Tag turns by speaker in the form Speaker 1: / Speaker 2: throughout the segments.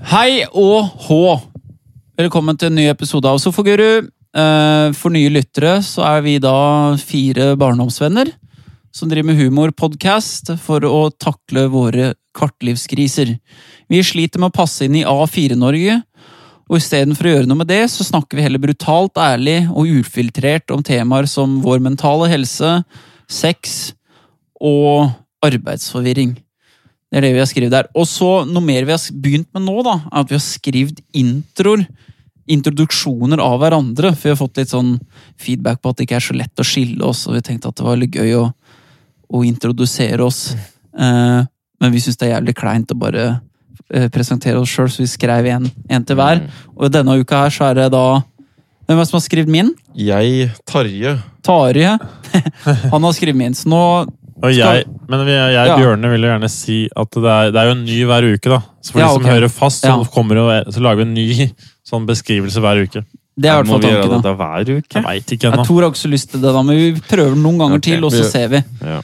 Speaker 1: Hei og hå! Velkommen til en ny episode av Sofaguru. Eh, For nye lyttere så er vi da fire barndomsvenner som driver med humorpodkast for å takle våre kartlivskriser. Vi sliter med å passe inn i A4-Norge, og istedenfor å gjøre noe med det, så snakker vi heller brutalt ærlig og ufiltrert om temaer som vår mentale helse, sex og arbeidsforvirring. Det er det vi har skrevet der. Og så noe mer vi har begynt med nå, da, er at vi har skrevet introer. Introduksjoner av hverandre, for vi har fått litt sånn feedback på at det ikke er så lett å skille oss, og vi tenkte at det var litt gøy å, å introdusere oss. Eh, men vi syns det er jævlig kleint å bare eh, presentere oss sjøl, så vi skrev en, en til hver.
Speaker 2: Mm.
Speaker 1: Og denne uka her så er det da Hvem er det som har skrevet min?
Speaker 2: Jeg, Tarje
Speaker 1: Tarje. Han har skrevet min. Så nå
Speaker 3: Og jeg, men vi- jeg,
Speaker 1: Ja.
Speaker 3: Bjørne, vil jo gjerne si at det er, det er jo en ny hver uke, da. Så for
Speaker 1: Ja,
Speaker 3: de som
Speaker 1: ok.
Speaker 3: hører fast, så,
Speaker 1: Ja.
Speaker 3: kommer jo, så lager vi en ny sånn beskrivelse hver uke.
Speaker 1: Det er i hvert
Speaker 2: Må
Speaker 1: fall
Speaker 2: vi gjøre
Speaker 1: tanken. da.
Speaker 2: dette hver uke?
Speaker 3: Jeg veit ikke
Speaker 1: Jeg
Speaker 3: ennå.
Speaker 1: tror har ikke så lyst til det, da, men vi prøver noen ganger
Speaker 2: Ok,
Speaker 1: til, og så
Speaker 2: vi-
Speaker 1: ser vi.
Speaker 2: Ja.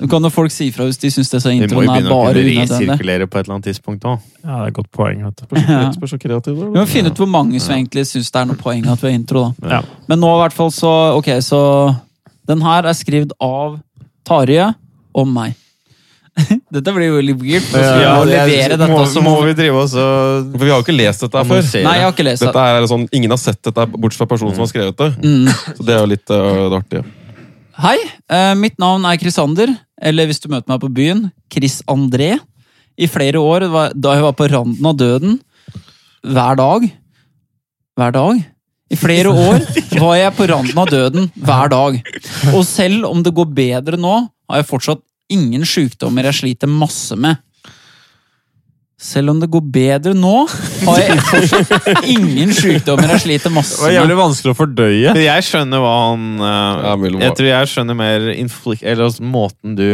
Speaker 1: Nå kan jo folk si ifra hvis de syns disse
Speaker 2: Vi må jo
Speaker 1: introene er
Speaker 2: begynne å
Speaker 1: bare
Speaker 2: kunne
Speaker 1: unødvendige.
Speaker 2: resirkulere på et eller annet tidspunkt òg.
Speaker 3: Ja, det er et godt poeng. vet du.
Speaker 1: Ja.
Speaker 2: Spør så kreativ du
Speaker 1: Vi må finne ut hvor mange som egentlig syns det er noe poeng at vi har intro, da.
Speaker 3: Ja.
Speaker 1: Men nå i hvert fall så Ok, så Den her er skrevet av Tarje og meg. Dette blir jo litt weird. for Vi må levere dette
Speaker 2: må,
Speaker 1: som
Speaker 2: må vi drive oss og
Speaker 4: For vi har jo ikke lest dette her før.
Speaker 2: Annonsere.
Speaker 1: Nei, jeg har ikke lest
Speaker 4: Dette
Speaker 1: det. Mm.
Speaker 4: her er sånn, Ingen har sett dette, her, bortsett fra personen som har skrevet det. Så det er jo litt øh, artig.
Speaker 1: Hei, eh, mitt navn er Chrisander, eller hvis du møter meg på byen, Chris André. I flere år, var- da jeg var på randen av døden, hver dag Hver dag? I flere år var jeg på randen av døden hver dag. Og selv om det går bedre nå, har jeg fortsatt ingen sykdommer jeg sliter masse med. Selv om det går bedre nå, har jeg fortsatt ingen sykdommer jeg sliter masse
Speaker 3: Det
Speaker 1: med.
Speaker 3: var jævlig vanskelig å fordøye.
Speaker 2: Jeg skjønner hva han
Speaker 4: Ja,
Speaker 2: eh,
Speaker 4: mulig hva-
Speaker 2: Jeg tror jeg skjønner mer inflik... Eller altså, måten du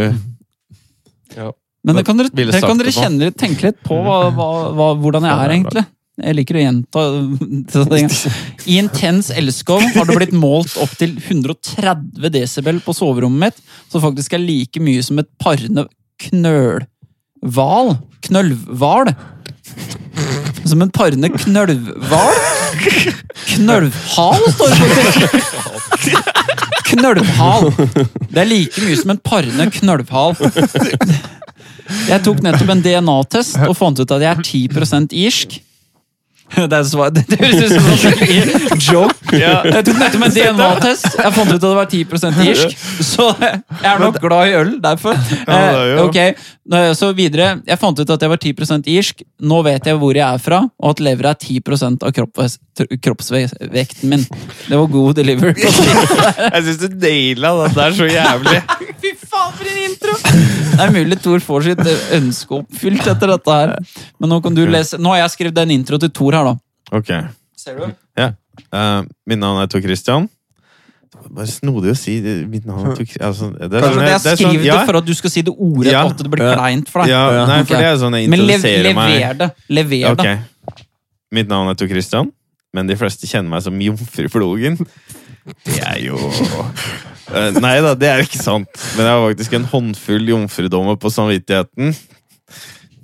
Speaker 1: Men det kan dere,
Speaker 2: Ville
Speaker 1: det kan
Speaker 2: sagt
Speaker 1: dere
Speaker 2: det sånn. på.
Speaker 1: kjenne, tenke litt på hva, hva, hva, hvordan jeg er, egentlig. Jeg liker å gjenta disse tingene. I intens elskov har det blitt målt opptil 130 desibel på soverommet mitt, som faktisk er like mye som et parende knølhval. Knølvhval. Som en parende knølvhval. Knølvhal, står det faktisk! Knølvhal. Det er like mye som en parende knølvhal. Jeg tok nettopp en DNA-test og fant ut at jeg er 10 irsk. Det, er svar, det høres ut som en skikkelig joke. Jeg tok nettopp en DNA-test. Jeg fant ut at det var 10 irsk, så jeg er nok glad i øl derfor. Eh, Ok, eh, Så videre. Jeg fant ut at jeg var 10 irsk. Nå vet jeg hvor jeg er fra, og at levra er 10 av kroppves- tr- kroppsvekten min. Det var god delivery.
Speaker 2: Jeg syns du naila det der så jævlig.
Speaker 1: Fy faen, for en intro! Det er mulig Thor får sitt ønske oppfylt etter dette her. Men nå kan du lese Nå har jeg skrevet en intro til Thor her, da.
Speaker 2: Ok,
Speaker 1: Ser du?
Speaker 2: eh, Mitt navn er Tor Christian. Det var Bare snodig å si eh, mitt navn er Tor Christian. Altså, det er
Speaker 1: Kanskje at
Speaker 2: sånn
Speaker 1: jeg
Speaker 2: det er
Speaker 1: har
Speaker 2: sånn-
Speaker 1: skrevet det
Speaker 2: ja,
Speaker 1: for at du skal si det ordet,
Speaker 2: Ja.
Speaker 1: og at det blir kleint for deg.
Speaker 2: ja, Nei,
Speaker 1: Ok.
Speaker 2: for det er sånn jeg
Speaker 1: Men lev,
Speaker 2: introduserer meg.
Speaker 1: lever det. Lever det.
Speaker 2: Ok. Mitt navn er Tor Christian, men de fleste kjenner meg som Jomfruflogen. Det er jo Eh, Nei da, det er ikke sant. Men jeg har faktisk en håndfull jomfrudommer på samvittigheten.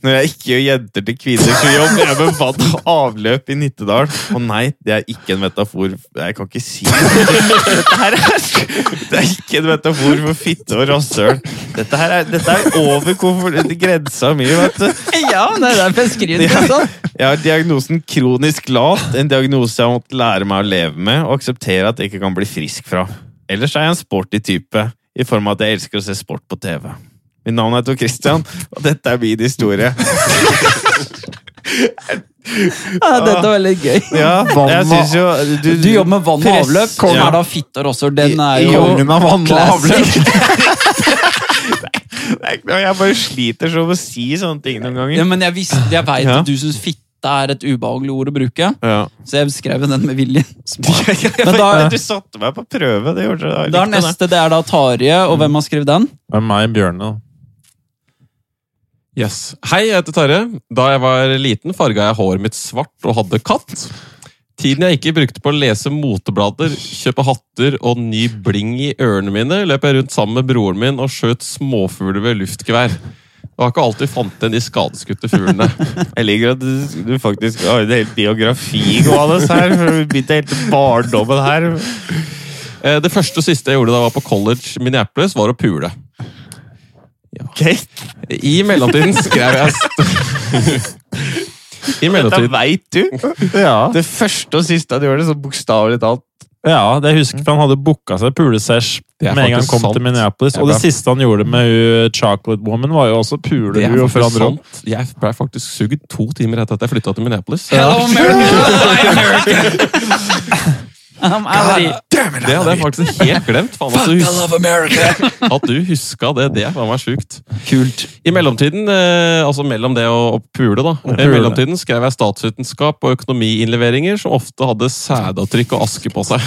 Speaker 2: Når jeg ikke gjør jenter til kvinner på jobb, jeg bevatt avløp i Nittedal. Og nei, det er ikke en metafor Jeg kan ikke si det. Dette her er, det er ikke en metafor for fitte og rasshøl. Dette her er, dette er over komfort- grensa mi, vet du.
Speaker 1: Ja, nei, det sånn. er beskrevet ikke sant?
Speaker 2: Jeg har diagnosen kronisk lat, en diagnose jeg har måttet lære meg å leve med og akseptere at jeg ikke kan bli frisk fra. Ellers er jeg en sporty type, i form av at jeg elsker å se sport på TV. Mitt navn er Tor Christian, og dette er min historie.
Speaker 1: Ja, dette var litt gøy.
Speaker 2: Ja, jeg synes jo...
Speaker 1: Du jobber med vann og
Speaker 2: Press-
Speaker 1: avløp. Kom
Speaker 2: Ja.
Speaker 1: er da fitte og rasshøl. Den er jo
Speaker 2: Kongen av vann og
Speaker 1: classic.
Speaker 2: Nei, Jeg bare sliter sånn med å si sånne ting noen
Speaker 1: Ja,
Speaker 2: ganger.
Speaker 1: men jeg, visste, jeg vet
Speaker 2: Ja.
Speaker 1: at du syns fitte er et ubehagelig ord å bruke,
Speaker 2: Ja.
Speaker 1: så jeg skrev den med vilje.
Speaker 2: Men
Speaker 1: Men
Speaker 2: da,
Speaker 1: da-
Speaker 2: du satte meg på prøve, det gjorde du. Jeg
Speaker 1: Da er
Speaker 2: likte det.
Speaker 1: neste det er da Tarje, og hvem har skrevet den?
Speaker 3: Det er meg og Bjørne. da.
Speaker 4: Yes. Hei, jeg heter Tarje. Da jeg var liten, farga jeg håret mitt svart og hadde katt. Tiden jeg ikke brukte på å lese moteblader, kjøpe hatter og ny bling i ørene mine, løp jeg rundt sammen med broren min og skjøt småfugler ved luftgevær. Det Det var ikke alltid fant igjen de skadeskutte fuglene.
Speaker 2: Jeg liker at du, du faktisk har en hel biografi gående her. for du Begynte helt i barndommen her.
Speaker 4: Eh, Det første og siste jeg gjorde da jeg var på college i Minneapolis, var å pule.
Speaker 2: Ok,
Speaker 4: I mellomtiden skrev jeg st- I
Speaker 2: Dette
Speaker 4: mellomtiden
Speaker 2: veit du.
Speaker 3: Ja.
Speaker 2: Det første og siste han gjør det, så bokstavelig talt.
Speaker 3: Ja, det jeg husker for han hadde booka seg pulesesh
Speaker 4: Det er
Speaker 3: med en gang han
Speaker 4: faktisk
Speaker 3: kom
Speaker 4: sant.
Speaker 3: til Minneapolis.
Speaker 4: Jeg
Speaker 3: Og det
Speaker 4: ble-
Speaker 3: siste han gjorde med hun Chocolate Woman, var jo også
Speaker 4: Det er
Speaker 3: pulehue og
Speaker 4: faktisk
Speaker 3: forandre om.
Speaker 4: sant. Jeg ble faktisk sugd to timer etter at jeg flytta til Minneapolis.
Speaker 1: Hello, America! I'm American.
Speaker 4: Det hadde jeg faktisk helt glemt. Faen, altså, hus- at du huska det, det var meg sjukt.
Speaker 1: Kult.
Speaker 4: I mellomtiden, eh, altså mellom det og, og pule, da, i
Speaker 3: pule.
Speaker 4: mellomtiden skrev jeg statsvitenskap og økonomiinnleveringer som ofte hadde sædavtrykk og aske på seg.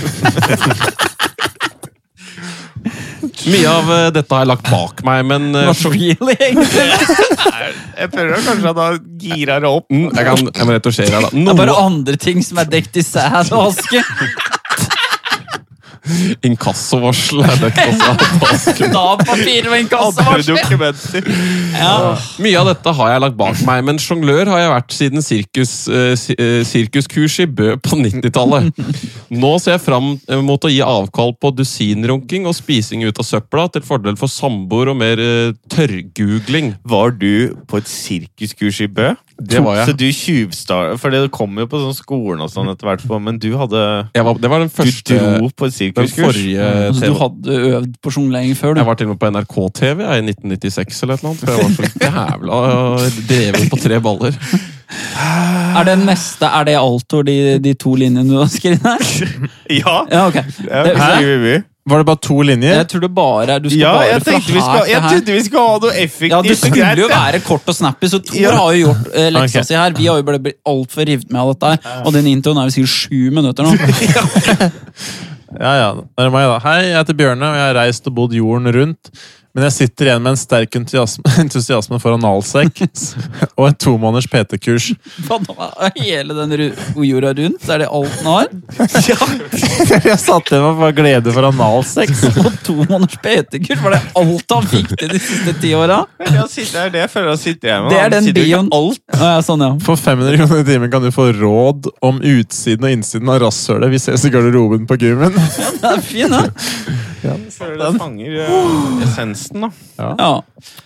Speaker 4: Mye av eh, dette har jeg lagt bak meg, men eh,
Speaker 1: Not really.
Speaker 2: Jeg føler kanskje han har gira det opp.
Speaker 4: Mm, jeg, kan, jeg må retusjere her, da.
Speaker 1: Det er bare
Speaker 4: Noe
Speaker 1: andre ting som er dekt i sæd og aske.
Speaker 4: inkassovarsel er dekt også.
Speaker 1: Dapapir og
Speaker 2: Andre
Speaker 1: inkassovarsel.
Speaker 2: dokumenter.
Speaker 1: Ja.
Speaker 4: Mye av dette har jeg lagt bak meg, men sjonglør har jeg vært siden sirkus, eh, si- eh, sirkuskurs i Bø på 90-tallet. Nå ser jeg fram eh, mot å gi avkall på dusinrunking og spising ut av søpla, til fordel for samboer og mer eh, tørrgoogling.
Speaker 2: Var du på et sirkuskurs i Bø?
Speaker 4: Det var
Speaker 2: Så
Speaker 4: jeg.
Speaker 2: du tjuvstarta For det kom jo på sånn skolen og sånn etter hvert, på, men du hadde
Speaker 4: jeg var, det var den
Speaker 2: Du
Speaker 4: første
Speaker 2: dro på et
Speaker 4: Den
Speaker 2: sirkuskurs?
Speaker 4: forrige
Speaker 1: Altså, du
Speaker 4: TV.
Speaker 1: hadde øvd på sjonglering før, du.
Speaker 4: Jeg var til og med på NRK-TV jeg, i 1996 eller et eller annet. For jeg var så jævla dreven på tre baller.
Speaker 1: Er det neste Er det altor, de, de to linjene du har skrevet her?
Speaker 2: Ja!
Speaker 1: Ja, ok. Det,
Speaker 2: Hæ?
Speaker 3: Var det bare to linjer?
Speaker 1: jeg tror det bare er Du skal
Speaker 2: Ja,
Speaker 1: bare
Speaker 2: jeg
Speaker 1: fra
Speaker 2: tenkte vi
Speaker 1: her
Speaker 2: skal,
Speaker 1: til
Speaker 2: jeg
Speaker 1: her.
Speaker 2: trodde vi skulle ha noe effektivt.
Speaker 1: Ja, du skulle
Speaker 2: greit,
Speaker 1: jo
Speaker 2: ja.
Speaker 1: være kort og snappy, så Tor
Speaker 2: Ja.
Speaker 1: har jo gjort eh, leksa
Speaker 3: Ok.
Speaker 1: si her. Vi har jo bare blitt altfor revet med av dette her. Og den introen er jo sikkert sju minutter nå.
Speaker 3: Ja, ja. Det er meg, da. Hei, jeg heter Bjørne, og jeg har reist og bodd jorden rundt. Men jeg sitter igjen med en sterk entusiasme, entusiasme for analsekk og et tomåneders PT-kurs.
Speaker 1: Hva da? Hele den ru- jorda rundt, er det alt den har?
Speaker 3: Jeg satt igjen med bare glede for analsekk.
Speaker 1: Og to måneders PT-kurs, var det alt han fikk til de siste ti åra?
Speaker 2: Ja, sitte- Det er det jeg føler jeg sitter hjemme.
Speaker 1: Det
Speaker 2: Han
Speaker 1: er den
Speaker 2: sitter jo ikke
Speaker 1: bioen. Alt. Ja, sånn, ja.
Speaker 3: For 500 kroner i timen kan du få råd om utsiden og innsiden av rasshølet. Vi ses i garderoben på gymmen.
Speaker 1: Den er fin, ja.
Speaker 2: Føler det fanger eh, essensen, da.
Speaker 1: ja.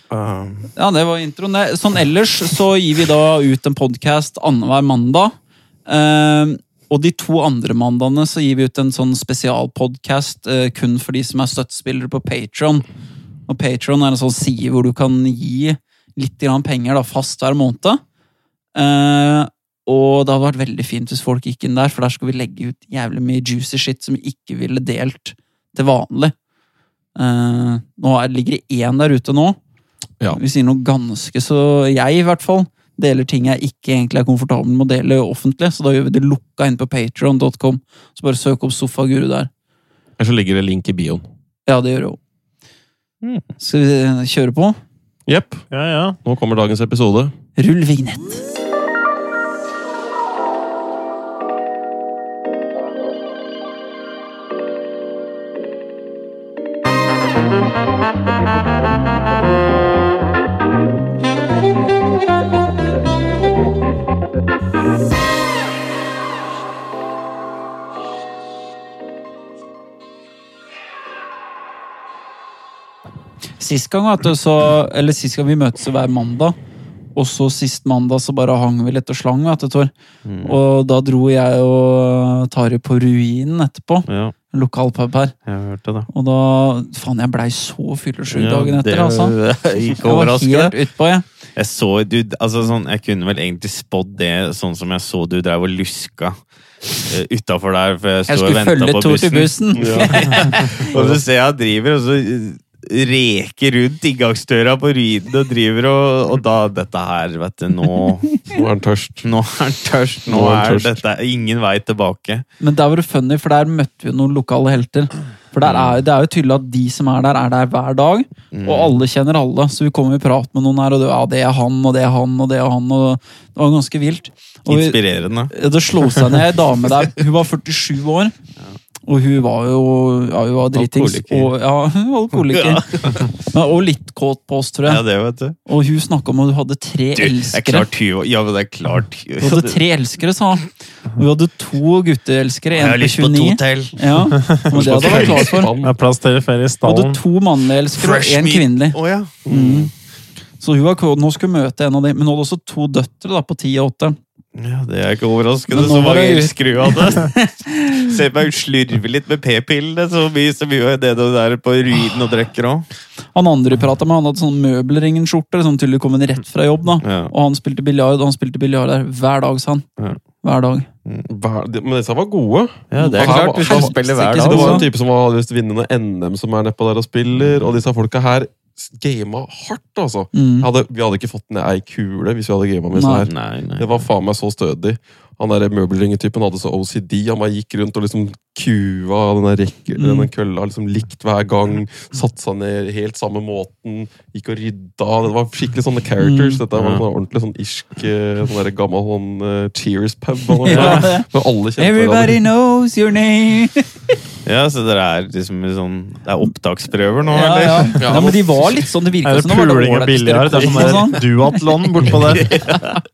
Speaker 1: Ja, det var introen. det. Sånn ellers så gir vi da ut en podkast annenhver mandag. Eh, og de to andre mandagene så gir vi ut en sånn spesialpodkast eh, kun for de som er støttespillere på Patron. Og Patron er en sånn side hvor du kan gi litt grann penger da, fast hver måned. Eh, og det hadde vært veldig fint hvis folk gikk inn der, for der skal vi legge ut jævlig mye juicy shit som vi ikke ville delt til vanlig. Eh, nå er, ligger det én der ute nå.
Speaker 4: Ja.
Speaker 1: Vi sier noe ganske så Jeg, i hvert fall, deler ting jeg ikke egentlig er komfortabel med å dele offentlig, så da gjør vi det lukka inn på patreon.com Så bare søk opp Sofaguru der.
Speaker 4: Ellers så ligger det link i bioen.
Speaker 1: Ja, det gjør det jo.
Speaker 2: Mm.
Speaker 1: Skal vi kjøre på?
Speaker 4: Jepp,
Speaker 3: Ja, ja.
Speaker 4: nå kommer dagens episode.
Speaker 1: Rull vignett. Sist gang, vet du, så, eller sist gang vi møtes hver mandag, og så sist mandag så bare hang vi litt og slang, vet du, Tor.
Speaker 2: Mm.
Speaker 1: Og da dro jeg og Tari på ruinen etterpå.
Speaker 2: Ja,
Speaker 1: En lokal pub her.
Speaker 2: jeg hørte det.
Speaker 1: Og da Faen, jeg blei så fyllesjuk dagen etter,
Speaker 2: det, eh,
Speaker 1: altså.
Speaker 2: Ikke
Speaker 1: Jeg var
Speaker 2: overraskende.
Speaker 1: helt utpå, jeg.
Speaker 2: Jeg så du, altså sånn, jeg kunne vel egentlig spådd det, sånn som jeg så du drev og luska uh, utafor der. For jeg, sto
Speaker 1: Jeg
Speaker 2: og
Speaker 1: skulle
Speaker 2: ventet
Speaker 1: følge
Speaker 2: på
Speaker 1: Tor til bussen.
Speaker 2: Og så ser jeg han driver, og så eh, reker rundt inngangsdøra på ruinen og driver, og, og da Dette her, vet du, nå
Speaker 4: Nå er den tørst.
Speaker 2: Nå er han tørst. Nå,
Speaker 4: Nå er han
Speaker 2: er
Speaker 4: tørst.
Speaker 2: dette ingen vei tilbake.
Speaker 1: Men der var det funny, for der møtte vi jo noen lokale helter. For der er, det er jo tydelig at de som er der, er der hver dag,
Speaker 2: Mm.
Speaker 1: og alle kjenner alle. Så vi kom i prat med noen her, og det, ja, det er han, og det er han, og det er han. Og det var ganske vilt. Og vi,
Speaker 2: Inspirerende.
Speaker 1: det slo seg ned ei dame der, hun var 47 år. Og hun var jo, ja, hun var dritings.
Speaker 2: Alkoholiker.
Speaker 1: Og, ja, hun var alkoholiker. Ja, og litt kåt på oss, tror
Speaker 2: Ja,
Speaker 1: jeg.
Speaker 2: det vet du.
Speaker 1: Og hun snakka om at hun hadde tre
Speaker 2: Du, det er
Speaker 1: elskere.
Speaker 2: klart tyv. Ja, men det er klart tyv.
Speaker 1: Hun hadde tre elskere, sa han. Og hun hadde to gutteelskere.
Speaker 2: Jeg har
Speaker 1: En
Speaker 2: lyst på
Speaker 1: på
Speaker 2: to
Speaker 1: 29.
Speaker 2: til.
Speaker 1: Ja, men det hadde jeg vært klar for.
Speaker 3: Det er plass til flere i
Speaker 1: Hun hadde
Speaker 3: stallen.
Speaker 1: to mannlige elskere og én
Speaker 2: meat.
Speaker 1: kvinnelig.
Speaker 2: Å, ja.
Speaker 1: Mm. Så hun var kåt. Nå skulle hun møte en av dem, men hun hadde også to døtre da, på ti og åtte.
Speaker 2: ja, det er ikke overraskende.
Speaker 1: Men nå
Speaker 2: Så
Speaker 1: var
Speaker 2: mange
Speaker 1: det-
Speaker 2: elsker hun hadde. Se på meg slurve litt med p-pillene, så mye som gjør det du der på ruinen og drikker òg.
Speaker 1: Han andre vi prata med, han hadde sånn møbelringen-skjorte. Sånn tydelig kom han rett fra jobb, da.
Speaker 2: Ja.
Speaker 1: Og han spilte biljard, og han spilte biljard der hver dag, sa han.
Speaker 2: Ja.
Speaker 1: Hver dag.
Speaker 4: Hva- de- Men disse var gode.
Speaker 2: Ja, det er
Speaker 4: Her
Speaker 2: klart.
Speaker 4: var-
Speaker 2: Du
Speaker 4: her
Speaker 2: skal
Speaker 4: var-
Speaker 2: spille
Speaker 1: stikker
Speaker 2: hver
Speaker 1: Ja,
Speaker 4: det
Speaker 1: seg
Speaker 2: dag.
Speaker 4: var
Speaker 1: altså.
Speaker 4: en type som hadde lyst til å vinne noe NM som er nedpå der og spiller, og disse folka her s- gama hardt, altså.
Speaker 1: Mm.
Speaker 4: Hadde, vi hadde ikke fått ned ei kule hvis vi hadde gama med disse
Speaker 1: Nei.
Speaker 4: her.
Speaker 2: Nei, nei.
Speaker 4: Det var faen meg så stødig. Han der møbelringetypen hadde så OCD. Han bare gikk rundt og liksom kua den der rekke,
Speaker 1: Mm.
Speaker 4: denne kølla liksom likt hver gang. Satte seg ned helt samme måten. Gikk og rydda. Det var skikkelig sånne characters. Dette var
Speaker 2: Ja.
Speaker 4: sånn ordentlig sånn irsk eh, sånn der gammel sånn eh, Cheers-pub. og noe
Speaker 1: Ja.
Speaker 4: sånt. Hvor alle kjente
Speaker 1: Everybody
Speaker 4: hverandre.
Speaker 1: knows your name!
Speaker 2: Ja, så dere er liksom en sånn Det er opptaksprøver nå,
Speaker 1: Ja, ja.
Speaker 2: eller?
Speaker 1: ja, men de var litt sånn, det virka
Speaker 3: Er det
Speaker 1: som det var
Speaker 3: puling og
Speaker 1: ålreit
Speaker 3: biljard? Det er
Speaker 1: styrekost og
Speaker 3: sånn der duatlon bortpå der.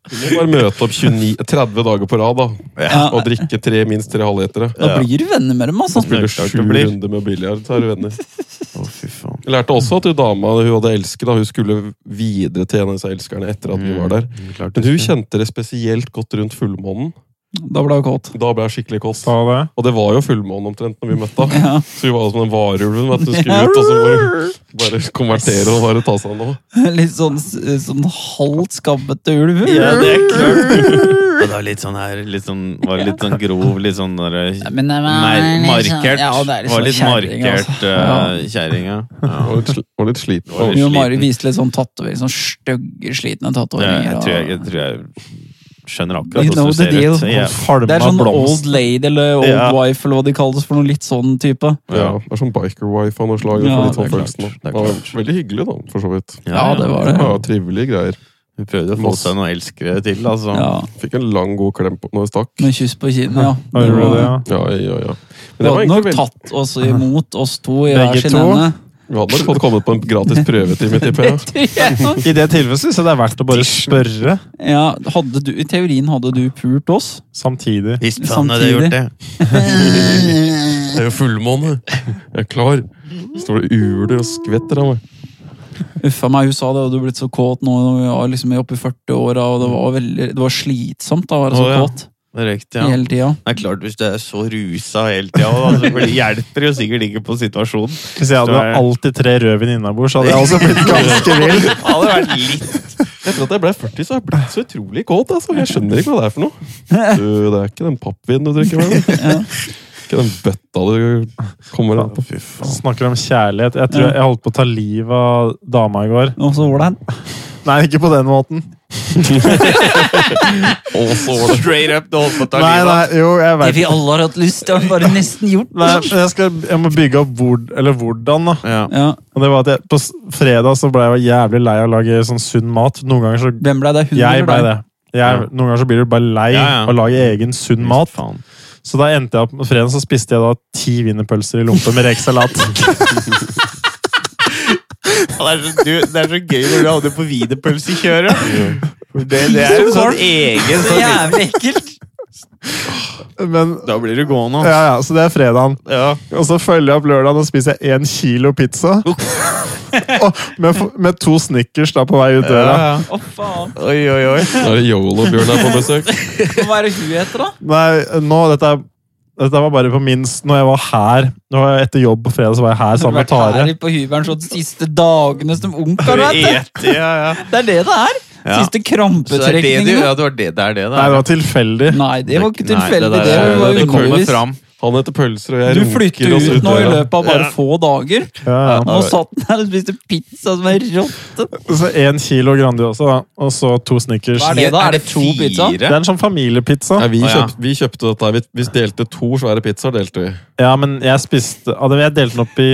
Speaker 4: Kunne jo bare møte opp 29, 30 dager på rad da,
Speaker 1: Ja.
Speaker 4: og drikke tre, minst tre halvlitere.
Speaker 1: Da blir du venner med dem, altså.
Speaker 2: Det
Speaker 4: Spille
Speaker 2: er klart
Speaker 4: sju
Speaker 2: det blir.
Speaker 4: runder med biljard, så er du venner.
Speaker 2: Å, fy faen.
Speaker 4: Jeg lærte også at hun dama hun hadde elsket, da, hun skulle videre til en av disse elskerne etter at vi
Speaker 2: Mm.
Speaker 4: var der.
Speaker 2: Klart
Speaker 4: Men hun kjente det spesielt godt rundt fullmånen.
Speaker 1: Da ble jeg kåt.
Speaker 4: Da ble jeg skikkelig kåt.
Speaker 3: Ta det.
Speaker 4: Og det var jo fullmåne omtrent når vi møtte henne.
Speaker 1: Ja.
Speaker 4: Så hun var jo som den varulven. vet du, Hun skulle ut altså, og så bare, bare konvertere og bare ta seg av noe.
Speaker 1: Litt sånn, sånn halvt skabbete ulv.
Speaker 2: Ja, det er klart. Og det var litt sånn her, litt sånn, var litt sånn grov, litt sånn der,
Speaker 1: Men det sånn-
Speaker 2: mer, markert.
Speaker 1: Ja, det er liksom
Speaker 2: var litt
Speaker 1: kjerring,
Speaker 2: markert
Speaker 1: altså.
Speaker 2: eh, kjerringa.
Speaker 4: Hun var litt sli- hun var litt sliten.
Speaker 2: Var
Speaker 4: da.
Speaker 2: litt-
Speaker 1: Jo,
Speaker 2: sliten.
Speaker 1: Mari viste litt sånn tatovering, sånn stygge, slitne
Speaker 2: Ja,
Speaker 1: tatoveringer.
Speaker 2: jeg,
Speaker 1: og-
Speaker 2: tror jeg, jeg tror jeg skjønner
Speaker 1: You
Speaker 2: akkurat
Speaker 1: know
Speaker 2: hvordan du
Speaker 1: the
Speaker 2: ser ut.
Speaker 1: deal.
Speaker 2: Ja.
Speaker 1: Det er
Speaker 3: Falma
Speaker 1: sånn
Speaker 3: blomst.
Speaker 1: old lady eller old
Speaker 2: Ja.
Speaker 1: wife eller hva de kalles for noe litt sånn type.
Speaker 4: Ja, det er sånn biker-wife av noe slag.
Speaker 1: Ja,
Speaker 4: Ja, litt sånn
Speaker 2: det er klart.
Speaker 4: følelsen, da.
Speaker 2: Det er klart.
Speaker 4: Ja, Veldig hyggelig, da, for så vidt.
Speaker 1: Ja, det var det.
Speaker 4: Ja, Trivelige greier.
Speaker 2: Hun prøvde å få seg noen elskere til, altså.
Speaker 1: Ja,
Speaker 4: Fikk en lang, god klem på når jeg stakk.
Speaker 1: Med kyss på kinnet, ja.
Speaker 3: Ja, gjorde du det, ja?
Speaker 4: Ja, ja,
Speaker 1: Vi
Speaker 4: ja. Men det var
Speaker 1: hadde
Speaker 4: egentlig
Speaker 1: nok
Speaker 4: veldig
Speaker 1: tatt oss imot, oss to i
Speaker 3: Begge
Speaker 1: hver sin
Speaker 3: to?
Speaker 1: ende.
Speaker 4: Vi hadde nok fått kommet på en gratis prøvetime, tipper jeg.
Speaker 3: I det tilfellet syns jeg det er verdt å bare spørre
Speaker 1: Ja, hadde du, I teorien hadde du pult oss.
Speaker 3: samtidig.
Speaker 2: Hvis faen hadde jeg
Speaker 1: Samtidig.
Speaker 2: gjort det.
Speaker 4: Det er jo fullmåne. Jeg er klar. Står det uler og skvetter av meg.
Speaker 1: Uffa meg, hun sa det, og du er blitt så kåt nå. og Jeg var liksom oppe i 40-åra, og det var, veldig, det var slitsomt da, å være så
Speaker 2: Å, ja.
Speaker 1: kåt
Speaker 2: Riktig, ja.
Speaker 1: hele tida.
Speaker 2: Det er klart, hvis du er så rusa hele tida, da, så blir- hjelper det jo sikkert ikke på situasjonen.
Speaker 3: Hvis jeg hadde alltid tre rødvin innabords, så hadde jeg også blitt ganske vill.
Speaker 2: Hadde vært litt
Speaker 4: Etter at jeg ble 40, så har jeg blitt så utrolig kåt. Altså. Jeg skjønner ikke hva det er for noe. Du, det er ikke den pappvinen du drikker med. Det er ikke den bøtta du kommer an på. Fy faen.
Speaker 3: Snakker om kjærlighet. Jeg tror jeg holdt på å ta livet av dama i går.
Speaker 1: Og så hvordan?
Speaker 3: Nei, ikke på den måten.
Speaker 2: straight up. Du holdt på å ta
Speaker 3: Nei,
Speaker 2: livet av
Speaker 3: nei, jo, jeg
Speaker 1: Det
Speaker 3: vet
Speaker 1: vi alle har hatt lyst til, har bare nesten gjort.
Speaker 3: Nei, men jeg, skal, jeg må bygge opp hvor, eller hvordan, da.
Speaker 2: ja.
Speaker 1: Ja,
Speaker 3: Og det var at jeg, På s- fredag så ble jeg jo jævlig lei av å lage sånn sunn mat. Noen ganger så
Speaker 1: Hvem ble det? Hun
Speaker 3: Jeg ble
Speaker 1: eller deg?
Speaker 3: det. Jeg,
Speaker 2: Ja.
Speaker 3: Noen ganger så blir du bare lei
Speaker 2: Ja, ja.
Speaker 3: av å lage egen sunn mat.
Speaker 2: Faen.
Speaker 3: Så da endte jeg opp på fredag så spiste jeg da ti wienerpølser i lompe med rekesalat.
Speaker 2: Ja, Det er, så, du, det er så gøy når du hadde på wienerpølsekjøret. Det, det er en sånn egen
Speaker 1: Det er
Speaker 2: sånn
Speaker 1: Jævlig ekkelt!
Speaker 3: Men
Speaker 2: Da blir du gående.
Speaker 3: ja, ja, Så det er fredagen.
Speaker 2: Ja.
Speaker 3: Og så følger jeg opp lørdagen og spiser jeg én kilo pizza. og med, f- med to snickers da på vei ut døra.
Speaker 2: Ja, ja.
Speaker 1: Å, faen.
Speaker 2: Oi, oi, oi.
Speaker 4: Da er det Yolo-Bjørn her på besøk.
Speaker 1: Hva er det hun heter, da?
Speaker 3: Nei, nå, dette, er- dette var bare på minst Når jeg var her Nå var jeg etter jobb på fredag, så var jeg her sammen med
Speaker 1: Vært her
Speaker 3: Tare.
Speaker 1: på hybelen så de siste dagene som
Speaker 2: Har
Speaker 1: onkelen,
Speaker 2: du
Speaker 1: vet du.
Speaker 2: et- Ja, ja.
Speaker 1: Det er det det er.
Speaker 2: Ja.
Speaker 1: Siste
Speaker 2: Så det er det du
Speaker 1: krampetrekningene.
Speaker 2: Ja, det var det det er det, da.
Speaker 3: Nei, det var tilfeldig.
Speaker 1: Nei, det var ikke
Speaker 2: Nei,
Speaker 1: tilfeldig.
Speaker 2: der
Speaker 1: Det
Speaker 2: er-
Speaker 1: var
Speaker 2: det kommer
Speaker 1: ulogisk.
Speaker 2: fram.
Speaker 4: Han heter Pølser, og jeg
Speaker 1: Du
Speaker 4: runker
Speaker 1: flytter
Speaker 4: oss
Speaker 1: ut nå i
Speaker 4: døra.
Speaker 1: løpet av bare få dager.
Speaker 3: Ja, ja.
Speaker 1: Nå satt den her og spiste pizza som en rotte.
Speaker 3: Så én kilo Grandiosa, da. Og så to Snickers.
Speaker 1: Hva er det, da? Er det to pizza?
Speaker 3: Det er en sånn familiepizza.
Speaker 4: Nei, vi,
Speaker 2: Å, ja.
Speaker 4: kjøpt, vi kjøpte dette. her. Vi, vi delte to svære pizzaer. delte vi.
Speaker 3: Ja, men jeg spiste av dem- Jeg delte den opp i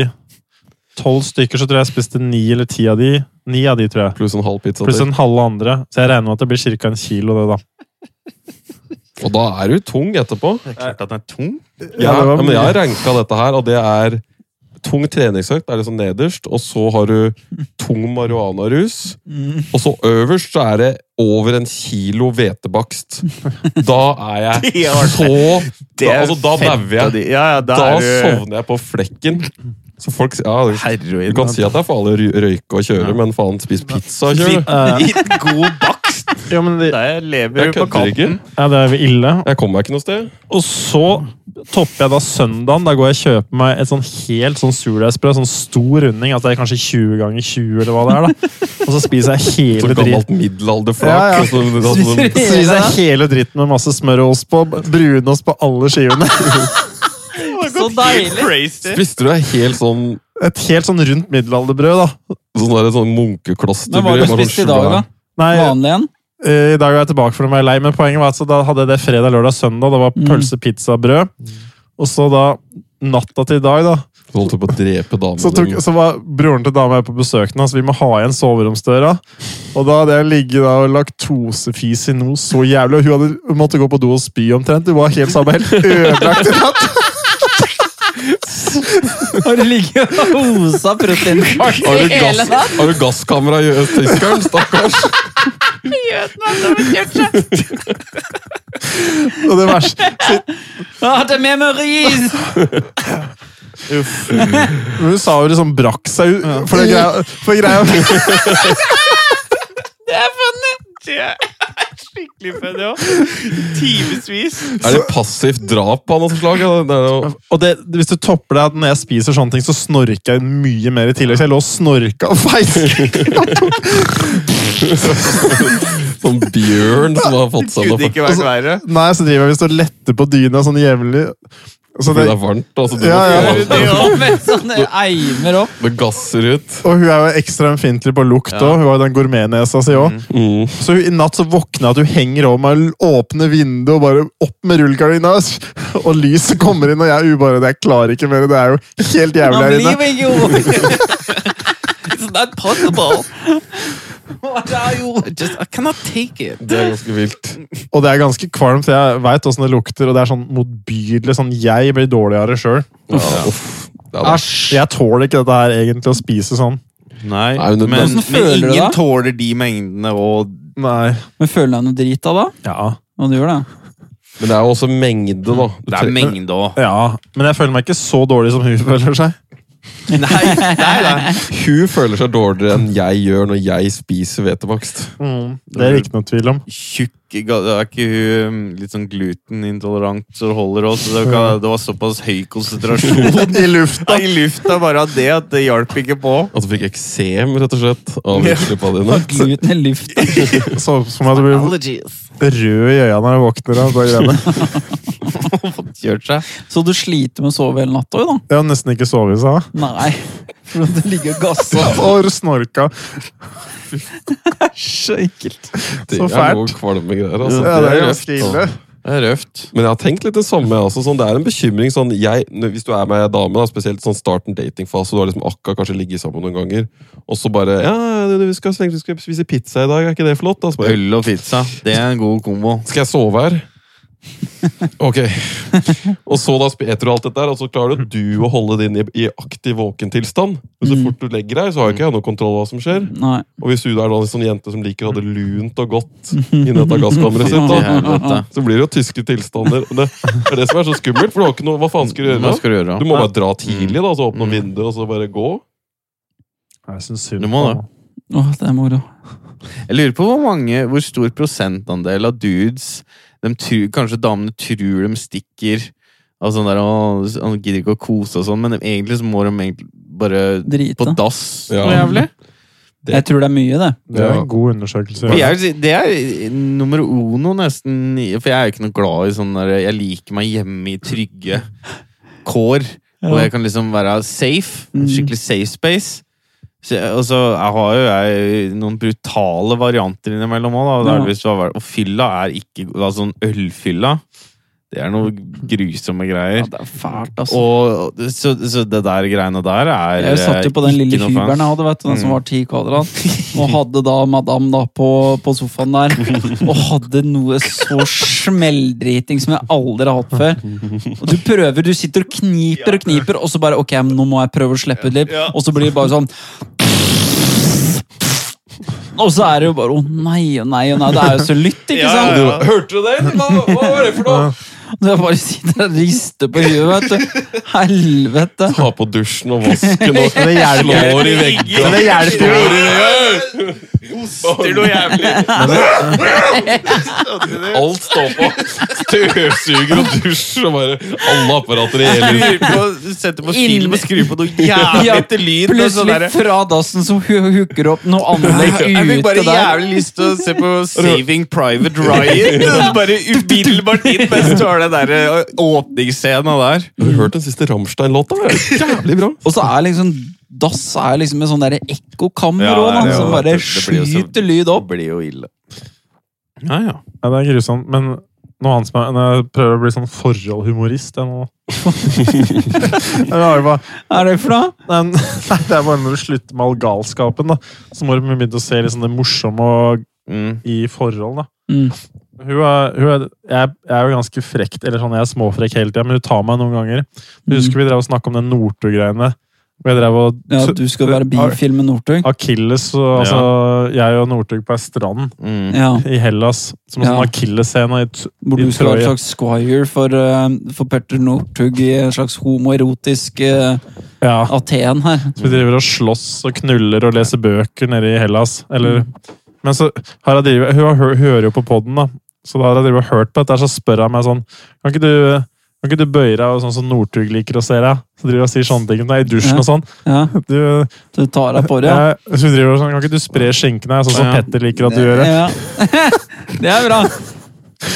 Speaker 3: tolv stykker, så tror jeg jeg spiste ni eller ti av de. Ni av de, tror jeg.
Speaker 4: Pluss en halv pizza.
Speaker 3: Pluss
Speaker 4: til.
Speaker 3: en halv andre. Så jeg regner med at det blir ca. en kilo, det, da.
Speaker 4: Og da er du tung etterpå.
Speaker 2: Det er klart at den er tung.
Speaker 4: Ja,
Speaker 3: det var
Speaker 4: men
Speaker 3: mye.
Speaker 4: jeg har ranka dette her, og det er tung treningsøkt, er liksom nederst, og så har du tung marihuanarus,
Speaker 2: Mm.
Speaker 4: og så øverst så er det over en kilo hvetebakst. Da er
Speaker 2: Det
Speaker 4: jeg
Speaker 2: var-
Speaker 4: så da, altså, da
Speaker 2: fett
Speaker 4: dauer
Speaker 2: av
Speaker 4: jeg.
Speaker 2: de- Ja, ja, da,
Speaker 4: Da
Speaker 2: er du
Speaker 4: sovner jeg på flekken. Så folk sier ja,
Speaker 2: heroin.
Speaker 4: Du kan si at det er farlig å ry- røyke og kjøre,
Speaker 2: Ja.
Speaker 4: men faen, spis pizza og kjør.
Speaker 2: Litt god bakst!
Speaker 3: Eh. Ja, men det,
Speaker 2: Der lever
Speaker 4: Jeg
Speaker 2: du på
Speaker 4: kødder ikke.
Speaker 2: kanten.
Speaker 3: ja, det er jo ille.
Speaker 4: Jeg kommer meg ikke noe sted.
Speaker 3: Og så topper jeg da søndagen. Da går jeg og kjøper meg et sånn helt sånn surdeigsbrød. Sånn stor runding. Altså det er kanskje 20 ganger 20, eller hva det er. da. Og så spiser jeg
Speaker 4: Så
Speaker 3: hele driten.
Speaker 4: gammelt middelalderflak.
Speaker 3: Ja, ja.
Speaker 4: og så- altså, og så-
Speaker 1: Spiser
Speaker 3: Så spiser jeg hele dritten med masse smør og ost på. Brunost på alle skivene.
Speaker 1: Så deilig!
Speaker 2: Crazy.
Speaker 4: Spiste du deg helt sånn
Speaker 3: Et helt sånn rundt middelalderbrød, da.
Speaker 4: Sånn der, sånn munkekloster.
Speaker 1: Men hva har du
Speaker 4: bare sånn
Speaker 1: spist i dag, da?
Speaker 4: svær-
Speaker 3: Nei,
Speaker 1: Vanlig en?
Speaker 3: eh, I dag er jeg tilbake for å være lei, men poenget var at så da hadde jeg det fredag, lørdag, søndag. Det var pølse, pizza, brød. Og så da, natta til i dag, da,
Speaker 4: Du holdt på å drepe damen
Speaker 3: Så, tok, så var broren til dama her på besøk nå, så vi må ha igjen soveromsdøra. Og da hadde jeg ligget da og laktosefis i noe så jævlig, og hun hadde hun måtte gå på do og spy omtrent. Hun var helt sammen, helt ødelagt i natt.
Speaker 1: Har du ligget og osa proteinfart
Speaker 4: Har
Speaker 1: i
Speaker 4: du,
Speaker 1: hele
Speaker 4: gass,
Speaker 1: natt?
Speaker 4: har du gasskamera i tyskeren, stakkars?
Speaker 3: Og det verste,
Speaker 1: Ah, det er med med ris!
Speaker 3: hun sa jo liksom brakk seg ut, for det greia, for greia
Speaker 1: Det er funny!
Speaker 2: Det er skikkelig funny òg. Timevis.
Speaker 4: Er det passivt drap av noe slag? eller? Det er jo-
Speaker 3: Og det, hvis du topper det at når jeg spiser sånne ting, så snorker jeg mye mer i tillegg. Så jeg lå og snorka og feisket.
Speaker 4: Sånn bjørn som har fått seg
Speaker 2: Kunne
Speaker 4: noe.
Speaker 2: ikke vært verre.
Speaker 3: Nei, så driver jeg visst og letter på dyna sånn jevnlig. Så
Speaker 4: Det
Speaker 3: det,
Speaker 4: er varmt, altså. Du,
Speaker 3: Ja, ja.
Speaker 4: må-
Speaker 1: Det var med sånne eimer opp.
Speaker 4: Det gasser ut.
Speaker 3: og hun er jo ekstra ømfintlig på lukt òg. Hun har jo den gourmetnesa si òg.
Speaker 4: Mm.
Speaker 3: Så i natt så våkner jeg at hun henger over meg, åpner vinduet og bare opp med rullegardina, s- og lyset kommer inn, og jeg er ubare, jeg klarer ikke mer, det er jo helt jævlig
Speaker 1: Man
Speaker 3: her
Speaker 1: blir
Speaker 3: inne.
Speaker 1: jo ikke ord. It's not possible. What are you? Just, I cannot take it.
Speaker 4: Det er ganske vilt.
Speaker 3: Og det er ganske kvalmt, for jeg veit åssen det lukter, og det er sånn motbydelig, sånn jeg blir dårlig av det sjøl.
Speaker 4: Ja, uff. Ja, da.
Speaker 2: Æsj.
Speaker 3: Jeg tåler ikke dette her, egentlig, å spise sånn.
Speaker 2: Nei,
Speaker 4: Nei, men-
Speaker 2: men, men,
Speaker 1: Hvordan føler du
Speaker 2: ingen
Speaker 1: deg?
Speaker 2: tåler de mengdene og
Speaker 3: Nei.
Speaker 1: Men føler jeg noe drit av da?
Speaker 3: Ja.
Speaker 1: Ja, du gjør det.
Speaker 4: Men det er jo også mengde, da. Du
Speaker 2: Det
Speaker 4: tre-
Speaker 2: er mengde òg.
Speaker 3: ja. Men jeg føler meg ikke så dårlig som hun føler seg.
Speaker 2: Nei, nei, nei.
Speaker 4: Hun føler seg dårligere enn jeg gjør når jeg spiser hvetebakst.
Speaker 3: Mm, Det er det ikke noe tvil om.
Speaker 2: Tjukk ga- det Er ikke hun um, litt sånn glutenintolerant så det holder òg? Det, var- det var såpass høy konsentrasjon
Speaker 3: I lufta.
Speaker 2: i lufta bare av det at det hjalp ikke på.
Speaker 4: At du fikk eksem, rett og slett, av utslippa dine.
Speaker 1: Gluten i lufta.
Speaker 3: Så ut som at du blir
Speaker 1: Allergies.
Speaker 3: rød i øya når du våkner. av det greiene.
Speaker 2: Kjørt seg.
Speaker 1: Så du sliter med å sove hele natta, jo da?
Speaker 3: Jeg har nesten ikke sovet, sa hun.
Speaker 1: Nei. For at du ligger og gasser.
Speaker 3: Og snorka.
Speaker 1: Så ekkelt.
Speaker 4: Det
Speaker 3: Så
Speaker 4: er noe
Speaker 3: fælt.
Speaker 4: kvalme greier, altså.
Speaker 3: Ja, det er
Speaker 4: røft,
Speaker 3: ganske ille.
Speaker 4: altså.
Speaker 2: Det er røft.
Speaker 4: Men jeg har tenkt litt det samme. jeg, Altså, sånn, det er en bekymring. Sånn, jeg, når- hvis du er med ei dame, da, spesielt sånn starten datingfase, du har liksom akkurat kanskje ligget sammen noen ganger, og så bare ja, du, vi, skal, vi skal spise pizza i dag, er ikke det flott? Da? Så bare,
Speaker 2: Øl og pizza. Det er en god kombo.
Speaker 4: skal jeg sove her? Ok. Og så da sp- etter alt dette her, og så klarer du å holde det inn i, i aktiv våkentilstand. Men
Speaker 3: Mm.
Speaker 4: så fort du legger deg, så har jo ikke jeg noe kontroll over hva som skjer.
Speaker 1: Nei.
Speaker 4: Og hvis du da er en sånn jente som liker å ha det lunt og godt inni dette gasskammeret sitt,
Speaker 2: Til
Speaker 4: da,
Speaker 2: helvete.
Speaker 4: så blir det jo tyske tilstander. Og Det er det som er så skummelt, for du har ikke noe, hva faen skal du gjøre?
Speaker 2: Hva
Speaker 4: da?
Speaker 2: skal du gjøre?
Speaker 4: Du må bare dra tidlig, da, så
Speaker 3: Mm.
Speaker 4: åpne vinduet og så bare gå.
Speaker 3: Jeg synes synd
Speaker 2: Du må
Speaker 3: på
Speaker 2: det.
Speaker 3: henne.
Speaker 1: Åh, det er moro.
Speaker 2: Jeg lurer på hvor mange, hvor stor prosentandel av dudes de tror, Kanskje damene tror de stikker av sånn der «Å, Han gidder ikke å kose og sånn, men de, egentlig så må de egentlig bare på
Speaker 1: Drite.
Speaker 2: dass.
Speaker 4: Ja.
Speaker 2: noe jævlig.
Speaker 4: Det-
Speaker 1: Jeg tror det er mye, det.
Speaker 3: Det er
Speaker 4: Ja.
Speaker 3: en god undersøkelse.
Speaker 2: For jeg vil si, det er nummer uno, nesten. i- For jeg er jo ikke noe glad i sånn der Jeg liker meg hjemme i trygge kår. Hvor jeg kan liksom være safe.
Speaker 1: Mm.
Speaker 2: en Skikkelig safe space. Så, jeg- og så jeg har jo jeg noen brutale varianter innimellom òg.
Speaker 1: Ja.
Speaker 2: Og fylla er ikke altså, sånn Ølfylla Det er noe grusomme greier.
Speaker 1: Ja, det er fælt, altså.
Speaker 2: Og så, så det der greiene der er
Speaker 1: Jeg satt jo på
Speaker 2: eh,
Speaker 1: den lille
Speaker 2: ikke noe
Speaker 1: hybelen jeg
Speaker 2: fans. Mm.
Speaker 1: hadde, vet du, den som var ti kvadrat. Og hadde da madame da på, på sofaen der, og hadde noe så smelldriting som jeg aldri har hatt før. Og du prøver, du sitter og kniper og kniper, og så bare ok, men nå må jeg prøve å slippe ut litt. Og så blir det bare sånn og så er det jo bare å nei og nei og nei. Det er jo så lytt, ikke
Speaker 2: Ja,
Speaker 1: sant?
Speaker 2: ja, ja.
Speaker 4: Hørte du den? Hva, hva var det for noe?
Speaker 1: Så jeg bare sitter og rister på huet, vet du. Helvete.
Speaker 4: Ta på dusjen og vasken og
Speaker 3: Men det hjelper.
Speaker 4: slår i veggene.
Speaker 3: Men det hjelper jo.
Speaker 4: Hoster noe jævlig. Alt står på. Støvsuger og dusj og bare alle apparater i hele huset.
Speaker 2: Skrur på- Setter på film
Speaker 1: Inn-
Speaker 2: og skrur på noe jævlig lyd. og sånn
Speaker 1: Plutselig
Speaker 2: derre-
Speaker 1: fra dassen som hu hooker opp noe anlegg
Speaker 2: Jeg
Speaker 1: ute
Speaker 2: fikk bare
Speaker 1: der.
Speaker 2: jævlig lyst til å se på Saving Private Ryan. Bare umiddelbart inn mens du har den der eh, åpningsscenen der.
Speaker 4: Har du hørt den siste Rammstein-låta? Det er Jævlig bra.
Speaker 1: Og så er liksom dass er liksom en sånn derre ekkokammer
Speaker 2: Ja,
Speaker 1: òg,
Speaker 2: det er
Speaker 1: som
Speaker 2: jo-
Speaker 1: bare
Speaker 2: det- det blir jo så-
Speaker 1: skyter lyd
Speaker 2: Det
Speaker 1: opp.
Speaker 2: blir jo ille. Ja, ja.
Speaker 3: Ja, det er grusomt, men noe annet som er når Jeg prøver å bli sånn forholdhumorist. Jeg nå. Jeg har jo bare,
Speaker 1: Er det for noe?
Speaker 3: nei, men- nei, det er bare når du slutter med all galskapen, da. Så må du begynne å se litt sånn det morsomme og
Speaker 2: Mm.
Speaker 3: i forhold, da.
Speaker 1: Mm.
Speaker 3: Hun er, hun er, jeg, jeg er jo ganske frekt, eller sånn, jeg er småfrekk hele tida, men hun tar meg noen ganger.
Speaker 1: Mm.
Speaker 3: Du husker vi drev og snakka om den Northug-greiene? hvor jeg drev og...
Speaker 1: Ja, du skal være bifil med Northug?
Speaker 3: Akilles, og, altså, jeg og Northug på ei strand
Speaker 2: Mm.
Speaker 1: Ja,
Speaker 3: i Hellas. Som en
Speaker 1: Ja.
Speaker 3: sånn akillesscene i t-
Speaker 1: Hvor du
Speaker 3: I
Speaker 1: skal være
Speaker 3: Troja.
Speaker 1: en slags squire for, eh, for Petter Northug i en slags homoerotisk eh,
Speaker 3: ja.
Speaker 1: Aten her.
Speaker 3: Så vi driver og slåss og knuller og leser bøker nede i Hellas. Eller,
Speaker 1: Mm.
Speaker 3: men så har jeg drivet, hun, har- hun hører jo på podden, da. Så da har jeg drivet og hørt på dette, så spør hun meg sånn Kan ikke du, kan ikke du bøye deg og sånn som Northug liker å se deg? Så driver jeg og sier sånne ting til deg i dusjen og sånn.
Speaker 1: Ja,
Speaker 3: Du,
Speaker 1: Du tar deg på det, ja.
Speaker 3: jeg, så hun driver og sånn Kan ikke du spre skinkene, sånn som
Speaker 2: Ja.
Speaker 3: Petter liker at du gjør? det?»
Speaker 1: ja. Det er bra.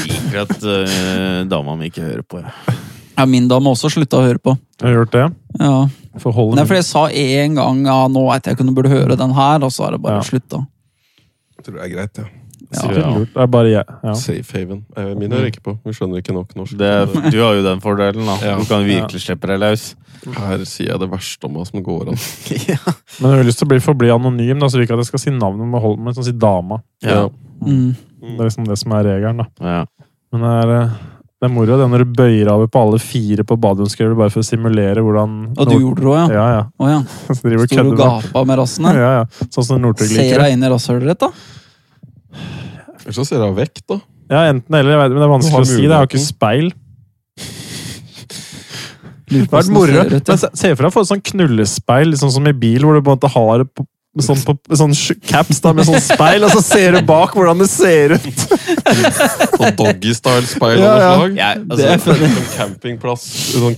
Speaker 2: Liker at eh, dama mi ikke hører på. jeg.
Speaker 1: Ja, min dame også slutta å høre på.
Speaker 3: Har du gjort det?
Speaker 1: Ja.
Speaker 3: Forholdet
Speaker 1: Nei, for jeg sa en gang ja, nå at jeg kunne burde høre den her, og så er det bare
Speaker 3: Ja.
Speaker 1: slutt, da.
Speaker 4: Tror det er greit, ja.
Speaker 1: Ja.
Speaker 2: Ja.
Speaker 3: Det er bare jeg. Ja.
Speaker 4: Safe haven. Eh, Mine hører ikke på. Vi skjønner ikke nok norsk.
Speaker 2: Det, du har jo den fordelen, da.
Speaker 4: Ja.
Speaker 2: Du kan virkelig slippe deg løs.
Speaker 4: Her sier jeg det verste om hva som går an.
Speaker 3: Men hun har lyst til å bli, forbli anonym, da, så ikke at jeg skal si navnet, men hold- men sånn si dama.
Speaker 2: Ja.
Speaker 1: Mm.
Speaker 3: Det er liksom det som er regelen. da.
Speaker 2: Ja.
Speaker 3: Men det er, eh, det er moro det når du bøyer av på alle fire på badehundskøller bare for å simulere hvordan
Speaker 1: Og du gjorde det òg, ja?
Speaker 3: Ja, ja.
Speaker 1: Å ja.
Speaker 3: Så driver du og
Speaker 1: Sto du
Speaker 3: kødder
Speaker 1: og
Speaker 3: med
Speaker 1: gapa med rassene?
Speaker 3: ja, ja. Sånn som Northug
Speaker 1: Ser
Speaker 3: liker det.
Speaker 1: deg inn i rasshølet ditt, da?
Speaker 4: Ellers så ser jeg vekk, da.
Speaker 3: Ja, enten eller. Jeg vet, men det er
Speaker 4: Du
Speaker 3: vanskelig
Speaker 4: har
Speaker 3: å si. Det er jo ikke speil.
Speaker 1: Lurer
Speaker 3: Det har
Speaker 1: på
Speaker 3: vært
Speaker 1: hvordan
Speaker 3: moro.
Speaker 1: ser ut,
Speaker 3: Men se se for deg å få et sånn knullespeil, liksom som i bil, hvor du på en måte har et på- Sånn, på, sånn sk- caps da, med sånn speil, og så ser du bak hvordan det ser ut!
Speaker 4: Sånn doggystyle-speil
Speaker 3: Ja,
Speaker 4: av noe
Speaker 3: ja.
Speaker 4: slag.
Speaker 2: Jeg,
Speaker 1: Det er
Speaker 2: altså,
Speaker 1: funny.
Speaker 4: Sånn campingplass, sånn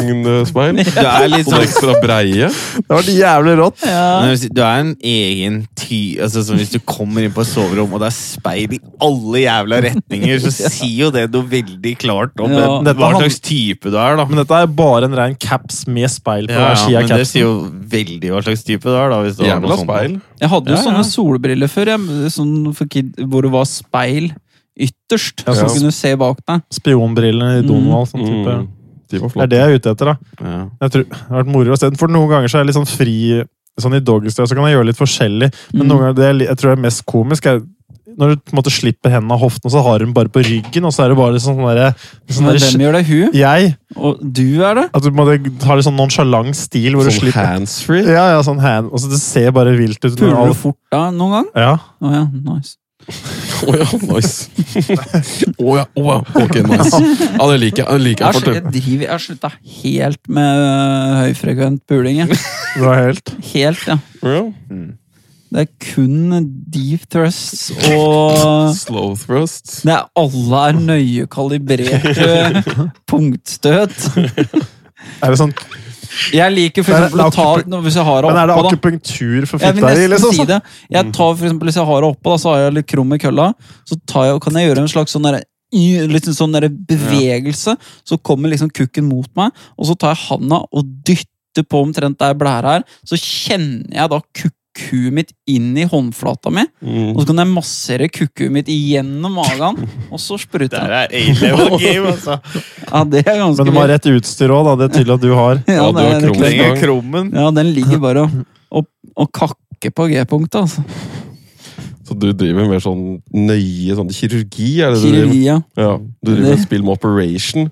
Speaker 4: campingvognspeil.
Speaker 2: du er litt
Speaker 4: Sånn
Speaker 2: sånn
Speaker 4: ekstra breie.
Speaker 3: Det var jævlig rått.
Speaker 1: Ja.
Speaker 2: Men hvis- Du er en egen ty... Altså, som hvis du kommer inn på et soverom, og det er speil i alle jævla retninger, så sier jo det noe veldig klart om
Speaker 1: Ja.
Speaker 2: den,
Speaker 3: Dette
Speaker 2: hva
Speaker 3: hand-
Speaker 2: slags type du er, da.
Speaker 3: Men dette er bare en rein caps med speil på
Speaker 2: Ja,
Speaker 3: hver side
Speaker 2: ja,
Speaker 3: av
Speaker 2: men det sier
Speaker 3: capsen.
Speaker 2: jo veldig hva slags type du er, da. Hvis du har noe
Speaker 4: Jævla
Speaker 2: sånt.
Speaker 4: speil.
Speaker 1: Jeg hadde jo
Speaker 3: Ja, ja.
Speaker 1: sånne solbriller før, jeg, sånn for kid, hvor det var speil ytterst.
Speaker 3: Ja,
Speaker 1: så
Speaker 4: sånn-
Speaker 1: kunne du se bak deg.
Speaker 3: Spionbrillene i Donald. Sånn type.
Speaker 4: Mm. De var
Speaker 3: Det er
Speaker 4: flotte.
Speaker 3: det jeg er ute etter. da
Speaker 2: Ja.
Speaker 3: Jeg tror, det har vært moro å se den, for noen ganger så er jeg litt sånn fri Sånn i doggystyle, så kan jeg gjøre litt forskjellig. Men
Speaker 1: Mm.
Speaker 3: noen ganger, det jeg, li- jeg tror det er mest komisk, er når du på en måte slipper hendene av hoften, og så har du den bare på ryggen, og så er det bare sånn derre sånn
Speaker 1: Men
Speaker 3: der,
Speaker 1: hvem gjør det? Hun?
Speaker 3: Jeg.
Speaker 1: Og du er det?
Speaker 3: At du på en måte har litt sånn nonsjalant stil hvor du
Speaker 4: Sånn
Speaker 3: slipper
Speaker 4: handsfree.
Speaker 3: Ja, ja, sånn hand. Og så det ser bare vilt ut. når
Speaker 1: Puler du
Speaker 3: alt-
Speaker 1: fort da noen gang?
Speaker 3: Ja.
Speaker 1: Å ja, nice.
Speaker 4: Å ja, nice. Å ja, å ja. Ok, nice. Ja, det liker jeg. Det liker
Speaker 1: Jeg
Speaker 4: jeg
Speaker 1: har
Speaker 4: for
Speaker 1: sl- jeg
Speaker 4: tøft.
Speaker 1: driver- jeg har slutta helt med øh, høyfrekvent puling. jeg.
Speaker 3: Det var helt
Speaker 1: Helt, ja.
Speaker 4: Ja.
Speaker 1: Det er kun deep thrusts og
Speaker 4: Slow thrust.
Speaker 1: det er Alle er nøye kalibrerte punktstøt.
Speaker 3: Er det sånn
Speaker 1: Jeg liker for
Speaker 3: Men er det
Speaker 1: eksempel å ta
Speaker 3: akupu-
Speaker 1: nå, Hvis jeg har
Speaker 3: Men er det
Speaker 1: oppå, da.
Speaker 3: akupunktur for
Speaker 1: Jeg vil
Speaker 3: fitta di,
Speaker 1: nesten
Speaker 3: liksom?
Speaker 1: si det. Jeg tar for eksempel, Hvis jeg har det oppå, da, så har jeg litt krum i kølla. Så tar jeg, kan jeg gjøre en slags sånn derre- i- litt sånn derre bevegelse. Så kommer liksom kukken mot meg, og så tar jeg handa og dytter på omtrent der blæra er. Så kjenner jeg da kukken kukuet mitt inn i håndflata mi.
Speaker 4: Mm.
Speaker 1: Og så kan jeg massere kukuet mitt igjennom magen, og så sprute.
Speaker 2: Der er A-level game, altså.
Speaker 1: Ja, det er ganske
Speaker 3: Men du må ha
Speaker 1: vilt.
Speaker 3: rett utstyr òg, da. Det er tydelig at du har.
Speaker 1: Ja,
Speaker 4: Ja, du
Speaker 1: det
Speaker 4: har
Speaker 1: er
Speaker 4: krummet.
Speaker 1: klart.
Speaker 2: Trenger krummen.
Speaker 1: ja, den ligger bare og, og, og kakker på G-punktet, altså.
Speaker 4: Så du driver med sånn nøye sånn kirurgi? er det du driver med?
Speaker 1: Kirurgi, ja.
Speaker 4: Ja, Du driver med spill med Operation.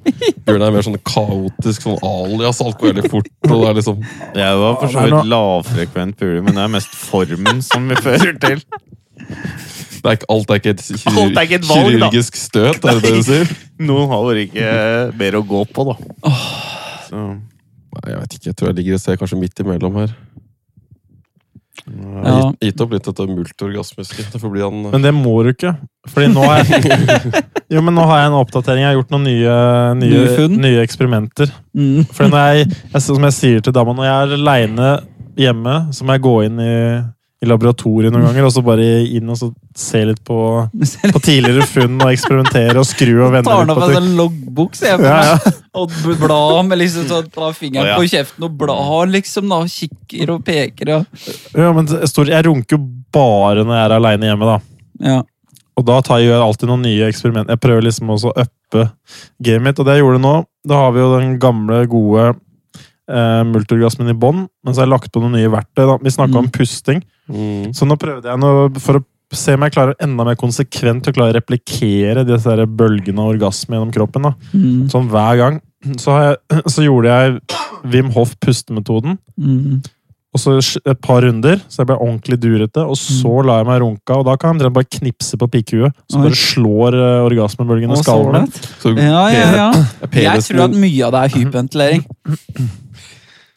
Speaker 4: Bjørn er mer sånn kaotisk, sånn alias. Alt går veldig fort. og det er liksom...
Speaker 2: Jeg var for så
Speaker 3: Nei, nå-
Speaker 2: vidt lavfrekvent puling, men det er mest formen som vi fører til.
Speaker 4: Det er ikke, alt er ikke et kirur-
Speaker 2: Alt er ikke et valg, da.
Speaker 4: kirurgisk støt, er det det du sier?
Speaker 2: Noen har bare ikke mer å gå på, da. Så,
Speaker 4: Nei, Jeg vet ikke, jeg tror jeg ligger et sted kanskje midt imellom her. Jeg har
Speaker 1: Ja.
Speaker 4: gitt, gitt opp litt dette multiorgasmiske. Det får bli han eh.
Speaker 3: Men det må du ikke. Fordi nå har jeg, jo, men nå har jeg en oppdatering. Jeg har gjort noen nye,
Speaker 1: Nye
Speaker 3: nye,
Speaker 1: funn?
Speaker 3: nye eksperimenter.
Speaker 1: Mm.
Speaker 3: Fordi når jeg, jeg, som jeg sier til dama, når jeg er aleine hjemme, så må jeg gå inn i, i laboratoriet noen ganger og så bare inn og så se litt på, på tidligere funn og eksperimentere og skru og vende
Speaker 1: Tar
Speaker 3: litt
Speaker 1: opp
Speaker 3: på
Speaker 1: en
Speaker 3: ting.
Speaker 1: sånn loggbok, ser jeg på
Speaker 3: Ja,
Speaker 1: meg.
Speaker 3: ja.
Speaker 1: Og bla med liksom sånn, ta fingeren
Speaker 2: Å, ja.
Speaker 1: på kjeften og bla liksom da, og kikker og peker og
Speaker 3: Ja, men det står- jeg runker jo bare når jeg er aleine hjemme, da.
Speaker 1: Ja.
Speaker 3: Og da tar jeg jo alltid noen nye eksperimenter. Jeg prøver liksom også å uppe gamet mitt, og det jeg gjorde nå, da har vi jo den gamle, gode eh, multiorgasmen i bånn, men så har jeg lagt på noen nye verktøy. da. Vi snakka
Speaker 1: Mm.
Speaker 3: om pusting,
Speaker 4: mm.
Speaker 3: så nå prøvde jeg noe for å se om jeg klarer enda mer konsekvent å klare å replikere disse her bølgene av orgasme gjennom kroppen. da.
Speaker 1: Mm.
Speaker 3: Sånn hver gang. Så, har jeg, så gjorde jeg Wim Hof pustemetoden.
Speaker 1: Mm.
Speaker 3: Og så sj- et par runder, så jeg ble ordentlig durete. Og så la jeg meg runka, og da kan jeg omtrent bare knipse på pikkhuet. Så
Speaker 1: Mm. Oi.
Speaker 3: bare slår eh, orgasmebølgen i
Speaker 1: Og så
Speaker 3: skallen min.
Speaker 1: ålreit.
Speaker 4: Så
Speaker 1: Ja, ja, ja.
Speaker 4: pe-
Speaker 1: Jeg
Speaker 4: penisen
Speaker 1: tror at
Speaker 4: din,
Speaker 1: mye av det er hyperventilering.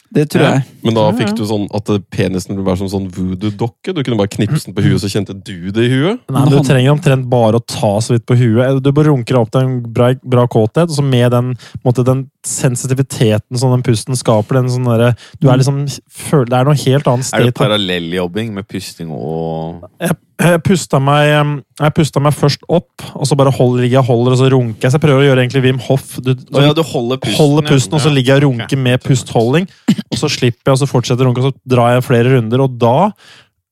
Speaker 1: Det tror
Speaker 3: Mhm. Ja.
Speaker 1: jeg.
Speaker 4: men da fikk du sånn at eh, penisen ville være som sånn voodoo-dokke? Du kunne bare knipse den på huet, så kjente du det i huet?
Speaker 3: Nei, men Du trenger omtrent bare å ta så vidt på huet. Eh, Du bare runker deg opp til en bra, bra kåthet, og så med den, på en måte, den sensitiviteten som den pusten skaper den sånn derre- du
Speaker 1: Mm.
Speaker 3: er liksom, føler, Det er noe helt annet
Speaker 2: er det
Speaker 3: sted.
Speaker 2: parallelljobbing med pusting og
Speaker 3: Jeg pusta meg, em, jeg pustet meg først opp, og så bare holder, ligger jeg og holder, og så runker jeg. Så jeg prøver å gjøre egentlig Wim Hof. Du,
Speaker 2: Å ja, du holder pusten.
Speaker 3: holder pusten, og så ligger jeg og
Speaker 2: Ok.
Speaker 3: runker med pustholding. Og så slipper jeg, og så fortsetter jeg å runke, og så drar jeg flere runder. Og da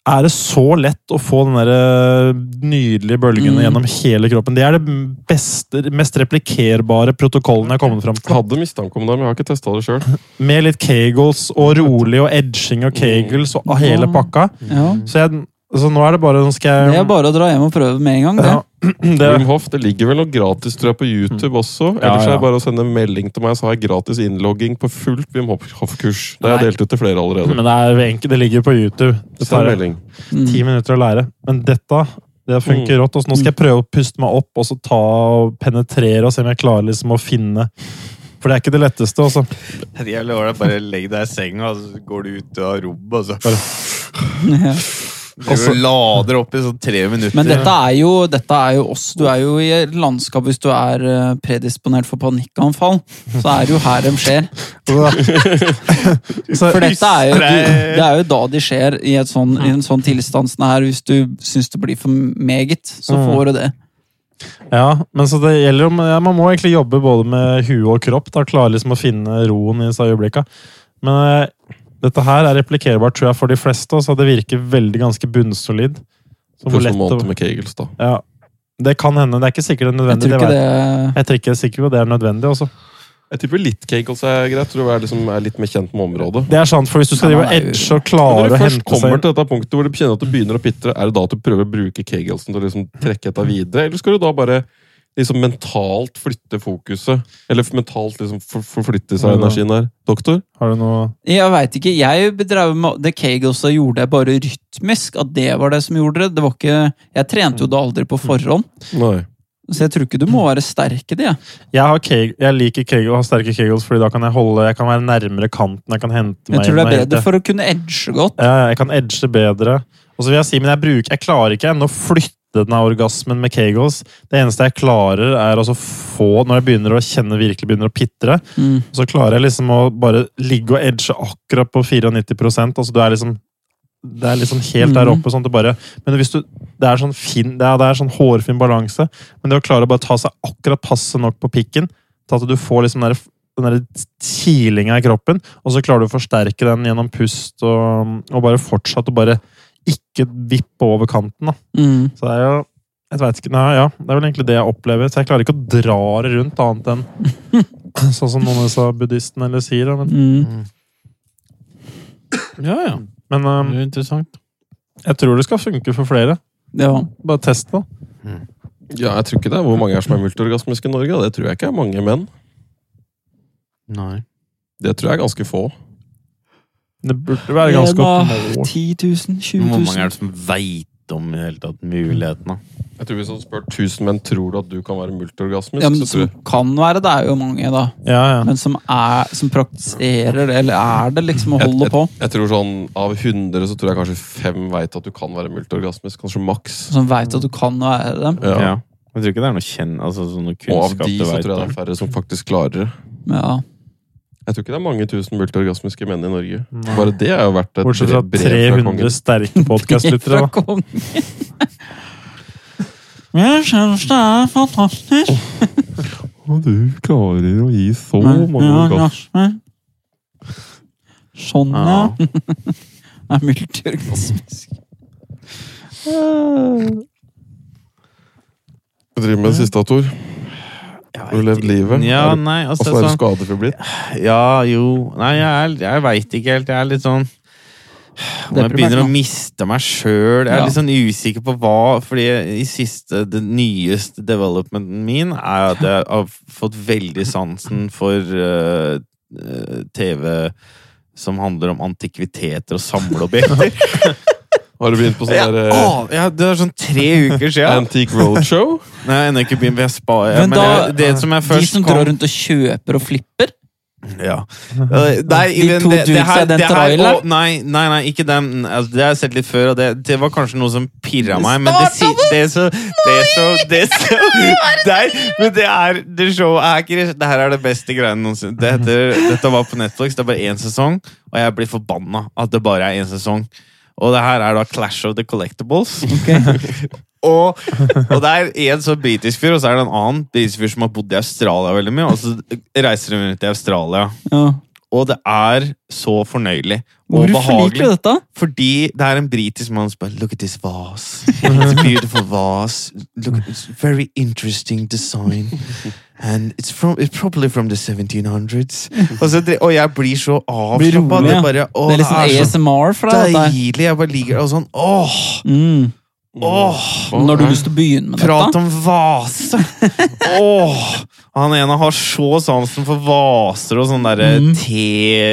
Speaker 3: er det så lett å få den der eh, nydelige bølgen
Speaker 1: Mm.
Speaker 3: gjennom hele kroppen. Det er det beste, mest replikerbare protokollen jeg har kommet fram til.
Speaker 4: Hadde mistanke om det, men jeg har ikke testa det sjøl.
Speaker 3: Med litt kegels og rolig og edging og kegels
Speaker 2: Mm.
Speaker 3: og hele pakka.
Speaker 1: Ja.
Speaker 3: Så, jeg, så nå er det bare Nå skal
Speaker 1: Det
Speaker 3: jeg
Speaker 1: er bare å dra hjem og prøve med en gang. Det.
Speaker 3: Um, ja, det,
Speaker 4: Wim Hof, det ligger vel noe gratis tror jeg, på YouTube også. Ellers
Speaker 3: Ja, ja.
Speaker 4: er det bare å sende en melding til meg, så har jeg gratis innlogging på fullt Wim Hof-kurs. Det har
Speaker 1: Nei.
Speaker 4: jeg delt ut til flere allerede.
Speaker 3: Men det er enkelt, det ligger på YouTube. Det
Speaker 4: Send
Speaker 3: tar
Speaker 4: melding.
Speaker 3: ti
Speaker 1: Mm.
Speaker 3: minutter å lære. Men dette det funker rått. Og så nå skal jeg prøve å puste meg opp og så ta og penetrere og se om jeg klarer liksom å finne For det er ikke det letteste. altså. Også.
Speaker 2: Jeg lover deg, bare legg deg i senga, og så går du ut av rommet, og så
Speaker 1: Ja.
Speaker 2: Driver
Speaker 4: Altså-
Speaker 2: og lader opp i sånn tre minutter.
Speaker 1: Men dette er, jo, dette er jo oss. Du er jo i et landskap hvis du er eh, predisponert for panikkanfall. Så er det jo her de skjer.
Speaker 3: Så,
Speaker 1: For dette er jo, du, det er jo da de skjer, i, et sånn, i en sånn tilstand som det her. Hvis du syns det blir for meget, så får du det.
Speaker 3: ja, men så det gjelder jo ja, Man må egentlig jobbe både med hue og kropp. Da Klare liksom å finne roen i disse øyeblikkene. Men eh, dette her er replikkerbart tror jeg, for de fleste, så det virker veldig ganske bunnsolid. Så hvor
Speaker 4: Pluss en
Speaker 3: lett å-
Speaker 4: måned med Kegels, da.
Speaker 3: ja, det kan hende. Det er ikke sikkert det er
Speaker 1: Jeg
Speaker 3: nødvendig.
Speaker 1: tror
Speaker 3: Jeg,
Speaker 1: ikke
Speaker 3: det
Speaker 1: det
Speaker 3: vet jeg. jeg tror ikke jeg er sikker på at det er nødvendig. også.
Speaker 4: Jeg tipper litt Kegels er greit. Tror du er, liksom, er litt mer kjent med området.
Speaker 3: Det er sant, for hvis du skal
Speaker 1: Ja,
Speaker 3: drive
Speaker 1: man er jo-
Speaker 3: edge og
Speaker 4: Når
Speaker 3: klare
Speaker 4: du
Speaker 3: å
Speaker 4: først
Speaker 3: hente
Speaker 4: kommer
Speaker 3: seg
Speaker 4: til dette punktet hvor du kjenner at du begynner å pitre, er det da at du prøver å bruke Kegelsen til å liksom trekke dette videre, eller skal du da bare liksom mentalt flytte fokuset? Eller mentalt liksom for- forflytte seg energien der? Doktor?
Speaker 3: Har du noe
Speaker 1: Jeg veit ikke. Jeg bedrev med The Kegels og gjorde det bare rytmisk. At det var det som gjorde det. det var ikke, jeg trente jo det aldri på forhånd,
Speaker 4: Nei.
Speaker 1: så jeg tror ikke du må være sterk i det.
Speaker 3: Jeg, har keg, jeg liker kegel, har sterke kegels, fordi da kan jeg holde Jeg kan være nærmere kanten. Jeg kan hente meg
Speaker 1: Jeg tror det
Speaker 3: inn og
Speaker 1: er bedre
Speaker 3: hente-
Speaker 1: for å kunne edge godt.
Speaker 3: ja, ja, Jeg kan edge bedre. Og så vil jeg si, men jeg bruker Jeg klarer ikke ennå å flytte den av orgasmen med kegels. Det eneste jeg klarer, er altså få Når jeg begynner å kjenne virkelig begynner å pitre,
Speaker 1: Mm.
Speaker 3: så klarer jeg liksom å bare ligge og edge akkurat på 94 Altså du er liksom det er liksom helt der
Speaker 1: Mhm.
Speaker 3: oppe. sånn at du bare, men hvis du, Det er sånn fin, det er, det er sånn hårfin balanse, men det å klare å bare ta seg akkurat passe nok på pikken til at du får liksom den der- den der kilinga i kroppen, og så klarer du å forsterke den gjennom pust og, og bare fortsatt å bare ikke vippe over kanten. da.
Speaker 1: Mm.
Speaker 3: Så det er jo jeg vet ikke, nei, ja, Det er vel egentlig det jeg opplever. Så jeg klarer ikke å dra det rundt annet enn sånn som noen av disse buddhistene eller sier. da, Men,
Speaker 1: Mm.
Speaker 3: ja, ja. men
Speaker 2: Det
Speaker 3: øhm,
Speaker 2: er interessant.
Speaker 3: jeg tror det skal funke for flere.
Speaker 1: Ja.
Speaker 3: Bare test det.
Speaker 4: Ja, jeg tror ikke det er hvor mange er som er multiorgasmiske i Norge. da. Det tror jeg ikke er mange menn.
Speaker 2: Nei.
Speaker 4: Det tror jeg er ganske få.
Speaker 3: Det burde være ganske godt mål.
Speaker 1: 10 000, 20
Speaker 2: Hvor mange
Speaker 1: 000.
Speaker 2: er det som veit om i hele tatt mulighetene?
Speaker 4: Jeg tror Hvis du spør 1000 menn tror du at du kan være multiorgasmisk,
Speaker 1: Ja, men
Speaker 4: så tror
Speaker 1: som
Speaker 4: jeg
Speaker 1: kan være det, er jo mange, da.
Speaker 3: Ja, ja.
Speaker 1: Men som, er, som praktiserer det, eller er det liksom å
Speaker 4: Jeg-
Speaker 1: holde på?
Speaker 4: Jeg tror sånn Av 100 så tror jeg kanskje fem veit at du kan være multiorgasmisk. Kanskje maks.
Speaker 1: Som veit at du kan være det.
Speaker 4: Ja.
Speaker 2: Ja. Jeg tror ikke det er noe kjenn... Altså, sånn noe
Speaker 4: Og av
Speaker 2: kunnskap
Speaker 4: de
Speaker 2: du
Speaker 4: så
Speaker 2: vet
Speaker 4: tror jeg det
Speaker 2: om.
Speaker 4: er færre som faktisk klarer det.
Speaker 1: Ja.
Speaker 4: Jeg tror ikke det er mange tusen multiorgasmiske menn i Norge.
Speaker 3: Nei.
Speaker 4: Bare det er jo verdt et
Speaker 3: Bortsett fra
Speaker 4: brev fra
Speaker 3: 300
Speaker 4: kongen.
Speaker 3: sterke podkastlyttere.
Speaker 1: Fra kongen. Jeg syns det er fantastisk.
Speaker 4: Og du klarer å gi så
Speaker 1: Men
Speaker 4: Oh, mange
Speaker 1: ja,
Speaker 4: orgasmer.
Speaker 1: orgasme. Sånn, ja.
Speaker 2: Ja.
Speaker 1: Det er multiorgasmisk.
Speaker 4: Hva driver du med det siste, Tor?
Speaker 2: Jeg
Speaker 4: Har du
Speaker 2: vet
Speaker 4: levd livet?
Speaker 2: ikke. Ja,
Speaker 4: Er du-
Speaker 2: nei, altså,
Speaker 4: Altså, er du
Speaker 2: sånn,
Speaker 4: skadefri blitt?
Speaker 2: ja, jo Nei, jeg, er- jeg veit ikke helt. Jeg er litt sånn Om jeg
Speaker 1: Deprimert
Speaker 2: begynner å
Speaker 1: nå.
Speaker 2: miste meg sjøl. Jeg er
Speaker 1: Ja.
Speaker 2: litt sånn usikker på hva Fordi i siste, den nyeste developmenten min er at jeg har fått veldig sansen for eh, eh, TV som handler om antikviteter og samleobjekter.
Speaker 4: Har du begynt på sånn
Speaker 2: Ja,
Speaker 4: der eh,
Speaker 2: å, ja, det er sånn tre uker siden.
Speaker 4: Antique Roadshow?
Speaker 2: Nei, jeg har ennå ikke begynt, for jeg sparer.
Speaker 1: Men
Speaker 2: Men,
Speaker 1: da-
Speaker 2: det, det som jeg
Speaker 1: De
Speaker 2: først
Speaker 1: som
Speaker 2: kom-
Speaker 1: drar rundt og kjøper og flipper?
Speaker 2: Ja. Eh, Nei,
Speaker 1: De
Speaker 2: men
Speaker 1: to
Speaker 2: det- det
Speaker 1: dudesa
Speaker 2: her-
Speaker 1: i den
Speaker 2: det her-
Speaker 1: traileren?
Speaker 2: å, Nei, nei, nei, ikke den. Altså, det har jeg sett litt før, og det, det var kanskje noe som pirra meg. Men det, si- det så Det så, det så Nei, men det er Det showet er ikke Det her er det beste greiene noensinne. Det heter, dette var på Netflix, det er bare én sesong, og jeg blir forbanna at det bare er én sesong. Og det her er da Clash of the Collectibles. Og, og det er en sånn britisk fyr, og så er det en annen britisk fyr som har bodd i Australia veldig mye. Og så reiser de rundt i Australia.
Speaker 1: Ja.
Speaker 2: Og det er så fornøyelig
Speaker 1: Hvorfor
Speaker 2: og
Speaker 1: liker
Speaker 2: behagelig.
Speaker 1: du dette?
Speaker 2: Fordi det er en britisk mann som bare Look at this vase. It's a beautiful vase. Look, it's very interesting design. And it's, from, it's probably from the 1700s. Og, så, dre- og jeg blir så
Speaker 1: Blir
Speaker 2: avslappa.
Speaker 1: rolig,
Speaker 2: Det,
Speaker 1: ja.
Speaker 2: bare, å,
Speaker 1: Det er
Speaker 2: det
Speaker 1: liksom
Speaker 2: er så
Speaker 1: ASMR for deg. dette her.
Speaker 2: deilig. Jeg bare ligger der og sånn Åh!
Speaker 1: Mm.
Speaker 2: åh
Speaker 1: Når har du lyst til å begynne med
Speaker 2: Prat
Speaker 1: dette?
Speaker 2: om vase! Åh! Han ene har så sansen for vaser og sånne der
Speaker 1: Mm.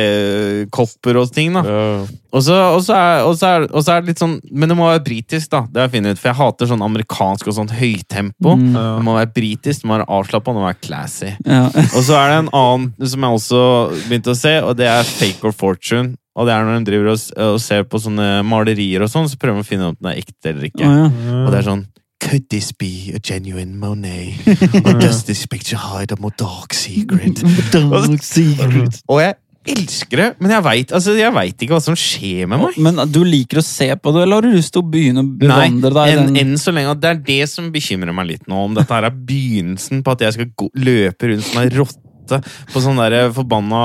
Speaker 2: tekopper og ting. da.
Speaker 4: Ja.
Speaker 2: Og så, og, så er, og, så er, og så er det litt sånn Men det må være britisk, da. Det har jeg funnet ut, For jeg hater sånn amerikansk og sånn høytempo.
Speaker 1: Mm.
Speaker 2: Det må være britisk, det må være avslappa og det må være classy.
Speaker 1: Ja.
Speaker 2: Og så er det en annen som jeg også begynte å se, og det er Fake or Fortune. Og det er når de driver og, s- og ser på sånne malerier og sånn, så prøver de å finne ut om den er ekte eller ikke.
Speaker 1: Å, ja.
Speaker 2: Og det er sånn Could this be a genuine Monet? Or does this picture hide a more dark secret? Og jeg elsker det, men jeg veit altså, jeg vet ikke hva som skjer med meg.
Speaker 1: Men du liker å se på det, eller har du lyst til å begynne å
Speaker 2: Nei,
Speaker 1: bevandre deg i
Speaker 2: enn
Speaker 1: den?
Speaker 2: enn så lenge. og Det er det som bekymrer meg litt nå. Om dette her er begynnelsen på at jeg skal gå, løpe rundt som ei rotte på sånn der forbanna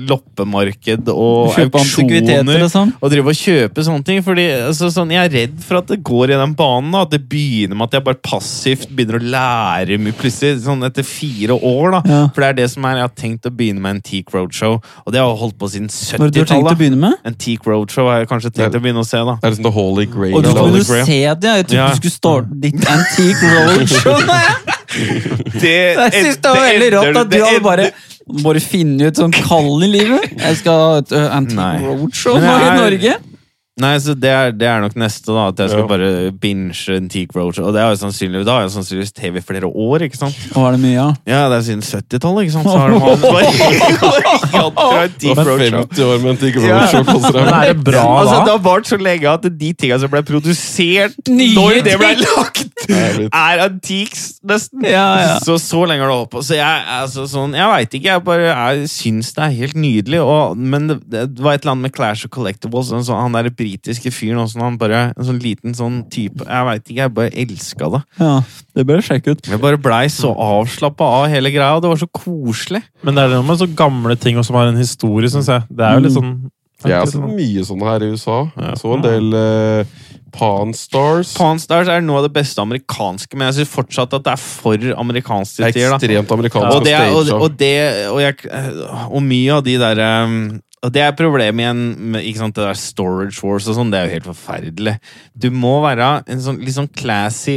Speaker 2: loppemarked og
Speaker 1: Kjøpe antikviteter,
Speaker 2: auksjoner.
Speaker 1: liksom?
Speaker 2: Og drive og kjøpe sånne ting. Fordi altså, sånn, Jeg er redd for at det går i den banen. Da, at det begynner med at jeg bare passivt begynner å lære mye plutselig. Sånn etter fire år. da
Speaker 1: Ja.
Speaker 2: For det er det som er Jeg har tenkt å begynne med Antique Roadshow. Og det har jeg holdt på siden
Speaker 1: Når du har tenkt å
Speaker 2: 70-tallet.
Speaker 1: begynne med?
Speaker 2: Antique Roadshow har jeg kanskje tenkt
Speaker 4: Det-
Speaker 2: å begynne å se, da.
Speaker 4: Det er liksom The Holy Grail.
Speaker 1: Og du
Speaker 2: Ja,
Speaker 1: skulle
Speaker 2: Holy
Speaker 1: jo
Speaker 2: Grail.
Speaker 1: se det! Jeg trodde
Speaker 2: Ja.
Speaker 1: du skulle starte ditt antique roadshow! Jeg synes det var veldig rått at du hadde bare bare finne ut sånn kall i livet. Jeg skal ha et ø,
Speaker 2: Nei.
Speaker 1: antique roadshow
Speaker 2: Men
Speaker 1: nå i
Speaker 2: jeg
Speaker 1: Norge.
Speaker 2: Nei, så det er, det er nok neste, da. At jeg skal
Speaker 4: Ja.
Speaker 2: bare binge Antique Roadshow. Og det har jeg sannsynligvis, da har jeg sannsynligvis TV i flere år, ikke sant?
Speaker 1: Hva er det mye av?
Speaker 2: Ja, det er siden 70-tallet, ikke sant? Så har de hatt bare giganter av
Speaker 4: Det
Speaker 2: Antique
Speaker 4: var
Speaker 2: Roadshow.
Speaker 4: 50 år med Antique Roadshow. koster deg.
Speaker 3: Men er det bra,
Speaker 2: altså, Det
Speaker 3: da?
Speaker 2: har vart så lenge at de tinga som ble produsert
Speaker 1: Nye
Speaker 2: når det
Speaker 1: ting.
Speaker 2: ble lagt,
Speaker 4: Det er litt-
Speaker 2: er antiques, nesten.
Speaker 1: Ja, ja.
Speaker 2: Så så lenge har det holdt på. Så jeg, altså, sånn, jeg veit ikke. Jeg bare jeg syns det er helt nydelig. Og, men det, det var et eller annet med Clash of Collectibles. En sånn, han der britiske fyren også, han bare, en sånn liten sånn type Jeg veit ikke, jeg bare elska det. Mm.
Speaker 1: Ja, det bør jeg sjekke ut.
Speaker 2: Jeg bare blei så avslappa av hele greia, og det var så koselig.
Speaker 3: Men det er noe med så gamle ting og som har en
Speaker 4: altså.
Speaker 3: historie, syns jeg. Det er jo litt sånn
Speaker 4: Jeg har sett mye sånne her i USA. Jeg så en del eh, Pawn Stars.
Speaker 2: Pawn Stars er noe av det beste amerikanske, men jeg syns fortsatt at det er for amerikansk til
Speaker 4: Det er
Speaker 2: tider. da.
Speaker 4: ekstremt amerikansk.
Speaker 2: Og, det er, og,
Speaker 4: staged, da.
Speaker 2: og, det, og, jeg, og mye av de der um, og Det er problemet igjen med ikke sant, det der storage wars og sånn. Det er jo helt forferdelig. Du må være en sånn litt sånn classy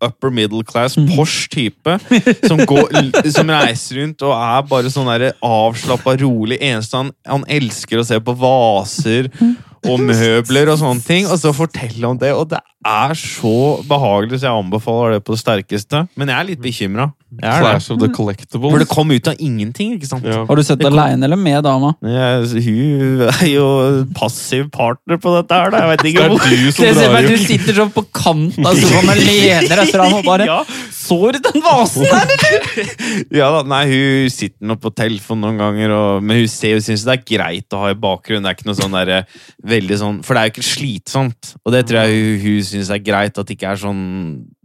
Speaker 2: upper middle class Porsche-type som, går- som reiser rundt og er bare sånn der avslappa, rolig. Eneste han, han elsker å se på vaser og møbler og sånne ting, og så fortelle om det. Og det er så behagelig, så jeg anbefaler det på det sterkeste. Men jeg er litt bekymra.
Speaker 4: Clash of the Collectibles.
Speaker 2: For det kom ut av ingenting, ikke sant?
Speaker 4: Ja.
Speaker 1: Har du sett det aleine eller med dama?
Speaker 2: Jeg, hun er jo passiv partner på dette her, da. Jeg vet ikke
Speaker 4: Det er
Speaker 2: hvor.
Speaker 4: du
Speaker 1: Se for
Speaker 4: som drar
Speaker 1: meg at du
Speaker 4: ut.
Speaker 1: sitter sånn på kanten av sofaen og lener etter han og bare
Speaker 2: Ja.
Speaker 1: Sår den vasen der, eller?!
Speaker 2: Ja da, nei, hun sitter nå på telefonen noen ganger, og, men hun ser jo synes det er greit å ha i bakgrunnen. Det er ikke noe sånn der, eh, veldig sånn, For det er jo ikke slitsomt, og det tror jeg hun, hun syns er greit. At det ikke er sånn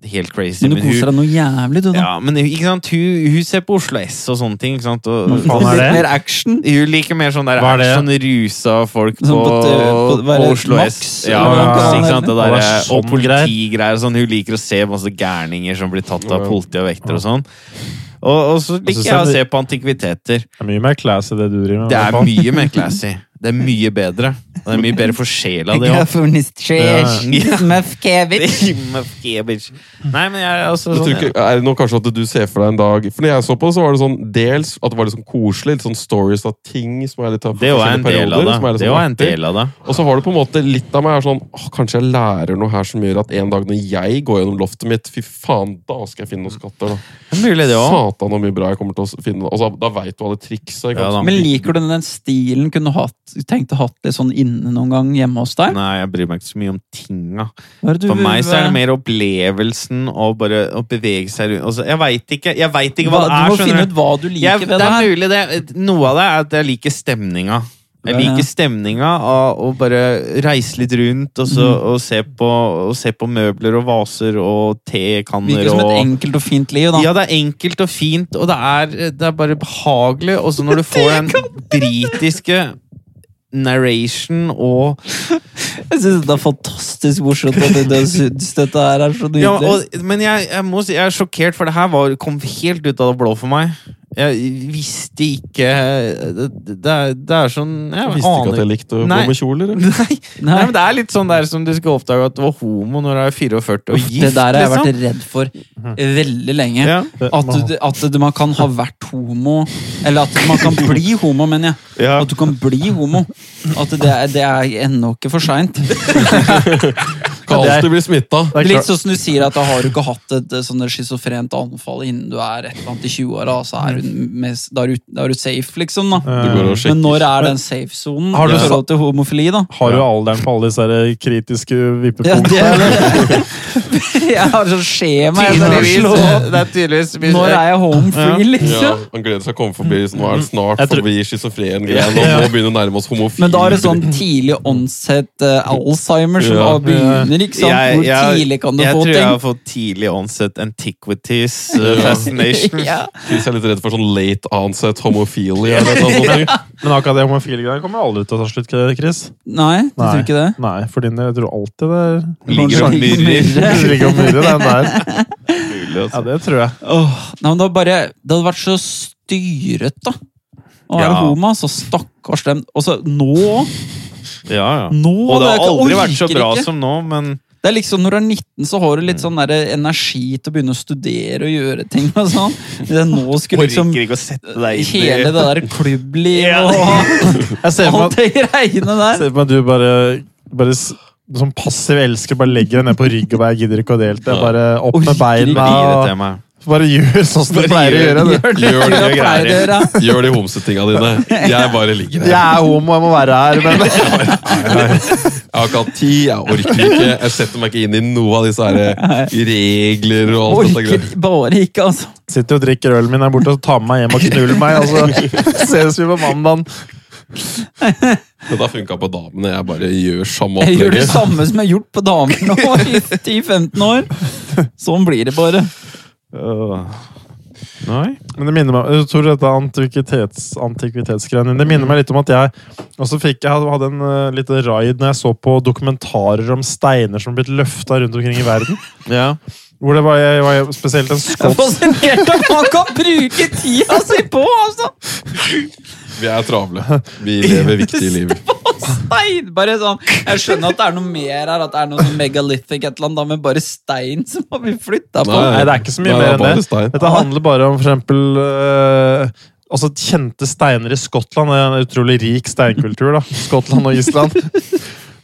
Speaker 2: helt crazy.
Speaker 1: Men du koser deg
Speaker 2: hun,
Speaker 1: noe jævlig, du, da.
Speaker 2: ja, men ikke sant, hun, hun ser på Oslo S og sånne ting. ikke sant? Og,
Speaker 3: Hva faen er
Speaker 1: Litt
Speaker 3: det?
Speaker 1: mer action.
Speaker 2: Hun liker mer sånn der
Speaker 3: Hva er det?
Speaker 2: action, rusa folk på,
Speaker 1: Sånn på t- på- hva er det,
Speaker 2: Oslo
Speaker 1: Max,
Speaker 2: S. Ja,
Speaker 3: eller hva
Speaker 2: Max,
Speaker 3: faen
Speaker 2: ikke
Speaker 1: er det?
Speaker 2: sant? Det der,
Speaker 3: Å, det er
Speaker 2: og
Speaker 3: sånn
Speaker 2: politigreier og sånn. Hun liker å se masse gærninger som blir tatt av politi og vekter og sånn. Og, og så
Speaker 3: synes
Speaker 2: liker
Speaker 3: jeg
Speaker 2: jeg å
Speaker 3: det-
Speaker 2: se på antikviteter.
Speaker 3: Det er mye mer classy det du driver med.
Speaker 2: Det
Speaker 3: i hvert
Speaker 2: er
Speaker 3: fall.
Speaker 2: mye mer classy. Det er mye bedre. Og det er mye bedre for sjela, det òg. Ja. Nei, men jeg er altså sånn,
Speaker 4: Jeg tror ikke, er det noe kanskje at du ser for deg en dag For når jeg så på det, så var det sånn dels at det var litt sånn koselig, litt sånn stories av ting som er litt av
Speaker 2: Det var en
Speaker 4: forskjellige
Speaker 2: del av det.
Speaker 4: perioder, som er litt
Speaker 2: Det
Speaker 4: sånn
Speaker 2: var en
Speaker 4: artig.
Speaker 2: del av det.
Speaker 4: Og så var det på en måte litt av meg er sånn åh, Kanskje jeg lærer noe her som gjør at en dag når jeg går gjennom loftet mitt, fy faen, da skal jeg finne noen skatter. da.
Speaker 2: Det er Mulig det òg.
Speaker 4: Satan, hvor mye bra jeg kommer til å finne. Altså, da veit du alle triksa. ikke
Speaker 2: Ja, da.
Speaker 4: sant?
Speaker 1: Men liker du den stilen? Kunne du hatt, tenkt å hatt litt sånn inne noen gang hjemme hos deg?
Speaker 2: Nei, jeg bryr meg ikke så mye om tinga.
Speaker 1: Hva er det du
Speaker 2: For
Speaker 1: vil-
Speaker 2: meg så er det mer opplevelsen og bare å bevege seg rundt. Altså, jeg veit ikke, jeg vet ikke hva,
Speaker 1: hva,
Speaker 2: det
Speaker 1: Du
Speaker 2: er.
Speaker 1: må finne
Speaker 2: skjønner
Speaker 1: ut hva du liker
Speaker 2: jeg,
Speaker 1: ved
Speaker 2: det
Speaker 1: det
Speaker 2: er
Speaker 1: her.
Speaker 2: mulig det. Noe av det er at jeg liker stemninga. Jeg
Speaker 1: Ja, ja.
Speaker 2: liker stemninga av å bare reise litt rundt og, så,
Speaker 1: Mm.
Speaker 2: og, se, på, og se på møbler og vaser og tekanner
Speaker 1: Virker som et
Speaker 2: og
Speaker 1: enkelt og fint liv, da.
Speaker 2: ja, det er enkelt og fint, og det er, det er bare behagelig. Og så når du får den britiske narration og
Speaker 1: Jeg synes det er fantastisk morsomt at du du synes dette her er så nydelig.
Speaker 2: Ja, og, men jeg, jeg må si, jeg er sjokkert, for det her var, kom helt ut av det blå for meg. Jeg visste ikke Det, det, er, det er sånn Jeg
Speaker 4: Jeg visste ikke at jeg likte å gå
Speaker 2: Nei.
Speaker 4: med kjoler. eller?
Speaker 2: Nei. Nei,
Speaker 1: Nei.
Speaker 2: men det er litt sånn der som du skulle oppdage at du var homo når du er 44 og
Speaker 1: Uff,
Speaker 2: gift.
Speaker 1: det der har jeg
Speaker 2: liksom.
Speaker 1: vært redd for veldig lenge.
Speaker 2: Ja.
Speaker 1: At, du, at du- man kan ha vært homo Eller at man kan bli homo, mener jeg.
Speaker 2: Ja.
Speaker 1: At du kan bli homo. At det, er- det er ennå ikke for seint.
Speaker 4: Kan
Speaker 3: det er-
Speaker 4: alltid bli smitta.
Speaker 3: Det er
Speaker 1: Litt
Speaker 3: klart-
Speaker 1: sånn som du sier at da har du ikke hatt et eh, sånn schizofrent anfall innen du er et eller annet i 20-åra. så er du mest- Da er du- da er du safe, liksom. da
Speaker 4: Du går og sjekker.
Speaker 1: Men når er den safe-sonen
Speaker 3: Har
Speaker 1: i
Speaker 3: du
Speaker 1: forhold til homofili, da?
Speaker 3: Har du alderen på alle disse her kritiske
Speaker 1: Ja,
Speaker 3: vippepunktene?
Speaker 1: det jeg har sånn skjema. Jeg skal
Speaker 2: Tydeligvis,
Speaker 1: slå opp.
Speaker 2: det er tydeligvis
Speaker 1: Når er jeg home free,
Speaker 4: Ja,
Speaker 1: liksom?
Speaker 4: Han gleder seg å komme forbi. sånn, Nå er det
Speaker 1: Mm.
Speaker 4: snart
Speaker 3: Jeg tror-
Speaker 4: forbi schizofren-greia. Nå må vi begynne å nærme oss homofil.
Speaker 1: Men da er det sånn tidlig onset eh, Alzheimer som
Speaker 4: Ja.
Speaker 1: da begynner, ikke sant? sånn? Hvor tidlig kan du
Speaker 2: jeg
Speaker 1: få
Speaker 2: tror jeg har
Speaker 1: ting?
Speaker 2: fått tidlig onset antiquities uh, fascination.
Speaker 1: Ja.
Speaker 4: Chris er litt redd for sånn late onset homophilia. Eller sånn noe sånt.
Speaker 3: Men akkurat det homofile greiene kommer aldri til å ta slutt, Chris.
Speaker 1: Nei, du tror ikke det?
Speaker 3: Nei, for din del. Jeg tror alltid det er
Speaker 2: Ligger sånn og myrrer.
Speaker 3: Det ligger og murrer, den der.
Speaker 2: altså.
Speaker 3: Ja, det tror jeg.
Speaker 1: Åh, nei, men det, var bare, det hadde vært så styret, da. Å være
Speaker 2: Ja.
Speaker 1: homo, så stakkars dem. Og så nå
Speaker 2: Ja, ja.
Speaker 1: Nå!
Speaker 2: Og det har
Speaker 1: ikke-
Speaker 2: aldri vært så
Speaker 1: orker
Speaker 2: bra
Speaker 1: ikke.
Speaker 2: som Mm. nå, men
Speaker 1: Det er liksom Når du er 19, så har du litt sånn der energi til å begynne å studere og gjøre ting. og sånn. Det nå skulle liksom
Speaker 2: orker ikke å sette deg inn i
Speaker 1: Hele det der klubblivet og
Speaker 3: Jeg ser for meg
Speaker 1: alt det greiene
Speaker 3: Jeg
Speaker 1: der.
Speaker 3: ser på meg at du bare, bare s- som passiv elsker bare legger deg ned på rygg og bare jeg gidder ikke å delta. Jeg Bare opp med beina
Speaker 2: Livet
Speaker 3: og
Speaker 2: til meg.
Speaker 3: bare gjør sånn som du
Speaker 2: Bare
Speaker 3: pleier å gjøre. du.
Speaker 1: Gjør det
Speaker 4: Gjør
Speaker 1: du pleier
Speaker 4: det
Speaker 1: å
Speaker 2: greier.
Speaker 1: gjøre.
Speaker 4: Gjør de homsetinga dine. Jeg bare ligger
Speaker 3: Jeg
Speaker 4: her.
Speaker 3: er homo, jeg må være her, men
Speaker 4: Jeg har ikke hatt tid, jeg orker ikke. Jeg setter meg ikke inn i noe av disse her regler og alt dette
Speaker 1: Orker
Speaker 4: greiet.
Speaker 1: bare ikke, altså.
Speaker 3: sitter og drikker ølen min her borte og tar med meg hjem og knuller meg. Og så ses vi på mandagen.
Speaker 4: Dette har funka på damene. Jeg bare gjør samme
Speaker 1: Jeg gjør det
Speaker 4: opplegget.
Speaker 1: samme som jeg har gjort på damer nå i 10-15 år. Sånn blir det bare.
Speaker 2: Åh. Nei.
Speaker 3: Men det minner meg, jeg tror dette er antikvitets, antikvitetsgreiene. Det minner meg litt om at jeg også fikk, jeg hadde en uh, liten raid når jeg så på dokumentarer om steiner som har blitt løfta rundt omkring i verden.
Speaker 2: Ja.
Speaker 3: Hvor det var, jeg, var spesielt en
Speaker 1: Jeg er
Speaker 3: skotsk
Speaker 1: fascinert av at man kan bruke tida si på altså.
Speaker 4: Vi er travle. Vi lever viktige liv.
Speaker 1: stein! Bare sånn, Jeg skjønner at det er noe mer her, at det er noe sånn megalithic et eller annet, da, men bare stein som har blitt flytta på.
Speaker 3: Nei, det er ikke så mye
Speaker 4: Nei,
Speaker 3: mer
Speaker 4: det er bare
Speaker 3: enn det.
Speaker 4: stein.
Speaker 3: Dette handler bare om for eksempel eh, Altså Kjente steiner i Skottland Det er en utrolig rik steinkultur. da Skottland og Island.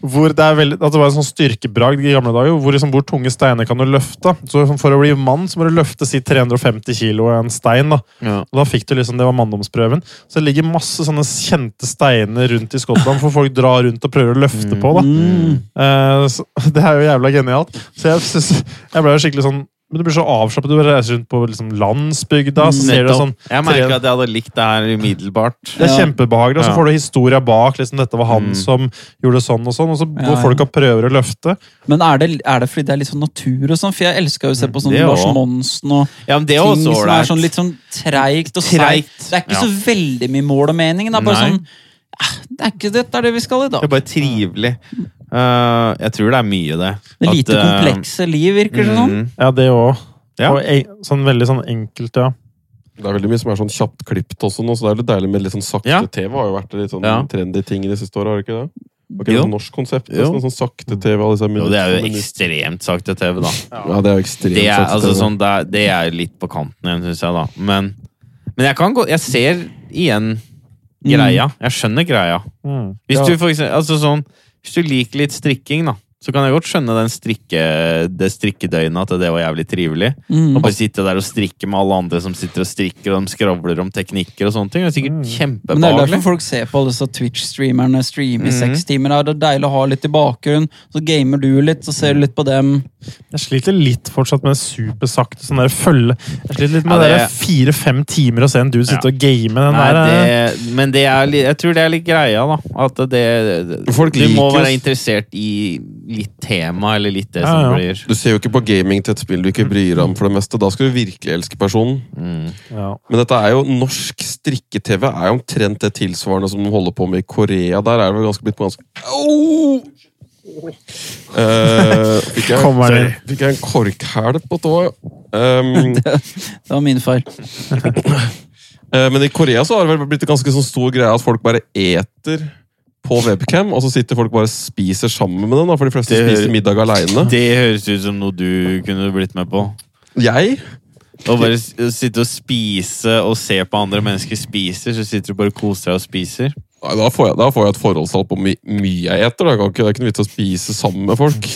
Speaker 3: Hvor det, er veldig, at det var en sånn styrkebragd i gamle dager. Hvor, liksom, hvor tunge steiner kan du løfte. Så For å bli mann så må du løfte si 350 kilo av en stein. da
Speaker 2: Ja.
Speaker 3: Og da fikk du liksom, Det var manndomsprøven. Så det ligger masse sånne kjente steiner rundt i Skottland, for folk drar rundt og prøver å løfte på. da
Speaker 2: Mm.
Speaker 3: Eh, så, Det er jo jævla genialt. Så jeg, synes, jeg ble jo skikkelig sånn Men du blir så avslappet. Du reiser rundt på liksom, landsbygda, så ser du
Speaker 2: Nettopp.
Speaker 3: sånn
Speaker 2: jeg merker at jeg hadde likt det her umiddelbart.
Speaker 3: det er
Speaker 1: Ja.
Speaker 3: kjempebehagelig, og så
Speaker 2: Ja.
Speaker 3: får du historia bak. liksom Dette var han
Speaker 2: Mm.
Speaker 3: som gjorde sånn og sånn. Og så
Speaker 1: Ja,
Speaker 3: går
Speaker 1: ja.
Speaker 3: folk og prøver å løfte.
Speaker 1: Men er det, er det fordi det er litt sånn natur og sånn? For jeg elska jo å se
Speaker 4: Mm.
Speaker 1: på sånn
Speaker 2: Det
Speaker 1: Lars
Speaker 2: også.
Speaker 1: Monsen og
Speaker 2: Ja, men det er
Speaker 1: ting
Speaker 2: også
Speaker 1: som er
Speaker 2: ålreit.
Speaker 1: sånn litt sånn treigt og
Speaker 2: Treigt,
Speaker 1: seigt. Det er ikke
Speaker 2: ja.
Speaker 1: så veldig mye mål og mening. Det er bare
Speaker 2: Nei.
Speaker 1: sånn eh, Det er ikke dette er det vi skal i
Speaker 2: Det
Speaker 1: dag.
Speaker 2: er bare trivelig. Eh, jeg tror det er mye, det.
Speaker 1: Det lite
Speaker 2: At, eh,
Speaker 1: komplekse liv, virker det som.
Speaker 2: mm,
Speaker 3: Ja, det òg.
Speaker 2: Ja.
Speaker 3: Og en, sånn veldig sånn enkelt, ja.
Speaker 4: Det er veldig mye som er sånn kjapt klippet også nå, så det er litt deilig med litt sånn sakte
Speaker 2: Ja.
Speaker 4: TV. har jo vært litt sånn
Speaker 2: Ja.
Speaker 4: trendy ting i det siste året, har det ikke det? Var ikke det
Speaker 2: Jo.
Speaker 4: et norsk konsept?
Speaker 2: Jo.
Speaker 4: Nesten, sånn sakte TV. Alle disse
Speaker 2: Jo, det er jo
Speaker 4: minuttene.
Speaker 2: ekstremt sakte TV, da.
Speaker 4: Ja, det er jo ekstremt
Speaker 2: Det er,
Speaker 4: sakte
Speaker 2: altså,
Speaker 4: TV.
Speaker 2: sånn, det er, det er litt på kanten igjen, syns jeg, da. Men, men jeg kan gå Jeg ser igjen
Speaker 1: Mm.
Speaker 2: greia. Jeg skjønner greia.
Speaker 3: Mm.
Speaker 2: Hvis
Speaker 3: ja.
Speaker 2: du for eksempel, altså sånn, hvis du liker litt strikking, da, så kan jeg godt skjønne den strikke, det strikkedøgnet at det var jævlig trivelig.
Speaker 1: Mm.
Speaker 2: Og bare sitte der og strikke med alle andre som sitter og strikker, og de skravler om teknikker og sånne ting. Det er Mm. sikkert
Speaker 1: Men det er derfor
Speaker 2: kjempebehagelig.
Speaker 1: folk ser på alle disse Twitch-streamerne streame i seks timer. da. Det er deilig å ha litt i bakgrunnen. Så gamer du litt, så ser du litt på dem.
Speaker 3: Jeg sliter litt fortsatt med supersakte sånn der følge. Jeg sliter litt med
Speaker 2: Ja,
Speaker 3: det
Speaker 2: det-
Speaker 3: der fire-fem timer å se en dude sitte
Speaker 2: Ja.
Speaker 3: og game. Den
Speaker 2: Nei,
Speaker 3: der, eh,
Speaker 2: det, men det er, litt- jeg tror det er litt greia, da. At det, det
Speaker 4: Folk
Speaker 2: Du må
Speaker 4: liker jo-
Speaker 2: være interessert i litt tema, eller litt det som
Speaker 3: Ja, ja.
Speaker 2: blir
Speaker 4: Du ser jo ikke på gaming til et spill du ikke bryr deg om for det meste. Da skal du virkelig elske personen.
Speaker 2: mm.
Speaker 3: ja.
Speaker 4: Men dette er jo norsk strikke-TV er jo omtrent det tilsvarende som de holder på med i Korea. Der er det vel ganske blitt ganske Au! Eh, fikk, jeg,
Speaker 3: Kommer den.
Speaker 4: fikk jeg en korkhæl på tåa? Um,
Speaker 1: Det var min feil.
Speaker 4: Eh, Men i Korea så har det vel blitt en ganske sånn stor greie at folk bare eter på webcam, og så sitter folk bare og spiser sammen med den, da, for de fleste
Speaker 2: Det hører-
Speaker 4: spiser middag aleine.
Speaker 2: Det høres ut som noe du kunne blitt med på.
Speaker 4: Jeg?
Speaker 2: Og bare s- sitte og spise og se på andre mennesker spise, så sitter du bare og koser deg og spiser.
Speaker 4: Nei, Da får jeg, da får jeg et forholdstall på hvor my mye jeg eter. Da. Jeg kan ikke, det er ikke noe vits å spise sammen med folk.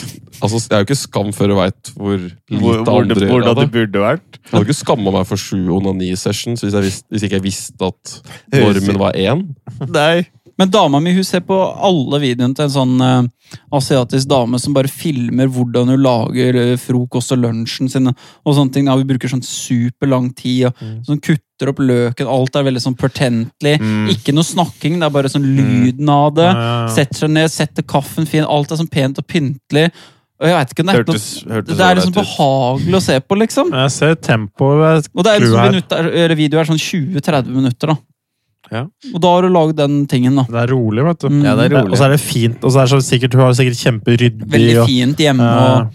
Speaker 4: Altså, Det er jo ikke skam før du veit hvor lite andre gjør av det.
Speaker 2: burde vært.
Speaker 4: Jeg hadde ikke skamma meg for sju onani-sessions hvis, jeg vis- hvis ikke jeg visste at
Speaker 2: Høres ut-
Speaker 4: normen var én.
Speaker 2: Nei.
Speaker 1: Men dama mi hun ser på alle videoene til en sånn eh, asiatisk dame som bare filmer hvordan hun lager eh, frokost og lunsjen sin. og sånne ting. Ja, vi bruker sånn superlang tid. og
Speaker 2: Mm.
Speaker 1: sånn Kutter opp løken. Alt er veldig sånn pertentlig.
Speaker 2: Mm.
Speaker 1: Ikke noe snakking, det er bare sånn lyden av det.
Speaker 3: Ja, ja, ja.
Speaker 1: Setter seg ned, setter kaffen fin. Alt er sånn pent og pyntelig. Og jeg vet ikke, Det er, ikke
Speaker 2: Hørtes- hørtes
Speaker 1: noe, det er liksom
Speaker 2: ålreit ut.
Speaker 1: behagelig å se på, liksom.
Speaker 3: Jeg ser tempoet.
Speaker 1: Og det er
Speaker 3: Clou
Speaker 1: liksom
Speaker 3: her.
Speaker 1: minutter, eller videoer er sånn 20-30 minutter. da.
Speaker 2: Ja.
Speaker 1: Og da har du lagd den tingen, da.
Speaker 3: Det er rolig, vet du.
Speaker 1: Mm.
Speaker 2: Ja, det er
Speaker 3: Og
Speaker 2: rolig.
Speaker 3: så er det fint. Og så er det så sikkert, hun har det sikkert kjemperyddig.
Speaker 1: Veldig
Speaker 3: og-
Speaker 1: fint hjemme.
Speaker 3: Ja.
Speaker 1: og...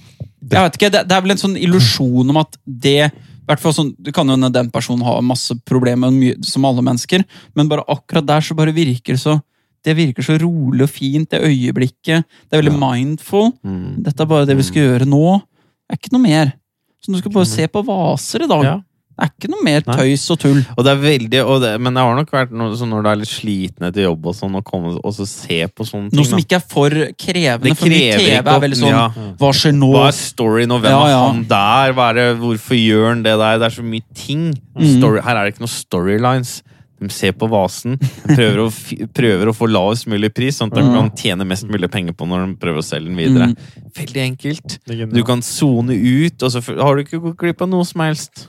Speaker 1: Jeg vet ikke, det, det er vel en sånn illusjon om at det i hvert fall sånn, Du kan jo hende den personen har masse problemer, mye, som alle mennesker, men bare akkurat der så bare virker det så det virker så rolig og fint, det øyeblikket. Det er veldig mindful.
Speaker 2: Mm.
Speaker 1: Dette er bare det vi skal gjøre nå. Det er ikke noe mer. Så du skal bare se på vaser i dag.
Speaker 2: Mm. Ja.
Speaker 1: Det er ikke noe mer
Speaker 2: Nei.
Speaker 1: tøys og tull.
Speaker 2: Og det er veldig, og det, men det har nok vært noe sånn når du er litt sliten etter jobb og sånn, å komme og så se på sånne ting.
Speaker 1: Noe som
Speaker 2: da.
Speaker 1: ikke er for krevende,
Speaker 2: Det
Speaker 1: for mye
Speaker 2: krever
Speaker 1: TV er
Speaker 2: ikke opp-
Speaker 1: veldig sånn
Speaker 2: ja.
Speaker 1: Hva skjer nå?
Speaker 2: Hva er storyen, og hvem
Speaker 1: Ja,
Speaker 2: er
Speaker 1: ja.
Speaker 2: han der? Hva er det, hvorfor gjør han det der? Det er så mye ting.
Speaker 1: Mhm.
Speaker 2: Story, her er det ikke noen storylines. De ser på vasen, de prøver å, fi- prøver å få lavest mulig pris, sånn at de
Speaker 1: Mhm.
Speaker 2: kan tjene mest mulig penger på når de prøver å selge den videre. Veldig enkelt.
Speaker 3: Det er genialt.
Speaker 2: Du kan sone ut, og så f- har du ikke gått glipp av noe som helst.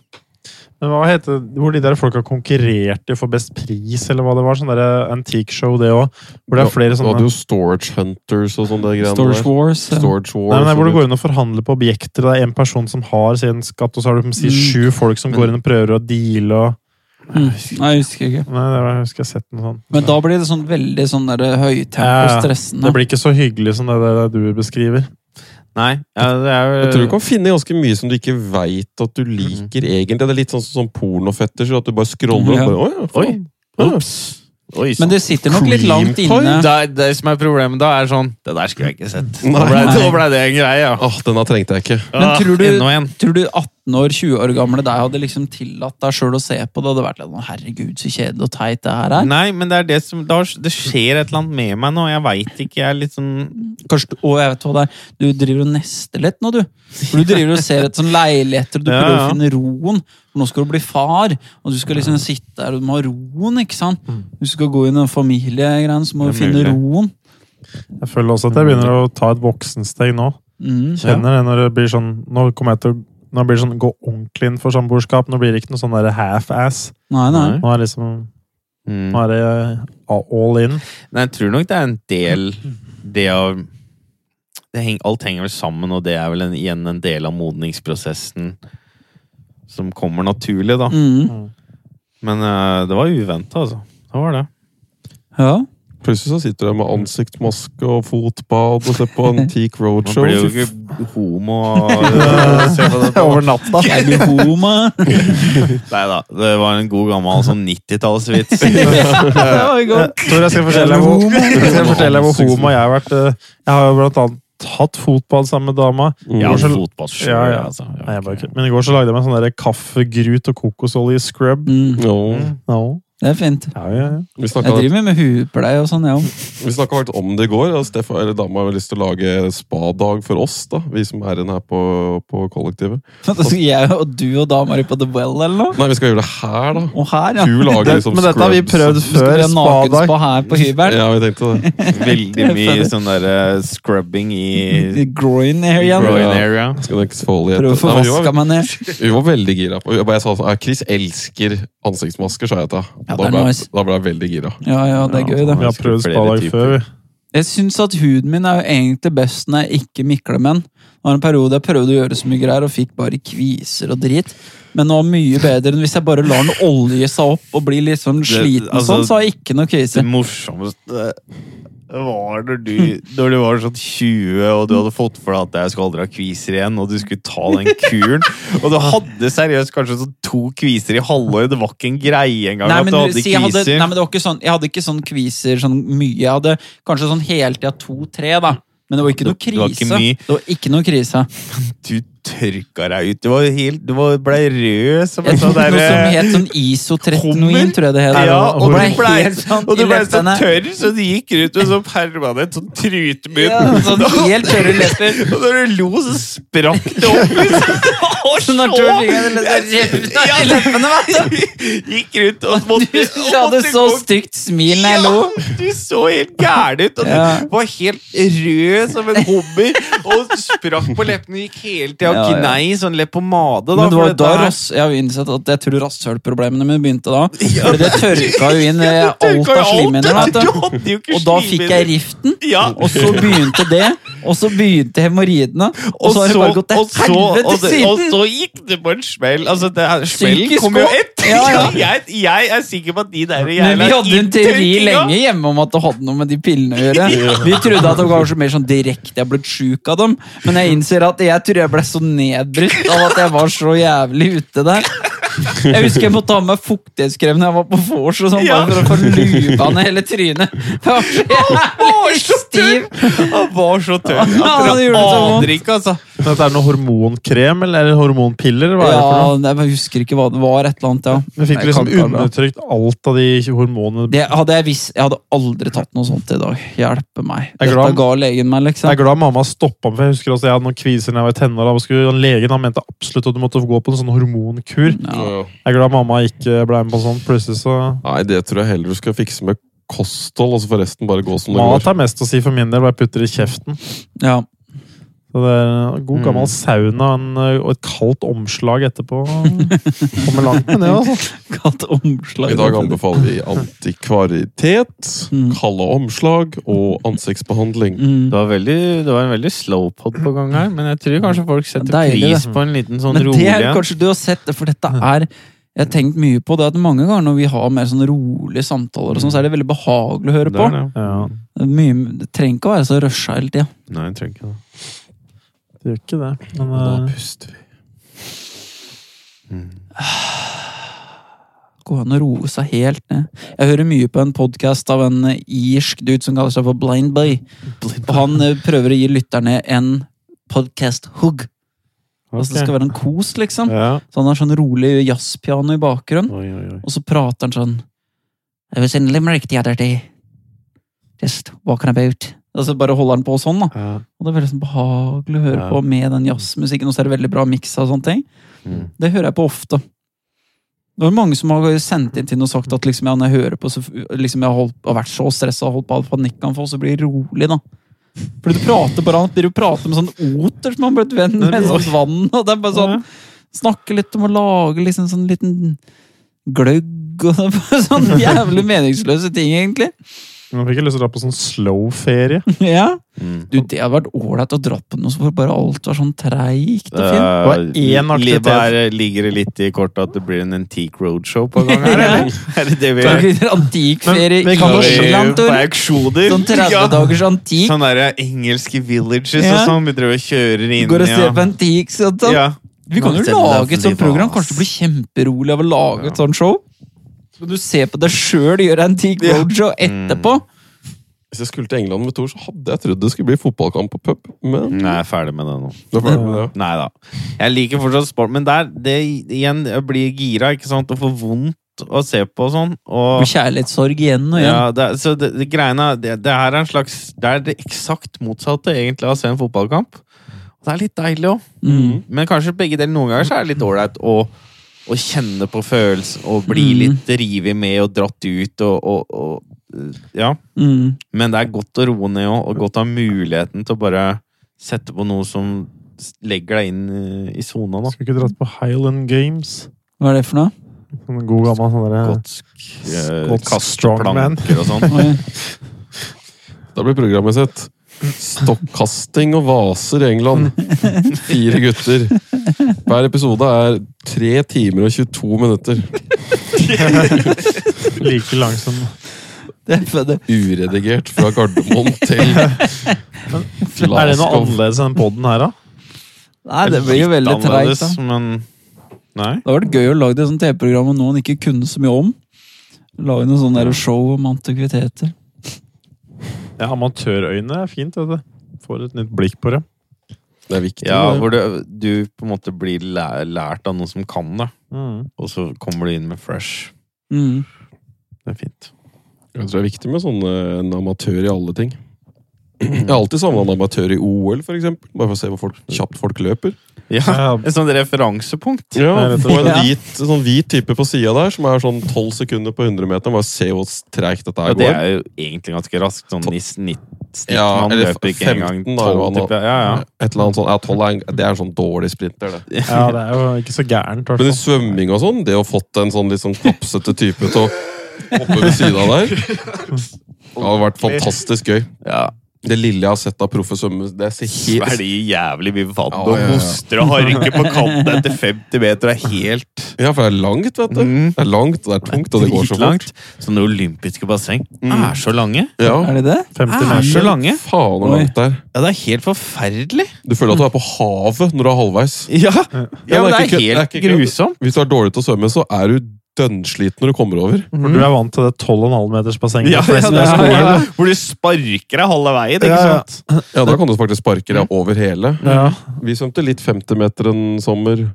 Speaker 3: Men hva heter hvor de der folka konkurrerte for best pris, eller hva det var? Sånn derre antique-show, det òg. Hvor det er flere
Speaker 4: Du hadde
Speaker 3: sånne
Speaker 4: jo Storage Hunters og sånne greier.
Speaker 1: Storage Wars. ja.
Speaker 4: Storage Wars.
Speaker 3: Nei, men det er hvor
Speaker 4: og
Speaker 3: det går inn og forhandler på objekter, og det er en person som har sin skatt, og så har du si, sju folk som går inn og prøver å deale og
Speaker 1: Mm. Nei, jeg husker ikke.
Speaker 3: Nei, det var, jeg husker jeg har sett noe sånt.
Speaker 1: Men da blir det sånn veldig sånn der høytempo,
Speaker 3: Ja, ja.
Speaker 1: stressende.
Speaker 3: Det blir ikke så hyggelig som det, det du beskriver.
Speaker 2: Nei, ja, det er jo
Speaker 4: Jeg tror du kan finne ganske mye som du ikke veit at du liker egentlig. Det er litt sånn som sånn pornofetter, så at du bare scroller
Speaker 1: Ja.
Speaker 4: og bare Oi,
Speaker 2: Oi.
Speaker 4: faen. Ja.
Speaker 2: Oi,
Speaker 1: Men det sitter nok litt langt
Speaker 2: Cream pie?
Speaker 1: inne.
Speaker 2: Det, er- det som er problemet da, er sånn Det der skulle jeg ikke sett. Nå
Speaker 4: Nei.
Speaker 2: ble, nå ble det en greie, ja.
Speaker 4: Åh, denne Ah, trengte jeg ikke.
Speaker 1: Men
Speaker 2: Ah,
Speaker 1: tror du-
Speaker 2: Enda en.
Speaker 1: Tror du 18 år, 20 år gamle deg hadde liksom tillatt deg sjøl å se på det? hadde vært litt sånn, herregud, så kjedelig og teit det her er.
Speaker 2: Nei, men det er det som da, Det skjer et eller annet med meg nå. Jeg veit ikke. Jeg er litt sånn
Speaker 1: Kanskje, du- å, jeg vet hva det er. Du driver og nester litt nå, du. For du driver og ser etter sånn leiligheter, og du
Speaker 2: Ja,
Speaker 1: prøver
Speaker 2: ja.
Speaker 1: å finne roen. For nå skal du bli far, og du skal liksom sitte der, og du må ha roen, ikke sant? Du skal gå inn i en familiegreie, så må du
Speaker 2: Mm. Det er
Speaker 1: finne
Speaker 2: mulig.
Speaker 1: roen.
Speaker 3: Jeg føler også at jeg begynner å ta et voksensteg nå.
Speaker 1: Mm.
Speaker 3: Kjenner det når det blir sånn Nå kommer jeg til å nå blir det sånn, gå ordentlig inn for samboerskap. Nå blir det ikke noe sånn der half-ass.
Speaker 1: Nei, nei.
Speaker 2: Nei.
Speaker 3: Nå er, liksom, nå
Speaker 2: mm.
Speaker 3: er det eh, all in.
Speaker 2: Nei, jeg tror nok det er en del Det av det heng, Alt henger vel sammen, og det er vel en, igjen en del av modningsprosessen som kommer naturlig, da.
Speaker 1: Mm.
Speaker 2: Men eh, det var uventa, altså. Det var det.
Speaker 1: Ja.
Speaker 4: Plutselig så sitter du med ansiktsmaske og fotbad og ser på Antique
Speaker 2: Man
Speaker 4: Roadshow.
Speaker 2: blir jo
Speaker 4: Fy
Speaker 2: ikke homo og se på det på.
Speaker 3: Over natta.
Speaker 1: Er du homo?
Speaker 2: Nei da, det var en god gammel sånn 90-tallsvits.
Speaker 3: Jeg tror jeg skal fortelle deg hvor, jeg skal fortelle deg hvor homo jeg har vært. eh, Jeg har jo blant annet hatt fotbad sammen med dama.
Speaker 4: Mm.
Speaker 3: I
Speaker 2: Ja,
Speaker 3: går så-
Speaker 2: fotball sjøl,
Speaker 3: Ja, ja.
Speaker 2: altså.
Speaker 3: Nei, jeg bare kødder. Men i går så lagde jeg meg sånn der kaffegrut og kokosolje scrub.
Speaker 1: Mm.
Speaker 4: f- Ja.
Speaker 3: No.
Speaker 1: Det er fint.
Speaker 3: Ja, ja, ja.
Speaker 4: Vi
Speaker 1: Jeg
Speaker 4: snakka
Speaker 1: driver med- med huepleie og sånn, jeg òg.
Speaker 4: vi snakket faktisk om det i går. og Stefan, eller Dama har lyst til å lage spadag for oss, da. vi som er igjen her på, på kollektivet.
Speaker 1: Jeg og du og dama di på The Well, eller noe?
Speaker 4: Nei, vi skal gjøre det her, da.
Speaker 1: Og her, ja.
Speaker 4: Hun lager
Speaker 3: Det, sånn
Speaker 4: liksom
Speaker 3: men dette har vi prøvd
Speaker 4: scrubs.
Speaker 1: Du skal
Speaker 3: før.
Speaker 1: ha
Speaker 3: Spadag.
Speaker 1: nakenspa her på hybelen.
Speaker 4: Ja, vi tenkte det.
Speaker 2: Veldig mye sånn der eh, scrubbing i
Speaker 1: Groin area.
Speaker 4: Groin.
Speaker 2: groin area.
Speaker 4: Skal det eksfoliere?
Speaker 1: Prøv å få
Speaker 4: Nei, men vi var-
Speaker 1: vaska meg ned.
Speaker 4: Vi var veldig gira. på- Jeg bare sa sånn, «Ah, Chris elsker ansiktsmasker, sa jeg til henne.
Speaker 1: Ja,
Speaker 4: Da
Speaker 1: det er
Speaker 4: ble
Speaker 1: nice.
Speaker 4: jeg- da ble jeg veldig gira.
Speaker 1: Ja, ja, det er gøy,
Speaker 3: Vi
Speaker 1: det.
Speaker 3: har prøvd spadag før. vi.
Speaker 1: Jeg syns at huden min er jo egentlig best når jeg ikke mikler med den. Det var en periode jeg prøvde å gjøre så mye greier og fikk bare kviser og drit. Men nå er det mye bedre enn hvis jeg bare lar den olje seg opp og bli litt sånn sliten og
Speaker 2: altså,
Speaker 1: sånn, så har jeg ikke noe
Speaker 2: Det
Speaker 1: kviser.
Speaker 2: morsomste var når du, når du var sånn 20 og du hadde fått for deg at jeg skal aldri ha kviser igjen, og du skulle ta den kuren. Og du hadde seriøst kanskje sånn to kviser i halvåret. Det var ikke en greie engang
Speaker 1: Nei,
Speaker 2: at
Speaker 1: men,
Speaker 2: du hadde
Speaker 1: si jeg, hadde, nei,
Speaker 2: kviser.
Speaker 1: men det var ikke sånn, jeg hadde ikke sånn kviser sånn mye. Jeg hadde kanskje sånn heltida to-tre, da. Men det var ikke noe
Speaker 2: Det var ikke
Speaker 1: krise.
Speaker 2: mye.
Speaker 1: Det var ikke noe krise.
Speaker 2: Du tørka deg ut. Du, var helt, du var, ble rød som
Speaker 1: Jeg
Speaker 2: en
Speaker 1: tok
Speaker 2: sånn
Speaker 1: noe
Speaker 2: derre
Speaker 1: som het sånn iso-tretinoin,
Speaker 2: Hummer?
Speaker 1: tror jeg det het.
Speaker 2: ja, og
Speaker 1: ble
Speaker 2: du ble,
Speaker 1: helt sånn
Speaker 2: eh, og du
Speaker 1: i
Speaker 2: ble så
Speaker 1: leppene.
Speaker 2: tørr, så du gikk rundt med sånn permanent sånn trutmunn.
Speaker 1: Ja, sånn helt tørre lepper.
Speaker 2: Og når du lo, så sprakk det opp. liksom. Og
Speaker 1: Sånn har tørre fingre, eller-
Speaker 2: Ja, Gikk rundt og måtte,
Speaker 1: Du
Speaker 2: og
Speaker 1: hadde
Speaker 2: måtte
Speaker 1: så
Speaker 2: gå-
Speaker 1: stygt smil når jeg
Speaker 2: Ja,
Speaker 1: lo.
Speaker 2: Du så helt gæren ut, og du
Speaker 1: Ja.
Speaker 2: var helt rød som en hummer. Og sprakk på leppene, gikk hele
Speaker 1: Ja,
Speaker 2: tida og
Speaker 1: ja.
Speaker 2: gnei sånn leppepomade. da,
Speaker 1: Men det
Speaker 2: for
Speaker 1: var
Speaker 2: dette
Speaker 1: da
Speaker 2: her-
Speaker 1: rass, jeg har jo innsett at jeg tror rasshølproblemene mine begynte da. Fordi det tørka jo inn eh,
Speaker 2: Ja, du
Speaker 1: alt
Speaker 2: tørka jo
Speaker 1: av slimhinner. vet
Speaker 2: alt, Du
Speaker 1: du.
Speaker 2: hadde jo ikke
Speaker 1: Og da fikk jeg
Speaker 2: slimhinner.
Speaker 1: riften,
Speaker 2: Ja.
Speaker 1: og så begynte det, og så begynte hemoroidene, og så har det bare gått
Speaker 2: og så-
Speaker 1: til helvete
Speaker 2: og det- Og
Speaker 1: siden!
Speaker 2: så gikk det på en smell. Altså, det her, smellen
Speaker 1: Psykisk
Speaker 2: kom jo
Speaker 1: også.
Speaker 2: etter.
Speaker 1: Ja, ja.
Speaker 2: Jeg, jeg er sikker på at de der
Speaker 1: Men
Speaker 2: jævla
Speaker 1: vi hadde en teori
Speaker 2: inntørkinga-
Speaker 1: lenge hjemme om at det hadde noe med de pillene å gjøre. Vi trodde at det var kanskje mer sånn direkte jeg ble sjuk av dem, men jeg innser at jeg tror jeg ble så nedbrutt av at jeg var så jævlig ute der. Jeg husker jeg måtte ha med fuktighetskrem når jeg var på vors, og sånn,
Speaker 2: Ja.
Speaker 1: bare for å få lupa ned hele trynet. Det var så jævlig stiv!
Speaker 2: Han var så tørr.
Speaker 1: Ja, han
Speaker 2: Han
Speaker 1: gjorde det så vondt.
Speaker 2: aner ikke, altså.
Speaker 3: Men Dette er noe hormonkrem eller er det hormonpiller? Hva er det for
Speaker 1: Ja,
Speaker 3: noe?
Speaker 1: jeg husker ikke hva det var. et eller annet, ja.
Speaker 3: Vi fikk
Speaker 1: Jeg kan ta
Speaker 3: liksom
Speaker 1: det.
Speaker 3: undertrykt alt av de hormonene.
Speaker 1: Det hadde jeg visst. Jeg hadde aldri tatt noe sånt i dag. Hjelpe meg.
Speaker 3: Jeg
Speaker 1: Dette
Speaker 3: er glad-
Speaker 1: ga legen meg,
Speaker 3: Jeg er
Speaker 1: liksom.
Speaker 3: glad mamma stoppa meg. for Jeg husker også jeg hadde noen kviser da jeg var i tenåra. og skulle- Legen han mente absolutt at du måtte gå på en sånn hormonkur.
Speaker 1: Ja.
Speaker 3: Jeg er glad mamma ikke ble med på sånn. Plutselig så
Speaker 4: Nei, det tror jeg heller du skal fikse med kosthold, og så får resten bare gå som det
Speaker 3: Mat
Speaker 4: går.
Speaker 3: er mest å si for min del, hva jeg putter i kjeften.
Speaker 1: Ja.
Speaker 3: Så Så det er en god gammel
Speaker 2: Mm.
Speaker 3: sauna en, eh, og et kaldt omslag etterpå. Kommer langt med det, altså.
Speaker 1: Kalt omslag.
Speaker 4: I dag anbefaler vi antikvaritet,
Speaker 1: Mm.
Speaker 4: kalde omslag og ansiktsbehandling.
Speaker 1: Mm.
Speaker 2: Det var, veldig, det var en veldig slow pod på gang her, men jeg tror kanskje folk setter
Speaker 1: Deilig, det.
Speaker 2: pris på en liten sånn
Speaker 1: Men
Speaker 2: rolig
Speaker 1: det er
Speaker 2: en.
Speaker 1: kanskje du har sett, det, for dette er Jeg har tenkt mye på det at mange ganger når vi har mer sånn rolige samtaler, og sånn, så er det veldig behagelig å høre
Speaker 2: Det
Speaker 1: på.
Speaker 2: er det.
Speaker 3: Ja,
Speaker 1: Det, er mye, det trenger ikke å være så rusha hele tida.
Speaker 2: Nei, jeg trenger ikke det.
Speaker 3: det gjør ikke det. Men
Speaker 4: Og da
Speaker 3: eh,
Speaker 4: puster vi.
Speaker 1: Går an å roe seg helt ned. Jeg hører mye på en podkast av en eh, irsk dude som kaller seg for Blind Bay. Og han eh, prøver å gi lytterne en podcast hug. Altså det
Speaker 3: ok.
Speaker 1: skal være en kos, liksom.
Speaker 3: ja.
Speaker 1: Så han har sånn rolig jazzpiano i bakgrunnen,
Speaker 2: Oi, oi, oi.
Speaker 1: og så prater han sånn I was in Limerick the other day. Just walking about. Og så bare holder han på sånn, da.
Speaker 2: Ja.
Speaker 1: Og det er veldig sånn behagelig å høre
Speaker 2: Ja.
Speaker 1: på med den jazzmusikken, og så er det veldig bra miksa og sånne ting.
Speaker 2: Mm.
Speaker 1: Det hører jeg på ofte. Det var mange som har sendt inn til noe og sagt at liksom, ja, når jeg hører på, så liksom, jeg har, holdt, har vært så stressa og holdt på å ha panikkanfall, så blir det rolig, da. Fordi du prater bare han blir jo prater med sånn oter som han ble et venn med, en sånn vann, og det er bare sånn Snakke litt om å lage liksom sånn liten gløgg og det er bare sånn jævlig meningsløse ting, egentlig.
Speaker 3: Nå fikk jeg lyst til å dra på sånn slow-ferie.
Speaker 1: Ja.
Speaker 2: Mm.
Speaker 1: Du, det hadde vært ålreit å dra på noe så hvor bare alt var sånn treigt og fint.
Speaker 2: Eh,
Speaker 3: var én aktivitet.
Speaker 2: bare ligger det litt i kortet at det blir en antique roadshow på gang her, eller? Er det det vi
Speaker 1: Kan vi gjøre Antikferie
Speaker 3: Men
Speaker 1: i
Speaker 3: vi kan jo
Speaker 1: Irland,
Speaker 2: på
Speaker 1: Tor.
Speaker 2: auksjoner?
Speaker 1: Sånn 30 dagers antik.
Speaker 2: Sånn derre engelske villages
Speaker 1: Ja.
Speaker 2: og sånn. Vi driver og kjører inn
Speaker 1: Går og ser på antiques. og sånn.
Speaker 2: ja.
Speaker 1: Vi kan jo
Speaker 2: Nothing
Speaker 1: lage et sånt
Speaker 2: lovely
Speaker 1: program.
Speaker 2: was.
Speaker 1: Kanskje det blir kjemperolig av å lage et sånt show. Så kan du se på deg sjøl gjøre antik
Speaker 2: Ja. Mm.
Speaker 1: roadshow etterpå.
Speaker 4: Hvis jeg skulle til England med Tor, så hadde jeg trodd det skulle bli fotballkamp på pub. Men
Speaker 2: Nei, jeg er ferdig med det nå.
Speaker 4: det var ferdig med det.
Speaker 2: Nei da. Jeg liker fortsatt sport, men der, det igjen, jeg blir gira, ikke sant, og får vondt å se på og sånn. Og
Speaker 1: Med kjærlighetssorg igjen og igjen.
Speaker 2: ja, det, så det, det greiene er- det, det her er en slags Det er det eksakt motsatte egentlig av å se en fotballkamp. Og det er litt deilig òg.
Speaker 1: Mm.
Speaker 2: Men kanskje begge deler noen ganger så er det litt ålreit å, å kjenne på følelsen og bli
Speaker 1: Mm.
Speaker 2: litt revet med og dratt ut og, og, og Ja.
Speaker 1: Mm.
Speaker 2: Men det er godt å roe ned òg, og godt å ha muligheten til å bare sette på noe som s- legger deg inn eh, i sona, da.
Speaker 3: Skulle ikke dratt på Highland Games.
Speaker 1: Hva er det for noe?
Speaker 3: Sånn god gammel sånn derre
Speaker 2: Skotsk eh,
Speaker 3: Skotsk strongman.
Speaker 2: kasteplanker og sånn.
Speaker 1: Oi.
Speaker 4: Da blir programmet sitt Stokkasting og vaser i England. Fire gutter. Hver episode er 3 timer og 22 minutter.
Speaker 3: like lang som
Speaker 1: Det er for det.
Speaker 4: Uredigert fra Gardermoen til
Speaker 3: Er det noe
Speaker 4: Glasgow.
Speaker 3: annerledes enn podden her, da?
Speaker 1: Nei, det blir jo veldig
Speaker 2: Litt
Speaker 1: treigt. da.
Speaker 2: annerledes, Men nei.
Speaker 1: Det sånn hadde vært gøy å lage et sånt TV-program om noe han ikke kunne så mye om. Lage noe sånn der show om antikviteter.
Speaker 3: Ja, Amatørøyne er fint, vet du. Får et nytt blikk på det.
Speaker 4: Det er viktig.
Speaker 2: Ja,
Speaker 4: det.
Speaker 2: hvor du, du på en måte blir læ- lært av noen som kan det,
Speaker 3: Mm.
Speaker 2: og så kommer du inn med fresh.
Speaker 1: Mm.
Speaker 2: Det er fint.
Speaker 4: Jeg tror det er viktig med sånne, en amatør i alle ting. Jeg har alltid savna en amatør i OL, for eksempel. Bare for å se hvor folk, kjapt folk løper.
Speaker 2: Ja,
Speaker 3: Ja,
Speaker 2: Et sånt referansepunkt.
Speaker 4: Ja,
Speaker 3: Nei, rett og
Speaker 4: Få en
Speaker 1: slett.
Speaker 4: hvit, sånn hvit type på sida der, som er sånn 12 sekunder på 100 meter. Bare se hvor treigt dette
Speaker 2: Ja,
Speaker 4: her
Speaker 2: det
Speaker 4: går.
Speaker 2: er jo egentlig ganske raskt. Sånn i snitt. snitt
Speaker 4: Ja,
Speaker 2: man
Speaker 4: eller
Speaker 2: løper ikke
Speaker 4: 15
Speaker 2: engang
Speaker 4: da,
Speaker 2: tolv,
Speaker 4: var det nå.
Speaker 2: type. Ja, ja.
Speaker 4: Et eller annet sånn, ja, 12 er en, det er en sånn dårlig sprinter, det.
Speaker 3: ja, det er jo ikke så gærent.
Speaker 4: Men i
Speaker 3: hvertfall.
Speaker 4: svømming og sånn, det å fått en sånn litt sånn klapsete type til å hoppe ved sida der Det har vært fantastisk gøy.
Speaker 2: ja.
Speaker 4: Det lille jeg har sett av proffe svømmere, det ser helt
Speaker 2: Svelger jævlig mye vann
Speaker 4: Ja,
Speaker 2: og
Speaker 4: ja, ja.
Speaker 2: hoster og harker på kanten etter 50 meter. Det er helt
Speaker 4: Ja, for det er langt, vet du.
Speaker 2: Mm.
Speaker 4: Det er langt, det er tungt, og det går så fort.
Speaker 2: dritlangt. Så det olympiske basseng er så lange.
Speaker 4: Ja,
Speaker 1: Er det det?
Speaker 3: 50
Speaker 2: Er så
Speaker 3: meter.
Speaker 2: lange.
Speaker 4: faen hvor
Speaker 1: Oi.
Speaker 4: langt det er.
Speaker 2: Ja, det er helt forferdelig.
Speaker 4: Du føler at du er på havet når du er halvveis.
Speaker 2: Ja,
Speaker 4: Ja,
Speaker 2: men det
Speaker 4: ikke
Speaker 2: er
Speaker 4: kødd,
Speaker 2: helt
Speaker 4: ikke kødd.
Speaker 2: grusomt.
Speaker 4: Hvis du er dårlig til å svømme, så er du dønnsliten når du kommer over.
Speaker 3: For du er vant til det 12,5 meters bassenget.
Speaker 2: Mm. Ja,
Speaker 3: for
Speaker 2: ja,
Speaker 3: de som
Speaker 2: det
Speaker 3: er
Speaker 2: er,
Speaker 3: skolen.
Speaker 2: ja, hvor du sparker deg halve veien, ikke
Speaker 3: Ja, ja.
Speaker 2: sant?
Speaker 4: Ja, da kan du faktisk sparke deg over hele.
Speaker 3: Ja.
Speaker 4: Vi svømte litt 50 meter en sommer.
Speaker 3: Mm.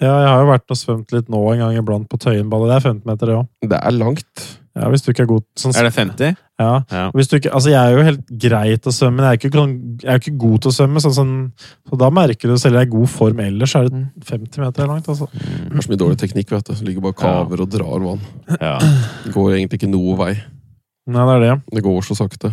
Speaker 3: ja, jeg har jo vært og svømt litt nå en gang iblant på Tøyenballet. Det er 15 meter, det òg.
Speaker 4: Det er langt.
Speaker 3: Ja, hvis du ikke er god sånn,
Speaker 2: Er det 50?
Speaker 3: ja.
Speaker 2: Ja.
Speaker 3: Hvis du ikke, altså jeg er jo helt grei til å svømme, men jeg er ikke, kan- jeg er ikke god til å svømme. Sånn, sånn, så da merker du, selv om jeg er i god form ellers, så er det 50 meter langt. Altså.
Speaker 4: Det er så mye dårlig teknikk, vet du. Så Ligger bare og kaver og drar vann.
Speaker 2: Ja.
Speaker 4: Det går egentlig ikke noe vei.
Speaker 3: Nei, det er det.
Speaker 4: Det går så sakte.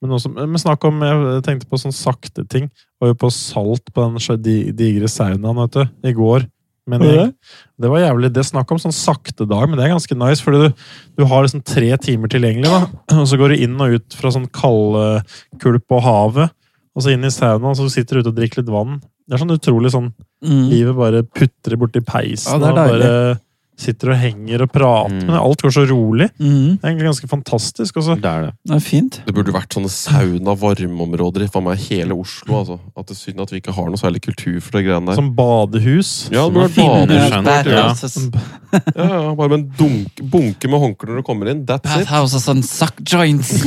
Speaker 3: Men, også, men snakk om Jeg tenkte på sånn sakte ting. Var jo på salt på den så di- digre saunaen vet du, i går. Men
Speaker 5: Var det
Speaker 3: jeg, det var jævlig. Det er snakk om sånn sakte dag, men det er ganske nice. Fordi du, du har liksom tre timer tilgjengelig, da. Og så går du inn og ut fra sånn kaldekulp på havet. Og så inn i saunaen, og så sitter du ute og drikker litt vann. Det er sånn utrolig sånn
Speaker 1: Mm.
Speaker 3: Livet bare putrer borti peisen
Speaker 1: Ja, det er
Speaker 3: og bare sitter og henger og prater.
Speaker 2: Mm.
Speaker 3: Men alt går så rolig.
Speaker 1: Mm.
Speaker 3: Det er egentlig ganske fantastisk. altså, Også.
Speaker 2: Det er det.
Speaker 1: Det er fint.
Speaker 4: Det burde vært sånne sauna-varmeområder i faen meg hele Oslo. altså. At det er synd at vi ikke har noe særlig kultur for det greiene der.
Speaker 3: Som badehus.
Speaker 4: Ja,
Speaker 2: Som
Speaker 4: det burde
Speaker 2: å
Speaker 4: vært
Speaker 2: finne
Speaker 4: bader.
Speaker 2: skjønner,
Speaker 1: Bath-
Speaker 2: ja.
Speaker 1: bathhouses.
Speaker 4: Ja, ja, bare med en dunk, bunke med håndklær når du kommer inn. That's it.
Speaker 1: Bathhouses and suck joints.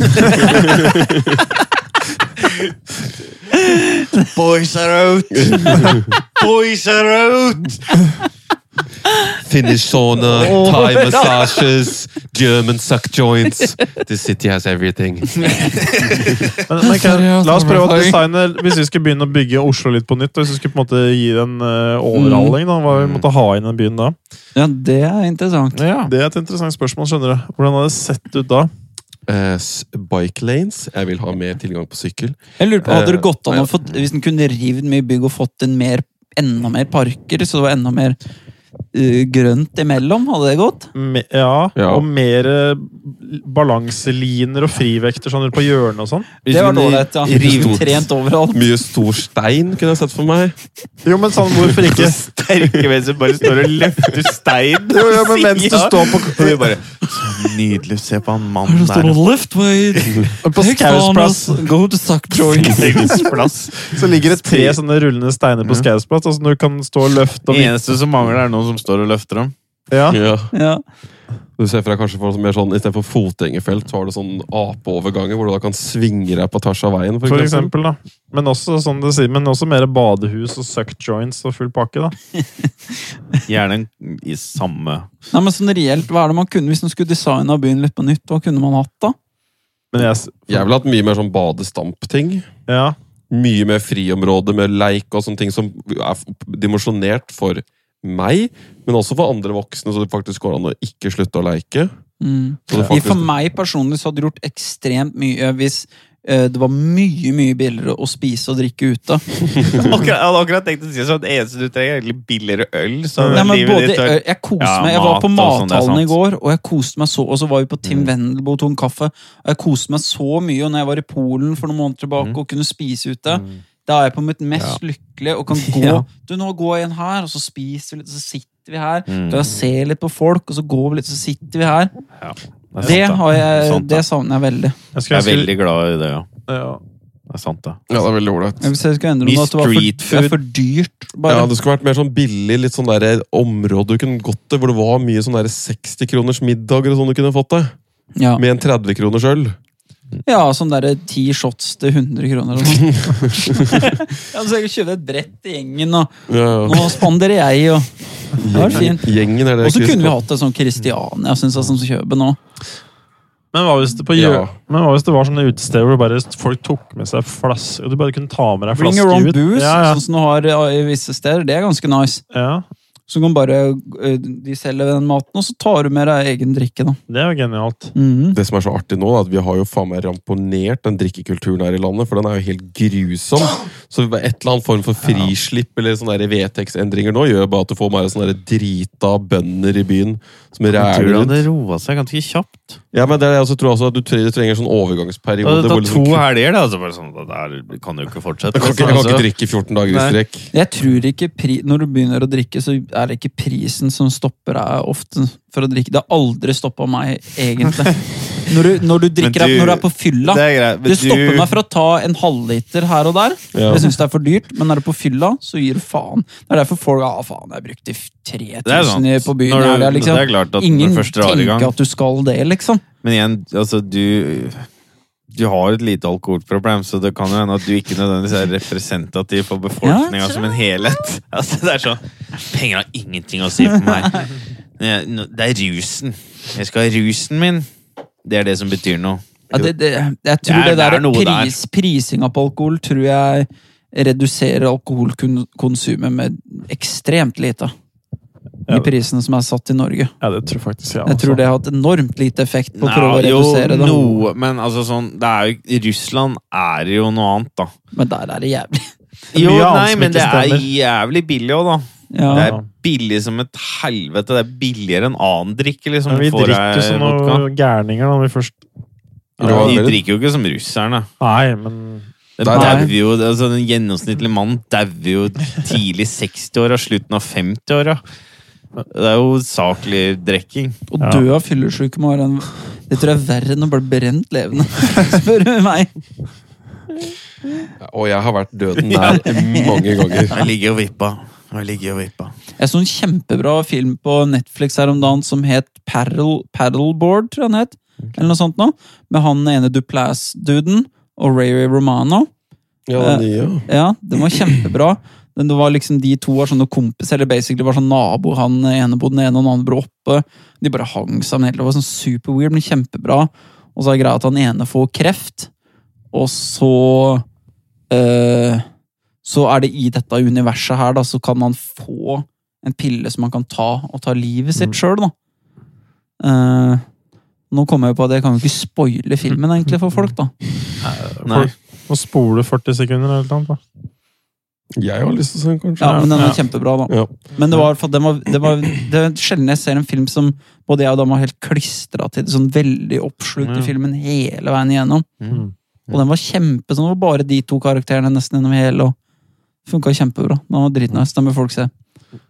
Speaker 2: Boys are out! Boys are out!
Speaker 4: Finnish sauna, Thai massages, German suck joints. This city has everything.
Speaker 3: Men, men, kan, la oss prøve å designe Hvis vi skulle begynne å bygge Oslo litt på nytt, og hvis vi skulle på en måte gi det en eh,
Speaker 4: Mm.
Speaker 3: overhaling, da, hva vi måtte ha inn i den byen da?
Speaker 1: Ja, det er interessant.
Speaker 2: Ja.
Speaker 3: Det er et interessant spørsmål. skjønner du. Hvordan hadde det sett ut da?
Speaker 4: Eh, s- bike lanes. Jeg vil ha mer tilgang på sykkel.
Speaker 1: Jeg lurer på, Hadde det
Speaker 4: Eh,
Speaker 1: gått an
Speaker 4: ja.
Speaker 1: å få, hvis en kunne revet mye bygg og fått en mer, enda mer parker, så det var enda mer eh, grønt imellom? Hadde det gått?
Speaker 3: Me, ja,
Speaker 4: Ja.
Speaker 3: Og mer eh, balanseliner og frivekter sånn på hjørnet og sånn.
Speaker 1: Det var ålreit, ja.
Speaker 4: Stort-
Speaker 1: Trent overalt.
Speaker 4: Mye stor stein kunne jeg sett for meg.
Speaker 3: Jo, men sånn, hvorfor ikke?
Speaker 2: Sterke menn som bare står og løfter stein.
Speaker 3: Jo, jo, men mens du
Speaker 2: Ja.
Speaker 3: står på,
Speaker 2: Og de bare Så nydelig. Se på han mannen der.
Speaker 1: Left way,
Speaker 3: på Skausplass
Speaker 1: go to suck joints.
Speaker 3: Så ligger det tre sånne rullende steiner på Skausplass, altså du kan stå og løfte og
Speaker 2: Det eneste som mangler, er noen som står og løfter dem.
Speaker 3: Ja.
Speaker 4: Ja.
Speaker 1: Ja.
Speaker 4: Du ser for deg kanskje for mer sånn, Istedenfor fotgjengerfelt så har du sånn apeoverganger hvor du da kan svinge deg på tvers av veien. For
Speaker 3: For
Speaker 4: eksempel.
Speaker 3: eksempel, da. Men også, som du sier, men også mer badehus og suck joints og full pakke, da.
Speaker 2: Gjerne en- i samme
Speaker 1: Nei, men sånn reelt, hva er det man kunne Hvis man skulle designa byen litt på nytt, hva kunne man hatt da?
Speaker 3: Men jeg, s-
Speaker 4: Jeg ville hatt mye mer sånn badestampting.
Speaker 3: ja.
Speaker 4: Mye mer friområde med leik og sånne ting som er f- dimensjonert for meg, men også for andre voksne, så det faktisk går an å ikke slutte å leike.
Speaker 1: Mm.
Speaker 4: Så det
Speaker 1: For
Speaker 4: faktisk,
Speaker 1: meg personlig så hadde det gjort ekstremt mye hvis eh, det var mye mye billigere å spise og drikke ute.
Speaker 2: akkurat, Jeg hadde akkurat tenkt å si sånn, det eneste du trenger, er egentlig billigere øl. Så
Speaker 1: Nei, men
Speaker 2: livet
Speaker 1: både,
Speaker 2: ditt er-
Speaker 1: ø- jeg koste
Speaker 2: Ja,
Speaker 1: meg. Jeg var
Speaker 2: mat
Speaker 1: på
Speaker 2: og sånn, det er
Speaker 1: Mathallen i
Speaker 2: sant. Mm.
Speaker 1: går, og jeg koste meg så Og så var vi på Tim Wendelboe og tok en kaffe. Og jeg koste meg så mye. Og når jeg var i Polen for noen måneder
Speaker 2: Mm.
Speaker 1: tilbake og kunne spise ute, da er jeg på mitt mest lykkelige og kan gå
Speaker 3: Ja.
Speaker 1: Du, nå går jeg inn her, og så spiser vi litt, og så sitter vi her.
Speaker 2: Mm.
Speaker 1: Da jeg ser litt på folk, og så går vi litt, så sitter vi her.
Speaker 2: er sant,
Speaker 1: Det,
Speaker 2: da.
Speaker 1: har
Speaker 2: Det er
Speaker 1: jeg,
Speaker 2: sant, da.
Speaker 1: det savner jeg veldig.
Speaker 3: Jeg
Speaker 2: Jeg
Speaker 3: skulle
Speaker 2: er veldig glad i det, ja.
Speaker 3: ja.
Speaker 2: Det er sant, det.
Speaker 4: ja, det er veldig ålreit.
Speaker 1: Jeg vil si det skulle endre
Speaker 2: Mye
Speaker 1: noe, at det var for,
Speaker 2: street
Speaker 1: det er for dyrt. Bare.
Speaker 4: Ja, det skulle vært mer sånn billig, litt sånn der område du kunne gått til, hvor det var mye sånn der 60 kroners middager og sånn du kunne fått det.
Speaker 1: Ja.
Speaker 4: Med en 30 kroners øl.
Speaker 1: Ja, sånn derre ti shots til 100 kroner eller noe. ja, så jeg kan kjøpe et brett til gjengen, og
Speaker 4: Ja, ja.
Speaker 1: nå spanderer jeg, og Det var fint.
Speaker 4: Gjengen er det.
Speaker 1: Og så
Speaker 4: Chris.
Speaker 1: kunne vi hatt det sånn Kristiania, syns jeg, som Kjøben òg.
Speaker 3: Men hva hvis det på gjør...
Speaker 4: Ja.
Speaker 3: Men hva hvis det var sånne utesteder hvor bare folk tok med seg flaske Og du bare kunne ta med deg
Speaker 1: Bring
Speaker 3: flaske
Speaker 1: your own
Speaker 3: ut?
Speaker 1: booze,
Speaker 3: ja, ja.
Speaker 1: sånn som du har eh, i visse steder. Det er ganske nice.
Speaker 3: ja,
Speaker 1: Så du kan bare eh, De selger den maten, og så tar du med deg egen drikke, da.
Speaker 3: det er jo genialt.
Speaker 1: Mhm.
Speaker 4: Det som er så artig nå, er at vi har jo faen meg ramponert den drikkekulturen her i landet, for den er jo helt grusom. Så et eller annet form for frislipp eller sånne der vedtektsendringer nå gjør bare at du får mer sånne der drita bønder i byen som
Speaker 2: Jeg tror
Speaker 4: ræler
Speaker 2: det
Speaker 4: rundt.
Speaker 2: roa seg ganske kjapt.
Speaker 4: Ja, men det er det jeg også tror også at du tre- du trenger en sånn
Speaker 2: Det
Speaker 4: overgangsperiode.
Speaker 2: tar
Speaker 4: hvor
Speaker 2: to
Speaker 4: liksom-
Speaker 2: helger, det. Altså, bare sånn, det der kan jo ikke fortsette. liksom. Altså,
Speaker 4: Jeg kan ikke, jeg kan ikke drikke 14 dager i
Speaker 2: Nei.
Speaker 4: strekk.
Speaker 1: Jeg tror ikke pri Når du begynner å drikke, så er det ikke prisen som stopper deg ofte for å drikke. Det har aldri stoppa meg, egentlig. Når du, når du
Speaker 2: Men
Speaker 1: drikker
Speaker 2: du-
Speaker 1: når du er på fylla.
Speaker 2: Det er greit. men
Speaker 1: Det stopper meg fra å ta en halvliter her og der.
Speaker 4: Ja.
Speaker 1: Jeg synes det er for dyrt, men er du på fylla, så gir du faen. Det er derfor folk ah, faen, jeg brukte
Speaker 2: Det er
Speaker 1: 3000
Speaker 2: sant.
Speaker 1: i- på byen.
Speaker 2: Når du-
Speaker 1: her, det er liksom,
Speaker 2: det er klart at
Speaker 1: ingen
Speaker 2: når du først drar i gang
Speaker 1: tenker at du skal det, liksom.
Speaker 2: Men igjen, altså, du Du har et lite alkoholproblem, så det kan jo hende at du ikke nødvendigvis er representativ for befolkninga
Speaker 1: Ja,
Speaker 2: som en helhet. Altså, det er sånn Penger har ingenting å si for meg. Jeg- nå- Det er rusen. Jeg skal ha rusen min. Det er det som betyr noe.
Speaker 1: Ja, det, det, jeg tror
Speaker 2: Det er-
Speaker 1: det, der,
Speaker 2: det er noe der.
Speaker 1: pris, Prisinga på alkohol tror jeg reduserer alkoholkonsumet med ekstremt lite. i prisene som er satt i Norge.
Speaker 3: Ja, det tror faktisk jeg.
Speaker 1: Jeg tror det har hatt enormt lite effekt på å prøve å
Speaker 2: altså. Nei, jo,
Speaker 1: redusere det.
Speaker 2: noe, men altså sånn det er jo, Russland er jo noe annet, da.
Speaker 1: Men der er det jævlig.
Speaker 2: Jo,
Speaker 3: Mye annet
Speaker 2: nei,
Speaker 3: som
Speaker 2: men
Speaker 3: ikke
Speaker 2: det er
Speaker 3: stemmer.
Speaker 2: jævlig billig òg, da.
Speaker 1: Ja.
Speaker 2: Det er billig som et helvete. Det er billigere enn annen drikke. liksom.
Speaker 3: Men Sånn, vi
Speaker 2: Får
Speaker 3: drikker
Speaker 2: jeg
Speaker 3: som
Speaker 2: vodka.
Speaker 3: noen gærninger når vi først
Speaker 2: Ja,
Speaker 4: Ja,
Speaker 2: de
Speaker 4: det-
Speaker 2: drikker jo ikke som russerne.
Speaker 3: Nei, men
Speaker 2: Det
Speaker 4: Nei.
Speaker 2: dauer jo, altså Den gjennomsnittlige mannen dauer jo tidlig 60-åra, slutten av 50-åra. Det er jo saklig drikking.
Speaker 1: Å
Speaker 3: Ja.
Speaker 1: dø av fyllesyke må være en Det tror jeg er verre enn å bli brent levende, spør du meg.
Speaker 4: Og jeg har vært døden nær mange ganger.
Speaker 2: Jeg ligger og vippa. Jeg ligger og vippa.
Speaker 1: Jeg så en kjempebra film på Netflix her om dagen som het Paddle, Paddleboard, tror jeg den het. Eller noe sånt nå. Med han ene Duplass-duden og Ray Ray Romano.
Speaker 4: Ja,
Speaker 1: Eh,
Speaker 4: nye.
Speaker 1: Ja, den var kjempebra. Men det var liksom de to var sånne kompiser, eller basically var sånn nabo. Han ene bodde den ene, og den andre bodde oppe. De bare hang sammen helt. Det var sånn super weird, men kjempebra. Og så er greia at han ene får kreft, og så eh, Så er det i dette universet her, da, så kan han få en pille som han kan ta, og ta livet sitt sjøl, da. Eh, nå kommer jeg på at jeg kan jo ikke spoile filmen egentlig for folk, da.
Speaker 2: Nei.
Speaker 3: Nå spoler du 40 sekunder eller noe. annet, da.
Speaker 4: Jeg har lyst til å se den, kanskje.
Speaker 1: Ja, men den var kjempebra, da.
Speaker 4: Ja.
Speaker 1: Men det var, i hvert fall- den var, det var det er sjelden jeg ser en film som både jeg og dama var helt klistra til. Sånn veldig oppslukt i
Speaker 2: Ja.
Speaker 1: filmen hele veien igjennom.
Speaker 3: Mm.
Speaker 1: Og den var kjempe, sånn, det var bare de to karakterene nesten gjennom hele. og Funka kjempebra. Den var dritnice. Den bør folk se.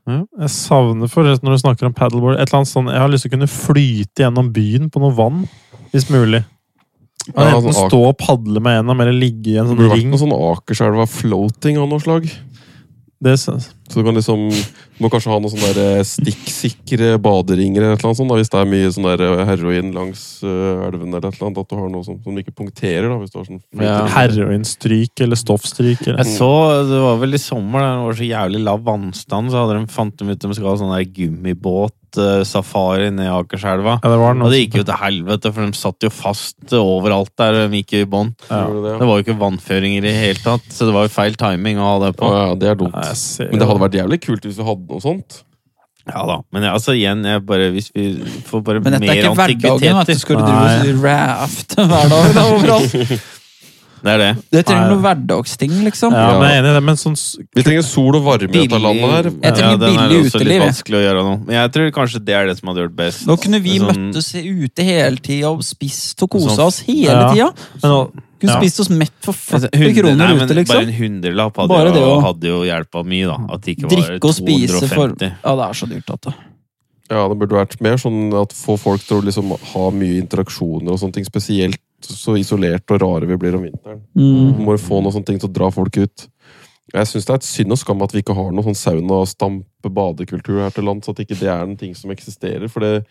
Speaker 3: Jeg savner forresten når du snakker om paddleboard. Et eller annet sånn, Jeg har lyst til å kunne flyte gjennom byen på noe vann, hvis mulig.
Speaker 4: Ja,
Speaker 3: Ja, Enten
Speaker 4: sånn ak-
Speaker 3: stå og padle med gjennom, eller ligge i en
Speaker 4: Det
Speaker 3: sånn
Speaker 4: burde vært
Speaker 3: ring.
Speaker 4: noe sånn Akerselva floating av noe slag.
Speaker 3: Det synes.
Speaker 4: Så du kan liksom Må kanskje ha noen sånne der eh, stikksikre baderinger eller et eller annet sånt, da, hvis det er mye sånn der eh, heroin langs eh, elven eller et eller annet. At du har noe sånt som ikke punkterer, da, hvis du har sånn
Speaker 2: Ja.
Speaker 3: Heroinstryk eller stoffstryk. Eller.
Speaker 2: Jeg så, Det var vel i sommer, da det var så jævlig lav vannstand, så hadde de, fant de ut de skulle ha sånn der gummibåt-safari ned i Akerselva.
Speaker 3: Ja, det var
Speaker 2: Og
Speaker 3: noe.
Speaker 2: det gikk jo til helvete, for de satt jo fast overalt der de gikk i bånn.
Speaker 3: Ja.
Speaker 4: Gjorde det,
Speaker 2: Det var jo ikke vannføringer i det hele tatt, så det var jo feil timing å ha det
Speaker 4: Ja,
Speaker 2: på.
Speaker 4: ja, det er dumt.
Speaker 3: Nei, jeg ser
Speaker 4: Men det
Speaker 3: jo.
Speaker 4: hadde vært jævlig kult hvis vi hadde noe sånt.
Speaker 2: Ja da. Men jeg, altså igjen, jeg bare, hvis vi får bare
Speaker 1: Men
Speaker 2: mer
Speaker 1: dette er ikke hverdagen. vet du.
Speaker 2: antikviteter
Speaker 1: Skal du drive og rafte hver dag? da, overalt?
Speaker 2: Det er det.
Speaker 1: Det trenger noen hverdagsting, liksom.
Speaker 3: Ja, men jeg er enig i det, men sånn s-
Speaker 4: Vi trenger sol og varme i dette landet her.
Speaker 1: Jeg trenger
Speaker 2: den er
Speaker 1: billig
Speaker 2: også
Speaker 1: uteliv,
Speaker 2: litt
Speaker 1: jeg.
Speaker 2: vanskelig å gjøre nå. Men jeg tror kanskje det er det som hadde gjort best.
Speaker 1: Nå kunne vi
Speaker 2: Sånn-
Speaker 1: møttes ute hele tida og spist og kosa
Speaker 2: Sånn-
Speaker 1: oss hele tida.
Speaker 3: Ja. men, nå-
Speaker 1: Kunne
Speaker 3: Ja.
Speaker 1: spist oss mett for 40
Speaker 2: Altså, Hundre-
Speaker 1: kroner
Speaker 2: nei, men
Speaker 1: ute, liksom.
Speaker 2: Bare en hundrelapp hadde,
Speaker 1: Bare
Speaker 2: jo-
Speaker 1: det også.
Speaker 2: hadde jo hjelpa mye, da. At det ikke var
Speaker 1: Drikke og spise for
Speaker 2: 250.
Speaker 1: Ja, det er så dyrt, altså. at det.
Speaker 4: Ja, det burde vært mer sånn at få folk til å liksom ha mye interaksjoner og sånne ting. Spesielt så isolerte og rare vi blir om vinteren.
Speaker 1: Mm.
Speaker 4: Må jo få noen sånne ting til å dra folk ut. Jeg syns det er et synd og skam at vi ikke har noen sånn sauna-stampe-badekultur her til lands. At ikke det er en ting som eksisterer. For det,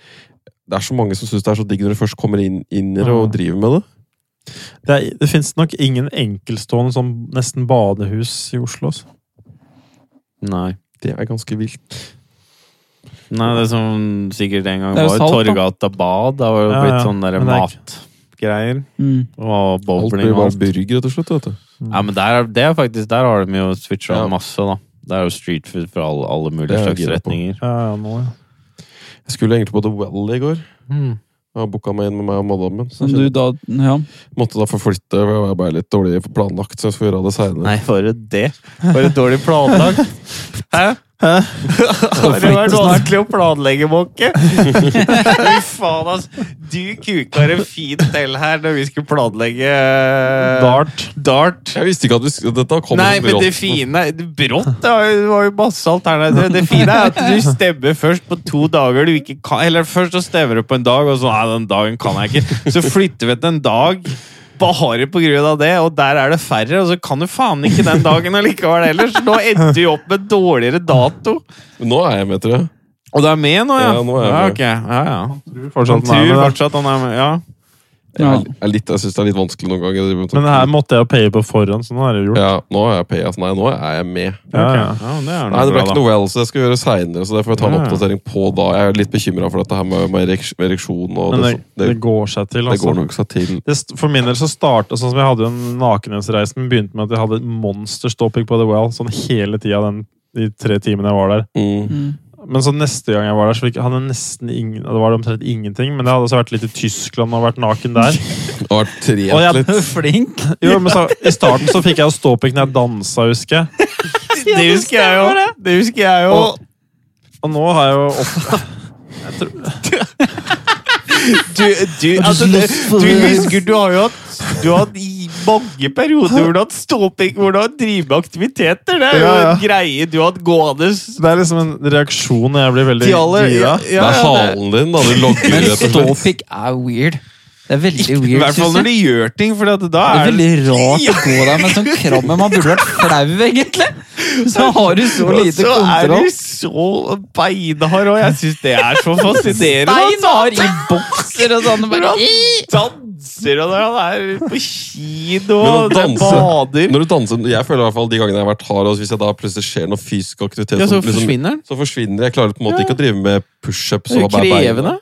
Speaker 4: det er så mange som syns det er så digg når de først kommer inn, inn i det og driver med det.
Speaker 3: det, er, det finnes nok ingen enkeltstående sånn nesten badehus i Oslo. altså.
Speaker 2: Nei.
Speaker 4: Det er ganske vilt.
Speaker 2: nei, det som sikkert en gang
Speaker 1: Det er jo
Speaker 2: var
Speaker 1: salt, da.
Speaker 2: Torgata bad. Det var jo
Speaker 3: Ja,
Speaker 2: blitt
Speaker 3: ja.
Speaker 2: sånn der
Speaker 3: Men det er
Speaker 2: matgreier.
Speaker 1: Mm.
Speaker 2: Og
Speaker 4: Alt
Speaker 2: bowling
Speaker 4: blir
Speaker 2: og
Speaker 4: bare
Speaker 2: alt.
Speaker 4: burger til slutt, vet du.
Speaker 2: Ja, men der, er- det er faktisk, der har de jo switcha
Speaker 4: Ja.
Speaker 2: masse, da. Det er jo street food fra alle, alle
Speaker 4: Det
Speaker 2: mulige
Speaker 4: er jeg
Speaker 2: slags
Speaker 4: gira på.
Speaker 2: retninger.
Speaker 3: Ja, ja, nå, ja.
Speaker 4: Jeg skulle egentlig på The Well i går. Jeg har booka meg inn med meg og madammen. så
Speaker 1: Som du da Ja.
Speaker 4: Måtte da forflytte, for jeg var bare litt dårlig planlagt, så jeg skulle gjøre det seinere.
Speaker 2: Nei, bare det? Bare dårlig planlagt? Hæ? Har det vært vanskelig å planlegge, Måke? Fy faen, altså. Du kuka en fin del her når vi skulle planlegge eh,
Speaker 3: Dart.
Speaker 2: Dart.
Speaker 4: Jeg visste ikke at vi, sk- dette kom
Speaker 2: Nei,
Speaker 4: så
Speaker 2: men det
Speaker 4: brått.
Speaker 2: fine Brått det var jo, det var jo masse alternativer. Det fine er at du stemmer først på to dager du ikke kan Eller først så stemmer du på en dag, og så Nei, den dagen kan jeg ikke. Så flytter vi til en dag bare på grunn av det, og der er det færre, og så kan du faen ikke den dagen allikevel ellers. Nå endte vi opp med dårligere dato.
Speaker 4: Nå er jeg med, tror jeg.
Speaker 2: Og du er med nå, ja?
Speaker 4: Ja, nå er jeg
Speaker 2: ja,
Speaker 4: med.
Speaker 2: ok. ja, ja.
Speaker 3: Tror
Speaker 2: Han
Speaker 3: fortsatt den er
Speaker 2: tror
Speaker 3: med, da.
Speaker 2: fortsatt han er med. Ja.
Speaker 1: ja.
Speaker 4: Jeg, er litt, jeg syns det er litt vanskelig noen ganger. Jeg driver med sånn
Speaker 3: Men her måtte jeg jo paye på forhånd, så nå er det gjort.
Speaker 4: ja, nå er jeg PS. Nei, nå er jeg med.
Speaker 3: Ja,
Speaker 2: Ok.
Speaker 3: ja.
Speaker 2: ja men det er
Speaker 4: Nei,
Speaker 2: noe
Speaker 4: det ble
Speaker 2: bra,
Speaker 4: ikke
Speaker 2: da.
Speaker 4: noe well, så jeg skal gjøre seinere. Så det får jeg ta en
Speaker 2: Ja, ja.
Speaker 4: oppdatering på da. Jeg er litt bekymra for dette her med, med ereks- ereksjon og det,
Speaker 3: Men det,
Speaker 4: sånn- det,
Speaker 3: det går seg til.
Speaker 4: det
Speaker 3: Altså.
Speaker 4: går nok seg til.
Speaker 3: Det st- for min del så startet sånn som jeg hadde jo en nakenhetsreise, men begynte med at jeg hadde monsterstopping på The Well sånn hele tida de tre timene jeg var der.
Speaker 4: Mm.
Speaker 1: Mm.
Speaker 3: Men så neste gang jeg var der, så fikk, hadde jeg nesten ingen, det var det omtrent ingenting. Men jeg hadde også vært litt i Tyskland og vært naken der.
Speaker 4: Det var tre
Speaker 3: Og jeg,
Speaker 1: Flink!
Speaker 3: jo, men så, I starten så fikk jeg jo ståpikk når jeg dansa, husker jeg.
Speaker 2: Det husker jeg jo! Det husker jeg jo.
Speaker 3: Og, og nå har jeg jo opp... Jeg tror,
Speaker 2: Du, du, altså, du, du husker, du har jo hatt Du har hatt i mange perioder hvor du har hatt ståpikk, hvor du har drevet med aktiviteter. Det er jo
Speaker 3: Ja, ja.
Speaker 2: en greie du har hatt gående s-
Speaker 3: det er liksom en reaksjon når jeg blir veldig
Speaker 2: til alle.
Speaker 3: gira.
Speaker 2: Ja,
Speaker 4: Det
Speaker 2: ja,
Speaker 4: er
Speaker 2: ja,
Speaker 4: halen din, da. Du logger
Speaker 1: Men
Speaker 4: rett og slett.
Speaker 1: ståpikk er weird. Det er veldig
Speaker 2: det- I
Speaker 1: weird,
Speaker 2: hvert fall når
Speaker 1: synes jeg.
Speaker 2: de gjør ting, for at da
Speaker 1: Det er
Speaker 2: er det
Speaker 1: veldig rart å gå der med sånn kramme. Man burde vært flau, egentlig! Så har du så
Speaker 2: Og
Speaker 1: lite
Speaker 2: så er
Speaker 1: kontroll.
Speaker 2: du så beinhard, og jeg syns det er så
Speaker 1: Stein
Speaker 2: fascinerende. altså.
Speaker 1: har i bokser og sånn. Bare,
Speaker 2: Hvordan? Danser, og han er på kino
Speaker 4: Men å
Speaker 2: og
Speaker 4: danse-
Speaker 2: bader.
Speaker 4: Når du danser, Jeg føler i hvert fall de gangene jeg har vært hard, og hvis jeg da plutselig ser noe fysisk aktivitet
Speaker 2: Ja, så
Speaker 4: som liksom-
Speaker 2: forsvinner den.
Speaker 4: så forsvinner det. Jeg klarer på en måte ikke å drive med pushups.
Speaker 2: Det er
Speaker 4: og
Speaker 2: jo
Speaker 4: bare bein.
Speaker 2: krevende.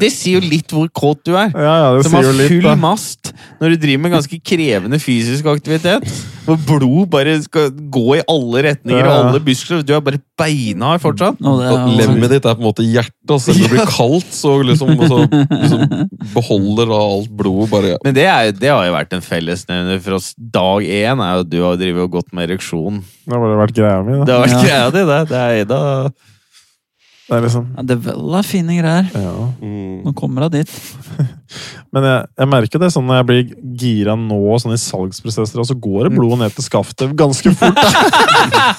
Speaker 2: Det sier jo litt hvor kåt du er.
Speaker 3: Ja, ja, det
Speaker 2: Som
Speaker 3: sier
Speaker 2: har
Speaker 3: jo litt,
Speaker 2: full
Speaker 3: da.
Speaker 2: mast når du driver med ganske krevende fysisk aktivitet. Hvor blod bare skal gå i alle retninger
Speaker 3: Ja, ja.
Speaker 2: og alle muskler. Du er bare beinhard fortsatt.
Speaker 1: Nå, det
Speaker 4: Og
Speaker 1: er,
Speaker 4: Lemmet ditt er på en måte hjertet, og selv om det blir kaldt, så liksom, og så liksom beholder da alt blodet bare
Speaker 2: Men det, er, det har jo vært en fellesnevner for oss. Dag én er jo at du har drevet og gått med ereksjon.
Speaker 3: Det har bare vært greia mi.
Speaker 2: Det
Speaker 3: Da.
Speaker 2: har
Speaker 1: Ja.
Speaker 2: vært greia di, det. det er, da.
Speaker 3: Det er liksom,
Speaker 1: ja, det er vel er fine greier.
Speaker 3: ja.
Speaker 4: mm.
Speaker 1: Nå kommer hun dit.
Speaker 3: Men jeg, jeg merker det sånn når jeg blir gira nå, sånn i salgsprosesser, og så går det blodet ned til skaftet ganske fort.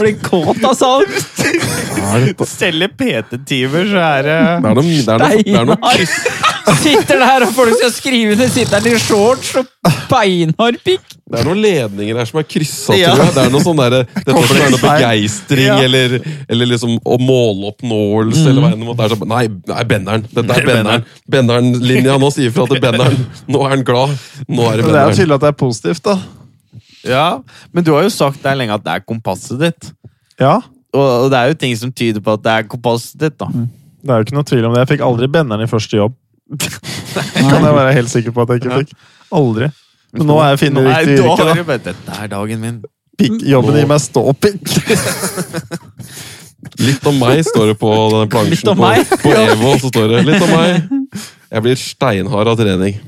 Speaker 1: Blir kåt altså. av salg!
Speaker 2: Selge PT-timer, så er det
Speaker 4: Det er noe, det er noe, det er noe
Speaker 1: Beinhard! Sitter der, og folk skal skrive under, sitter der i shorts og beinhard pikk!
Speaker 4: Det er noen ledninger der som er kryssa,
Speaker 2: Ja.
Speaker 4: tror jeg. Det er noe sånn der, dette som er noe begeistring,
Speaker 2: Ja.
Speaker 4: eller, eller liksom å måloppnåelse, eller hva enn det måtte være. Så- Nei, nei benderen. Dette er benderen. Benderen-linja nå sier fra til benderen. Nå er han glad. Nå er det
Speaker 3: Men det er jo
Speaker 4: benderen.
Speaker 3: tydelig at det er positivt, da.
Speaker 2: Ja, men du har jo sagt der lenge at det er kompasset ditt.
Speaker 3: Ja,
Speaker 2: Og, og det er jo ting som tyder på at det er kompasset ditt, da.
Speaker 3: det er jo ikke noe tvil om det. Jeg fikk aldri benderen i første jobb. Det kan jeg være helt sikker på at jeg ikke fikk. Aldri. Men nå er jeg
Speaker 2: Nå
Speaker 3: finne
Speaker 2: er-
Speaker 3: riktig
Speaker 2: da
Speaker 3: yrke,
Speaker 2: har
Speaker 3: da.
Speaker 2: du bare, Dette er dagen min.
Speaker 3: Pikk, jobben gir meg ståpikk.
Speaker 4: Litt om meg står det på denne
Speaker 1: Litt
Speaker 4: plansjen
Speaker 1: om meg.
Speaker 4: på, på EVO. så står det Litt om meg. Jeg blir steinhard av trening.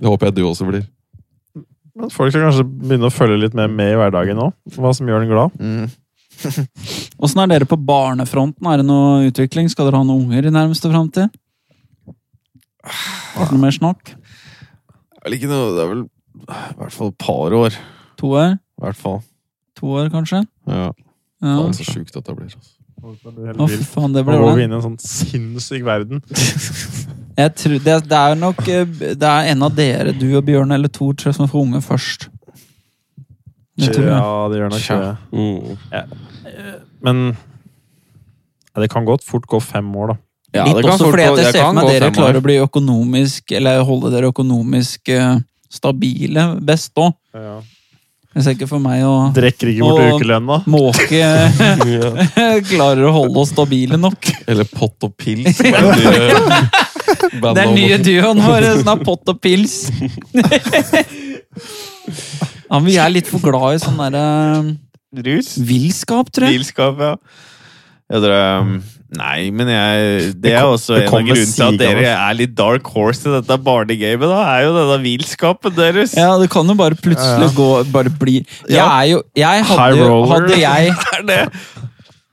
Speaker 4: Det håper jeg du også blir.
Speaker 3: Men Folk skal kanskje begynne å følge litt mer med i hverdagen nå. Hva som gjør den glad.
Speaker 1: Åssen er dere på barnefronten? Er det noe utvikling? Skal dere ha noen unger i nærmeste framtid? Har dere noe mer snakk?
Speaker 2: Det er vel ikke noe, det er vel i hvert fall et par år.
Speaker 1: To år?
Speaker 2: I hvert fall.
Speaker 1: To år, kanskje?
Speaker 2: Ja.
Speaker 1: Ja.
Speaker 4: Faen, så sjukt dette blir. altså.
Speaker 1: Å, fy faen, det
Speaker 3: Nå
Speaker 1: ble
Speaker 3: går vi
Speaker 1: bra.
Speaker 3: inn i en sånn sinnssyk verden.
Speaker 1: Jeg tror, det, det er nok eh, Det er en av dere, du og Bjørn eller Tor, tror jeg, som får unge først. Det tror jeg.
Speaker 3: Ja, det gjør nok
Speaker 2: Tja.
Speaker 3: det.
Speaker 4: Mm.
Speaker 3: Men ja, det kan godt fort gå fem år, da.
Speaker 2: Ja,
Speaker 1: Litt også fordi at jeg ser for meg dere klarer å
Speaker 2: bli
Speaker 1: bli økonomisk, eller holde dere økonomisk eh, stabile best òg. Jeg ser ikke for meg å
Speaker 3: Drekker ikke bort
Speaker 1: Og-
Speaker 3: ukelønna.
Speaker 1: måke Klarer å holde oss stabile nok.
Speaker 4: Eller pott og pils. som er Det nye bandet
Speaker 1: Det er
Speaker 4: om-
Speaker 1: nye duoen vår, sånn av pott og pils. Ja, men vi er litt for glad i sånn derre
Speaker 2: Rus?
Speaker 1: villskap, tror jeg.
Speaker 2: Bilskap, ja. Jeg tror, um, nei, men jeg Det er
Speaker 3: kom-
Speaker 2: også
Speaker 3: det
Speaker 2: en av
Speaker 3: kommer
Speaker 2: grunnene til at
Speaker 3: sigende.
Speaker 2: dere er litt dark horse i dette barnegamet, da. Er jo denne villskapen deres.
Speaker 1: Ja, det kan jo bare plutselig gå Bare bli Jeg
Speaker 2: Ja.
Speaker 1: er jo Jeg hadde
Speaker 3: High
Speaker 1: jo
Speaker 3: roller.
Speaker 1: Hadde jeg
Speaker 2: Det er det.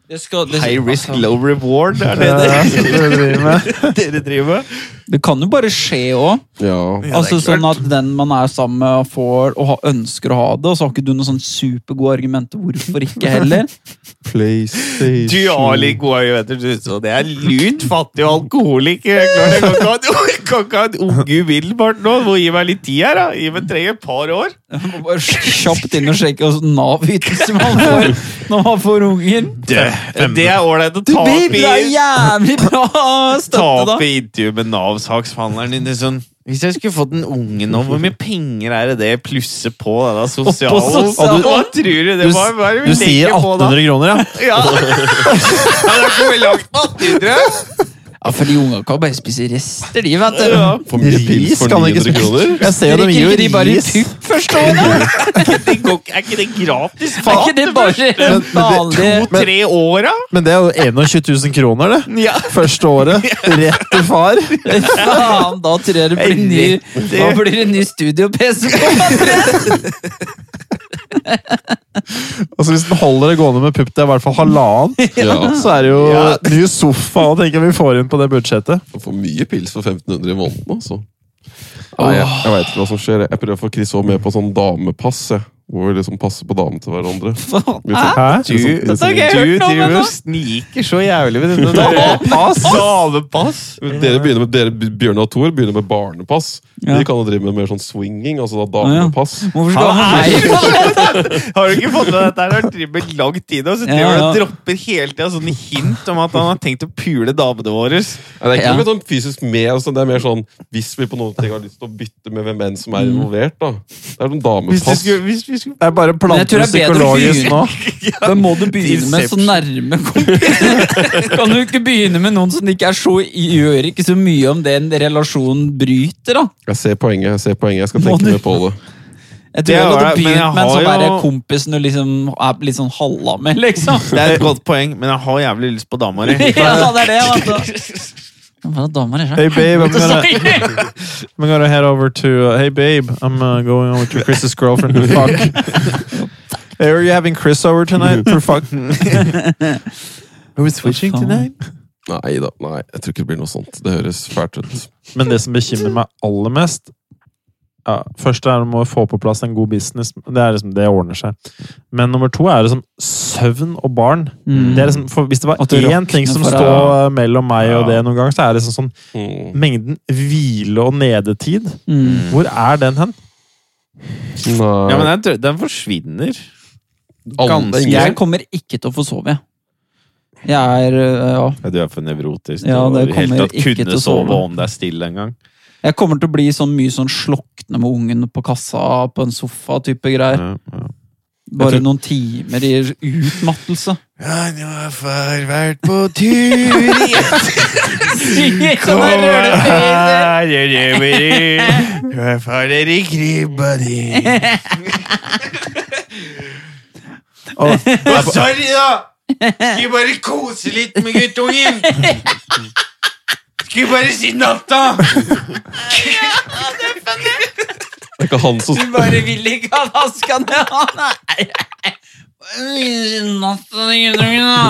Speaker 1: det skal, det, altså,
Speaker 2: High risk, low reward, er det
Speaker 3: Ja,
Speaker 2: det
Speaker 3: det er det vi driver med.
Speaker 2: dere driver med?
Speaker 1: det kan jo bare skje òg.
Speaker 4: Ja.
Speaker 2: Ja,
Speaker 1: Altså
Speaker 2: det er
Speaker 1: sånn
Speaker 2: klart.
Speaker 1: at den man er sammen med, får og har, ønsker å ha det, og så har ikke du noen sånn supergode argumenter hvorfor ikke heller.
Speaker 4: PlayStation.
Speaker 2: Du har litt gode argumenter, du. Så det er lut, fattig og alkoholiker. Jeg klarer- jeg kan ikke ha- jeg kan ikke ha en unge umiddelbart nå. Må gi meg litt tid her, da. Gi meg trenger et par år.
Speaker 1: Jeg må bare kjapt inn og sjekke hvordan Nav-ytelse man får når man får unger.
Speaker 2: Det, det er ålreit å
Speaker 1: Du,
Speaker 2: ta opp
Speaker 1: babe, det er
Speaker 2: i
Speaker 1: jævlig bra
Speaker 2: ta
Speaker 1: støtte,
Speaker 2: opp
Speaker 1: da!
Speaker 2: i intervju med Nav-saksbehandleren din. det er Sånn, hvis jeg skulle fått en unge nå, hvor mye penger er det det plusser på denne sosiale?
Speaker 1: Oppå
Speaker 2: Hva
Speaker 1: sosial-
Speaker 2: hva tror du det
Speaker 3: s-
Speaker 2: var? Hva er det vi
Speaker 3: Du sier
Speaker 2: legger på da? Ja. ja, det
Speaker 3: 1800 kroner, ja?
Speaker 2: kommer langt. 1800?
Speaker 1: Ja, for de unga kan bare spise rester, de, vet du.
Speaker 2: Ja, for mye pils for 900 kroner.
Speaker 3: Jeg ser jo de
Speaker 1: Drikker
Speaker 3: gir
Speaker 1: ikke de
Speaker 3: jo
Speaker 1: bare
Speaker 3: ris.
Speaker 1: tupp først nå, da?
Speaker 2: Er ikke det gratis?
Speaker 1: Er ikke det bare
Speaker 3: Men- men
Speaker 1: vanlig
Speaker 3: det- men-
Speaker 2: Tre åra?
Speaker 3: Men det er jo 21 000 kroner, det.
Speaker 2: Ja.
Speaker 3: Første året. Rett til far.
Speaker 1: Faen, da tror jeg det blir ny Da blir det ny studio-PC.
Speaker 3: Altså Hvis den holder det gående med pupp til i hvert fall halvannen,
Speaker 4: Ja.
Speaker 3: så er det jo
Speaker 2: Ja.
Speaker 3: ny sofa og tenker vi får inn på det budsjettet.
Speaker 4: Man får mye pils for 1500 i måneden, altså. Nei, jeg, jeg veit ikke hva som skjer. Jeg prøver å få Chris òg med på sånn damepass. Jeg. Hvor vi liksom passer på damene til hverandre. Vi får- liksom.
Speaker 3: Hæ?
Speaker 2: Du, du
Speaker 1: har ikke jeg hørt noe om
Speaker 2: driver
Speaker 1: ennå.
Speaker 2: og sniker så jævlig med denne damepass! Damepass!
Speaker 4: Dere begynner med, dere, Bjørn og Thor begynner med barnepass.
Speaker 1: Ja.
Speaker 4: De kan jo drive med mer sånn swinging. altså da
Speaker 1: ja.
Speaker 4: damepass.
Speaker 1: Hvorfor skal han ha meg?
Speaker 2: Har du ikke fått med deg dette? her? Han har drevet med lang tid, og så
Speaker 1: Ja,
Speaker 2: driver han og
Speaker 1: ja.
Speaker 2: dropper hele tida sånne hint om at han har tenkt å pule damene våre.
Speaker 4: Nei, Det er ikke
Speaker 1: Ja.
Speaker 4: noe sånn fysisk med, altså, det er mer sånn hvis vi på noen ting har lyst til å bytte med hvem enn som er involvert. da. Det er sånn
Speaker 2: Mm. Hvis du
Speaker 4: damepass.
Speaker 2: skulle, hvis vi skulle
Speaker 3: Det er bare
Speaker 1: Men jeg tror
Speaker 3: planter
Speaker 1: det er bedre å
Speaker 3: psykologisk nå.
Speaker 1: Da må du begynne med så nærme kompiser. Kan du ikke begynne med noen som ikke er så gjør ikke så mye om den relasjonen bryter, da?
Speaker 4: Jeg ser poenget, jeg ser poenget. Jeg skal
Speaker 1: Må
Speaker 4: tenke
Speaker 1: du-
Speaker 4: mer på det.
Speaker 1: Jeg
Speaker 2: Det
Speaker 1: tror jeg
Speaker 2: var
Speaker 1: hadde
Speaker 2: det, men jeg
Speaker 1: begynt med en
Speaker 2: har
Speaker 1: sånn
Speaker 2: jo-
Speaker 1: derre kompisen du liksom er litt sånn halla med, liksom.
Speaker 2: Det er et godt poeng, men jeg har jævlig lyst på dama di.
Speaker 1: Ja, det er det, altså. Hva er damer er
Speaker 3: Hey
Speaker 1: det?
Speaker 3: babe, I'm gonna,
Speaker 2: eh,
Speaker 1: Sorry.
Speaker 3: I'm gonna head over to. Uh, hey babe, I'm uh, going over to Chris's girlfriend for fuck. hey, are you having Chris over tonight for fuck? Are we switching
Speaker 1: tonight?
Speaker 4: Nei da, nei, jeg tror ikke det blir noe sånt. Det høres fælt ut.
Speaker 3: Men det som bekymrer meg aller mest ja, Først er om å få på plass en god business. Det er liksom, det ordner seg. Men nummer to er liksom søvn og barn.
Speaker 1: Mm.
Speaker 3: Det er liksom, for hvis det var
Speaker 1: At du
Speaker 3: én
Speaker 1: rakner
Speaker 3: ting som
Speaker 1: for deg.
Speaker 3: står eh, mellom meg og
Speaker 2: Ja.
Speaker 3: det noen gang, så er det liksom sånn
Speaker 4: Mm.
Speaker 3: mengden hvile og nedetid.
Speaker 1: Mm.
Speaker 3: Hvor er den hen?
Speaker 4: Nei.
Speaker 2: Ja, men den, den forsvinner.
Speaker 4: Alle- det er ingen
Speaker 1: Jeg kommer ikke til å få sove, jeg. Jeg er øh, Ja.
Speaker 2: Ja, Du er for nevrotisk
Speaker 1: Ja,
Speaker 2: til å
Speaker 1: det
Speaker 2: i det hele
Speaker 1: kommer
Speaker 2: tatt
Speaker 1: ikke til
Speaker 2: kunne
Speaker 1: å
Speaker 2: sove
Speaker 1: sove.
Speaker 2: om det er stille engang.
Speaker 1: Jeg kommer til å bli sånn mye sånn slokne med ungen på kassa på en sofa-type greier.
Speaker 2: Ja, ja.
Speaker 1: Bare noen timer i utmattelse.
Speaker 2: Ja, nå har far vært på tur igjen.
Speaker 1: Sånn der rødfjes.
Speaker 2: Nå er far der i krybba di.
Speaker 3: Og,
Speaker 2: Å, sorry, da! Skulle bare kose litt med guttungen. Skulle bare si natta!
Speaker 4: Det er ikke han som
Speaker 1: Du bare vil ikke at han skal ned. Nei. Natta, guttungen, da.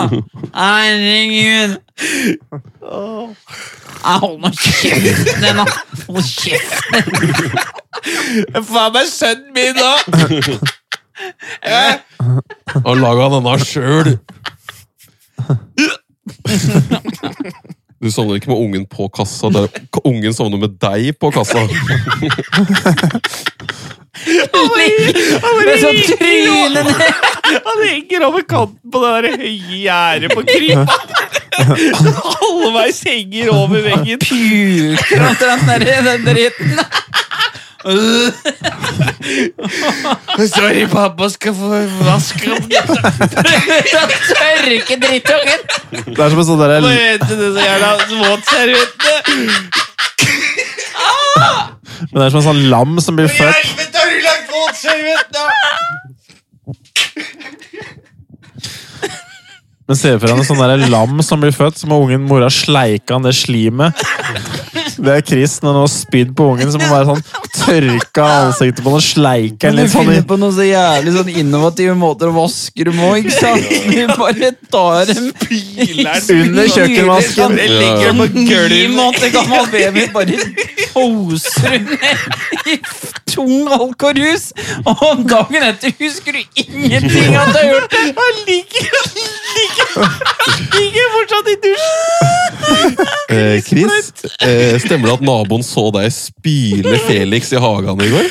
Speaker 1: Herregud. Nei, Hold nå kjeften din, da. Hold kjeften.
Speaker 2: Faen meg sønnen min, da!
Speaker 4: har laga denne sjøl! Du sovner ikke med ungen på kassa. Det er, ungen sovner med deg på kassa.
Speaker 1: Med sånn tryne ned.
Speaker 2: Han henger over kanten på det der høye gjerdet på krybba. Halvveis henger over veggen.
Speaker 1: Puker omtrent nedi den dritten.
Speaker 2: Sorry, pappa skal få vaske opp.
Speaker 1: Prøver å tørke drittungen.
Speaker 3: det er som en sånn der,
Speaker 2: Bare hente det så altså, jævla våtserviettene.
Speaker 3: men det er som en sånn lam som blir født.
Speaker 2: Helvete, har du lagt våtserviettene?
Speaker 3: Men ser for deg en sånn der lam som blir født, så må ungen mora sleike han det slimet. Det er Chris når han har spydd på ungen, så må han være sånn tørke av ansiktet på han og sleike han
Speaker 1: Men
Speaker 3: litt
Speaker 1: du
Speaker 3: sånn i
Speaker 1: finner på noen så jævlig sånn innovative måter å vaske dem på, ikke sant? Du bare tar dem
Speaker 3: under kjøkkenvasken.
Speaker 2: Det ligger på
Speaker 1: Ni
Speaker 2: gulvet.
Speaker 1: måneder Sånn gammel baby bare poser hun i tung alkorus, og om dagen etter husker du ingenting at du har gjort det.
Speaker 2: Han ligger, han ligger, han ligger fortsatt i dusjen.
Speaker 4: Eh, Chris, eh, stemmer det at naboen så deg spyle Felix i hagen i går?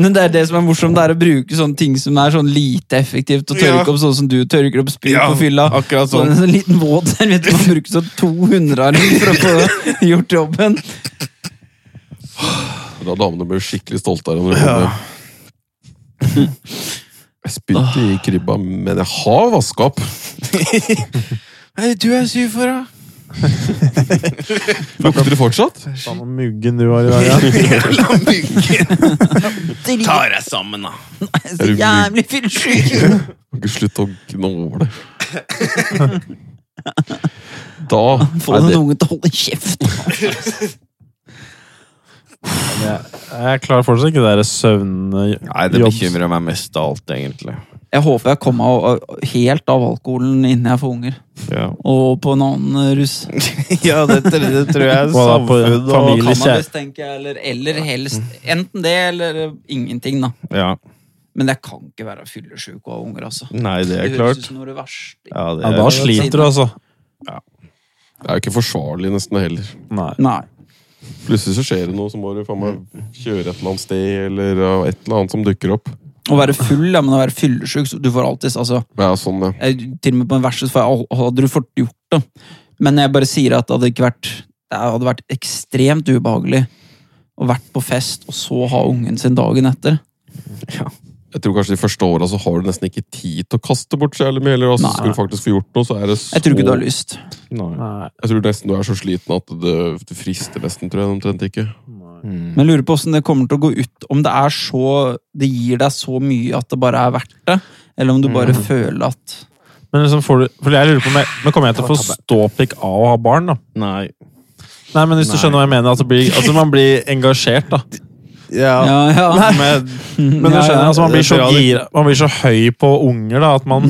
Speaker 1: Men det er det som er morsomt, det er å bruke sånne ting som er sånn lite effektivt, og
Speaker 2: Ja.
Speaker 1: tørke opp sånn som du tørker opp spyr på fylla.
Speaker 2: akkurat
Speaker 1: Sånn en sånn liten våt serviett man bruker sånn 200 av for å få gjort jobben.
Speaker 4: Da damene ble skikkelig stolte av deg. når du kom hjem. Jeg spydde i krybba, men jeg har vaska opp.
Speaker 2: Hva er det du er syv for, da?
Speaker 4: Lukter det fortsatt?
Speaker 3: Faen om muggen du har i dag, ja.
Speaker 2: Jævla myggen! Ta deg sammen, da.
Speaker 4: Er du mygg?
Speaker 1: Jævlig fyllesyk!
Speaker 4: Kan ikke slutte å gnåle. Da
Speaker 1: Få
Speaker 4: er
Speaker 1: den
Speaker 4: det
Speaker 1: ungen til å holde kjeft!
Speaker 3: Jeg klarer fortsatt ikke det der søvn...
Speaker 2: Nei, det bekymrer meg mest av alt, egentlig.
Speaker 1: Jeg håper jeg kommer av, av- helt av alkoholen innen jeg får unger.
Speaker 2: Ja,
Speaker 1: Og på en annen eh, rus.
Speaker 2: det, tr- det tror jeg er
Speaker 3: Hva da, på
Speaker 2: samfunn og
Speaker 3: familie? Eller
Speaker 1: Cannabis, tenker jeg, eller, eller helst enten det eller eh, ingenting, da.
Speaker 2: Ja.
Speaker 1: Men jeg kan ikke være fyllesyk og ha unger, altså.
Speaker 2: Nei, det er
Speaker 1: høres ut
Speaker 2: klart.
Speaker 1: som noe av det verste.
Speaker 2: Ja, det
Speaker 3: Ja,
Speaker 2: er-
Speaker 3: da sliter du, altså.
Speaker 4: er jo ikke forsvarlig nesten heller.
Speaker 3: Nei.
Speaker 1: Nei.
Speaker 4: Plutselig så skjer det noe, så må du faen meg kjøre et eller annet sted, eller ja, et eller annet som dukker opp.
Speaker 1: Å være full, ja, men å være fyllesyk så Du får alltid altså,
Speaker 4: Ja, sånn, ja.
Speaker 1: jeg, Til og med på en versus, for jeg, hadde du fått gjort det Men jeg bare sier at det hadde ikke vært Det hadde vært ekstremt ubehagelig Å vært på fest Og så ha ungen sin dagen etter
Speaker 4: Jeg tror kanskje de første åra så har du nesten ikke tid til å kaste bort så jævlig mye. Eller altså,
Speaker 1: Nei.
Speaker 4: skal du faktisk få gjort noe, så er det så
Speaker 1: Jeg tror ikke du har lyst
Speaker 2: Nei.
Speaker 3: Nei.
Speaker 4: Jeg tror nesten du er så sliten at det, det frister nesten, tror jeg. Omtrent ikke.
Speaker 1: Men jeg lurer på hvordan det kommer til å gå ut Om det er så Det gir deg så mye at det bare er verdt det Eller om du bare føler at
Speaker 3: Men liksom får du... For jeg lurer på meg... Men kommer jeg til å få ståpikk av å ha barn, da?
Speaker 2: Nei.
Speaker 3: Nei, men hvis du
Speaker 2: Nei.
Speaker 3: skjønner hva jeg mener, at, det blir, at man blir engasjert, da.
Speaker 2: Ja,
Speaker 1: Ja, ja
Speaker 2: men
Speaker 3: Men
Speaker 1: Ja,
Speaker 3: du
Speaker 1: ja.
Speaker 3: skjønner, altså, man,
Speaker 2: Det
Speaker 3: blir
Speaker 2: er
Speaker 3: så
Speaker 2: bra, det.
Speaker 3: gira, man blir så høy på unger, da, at man,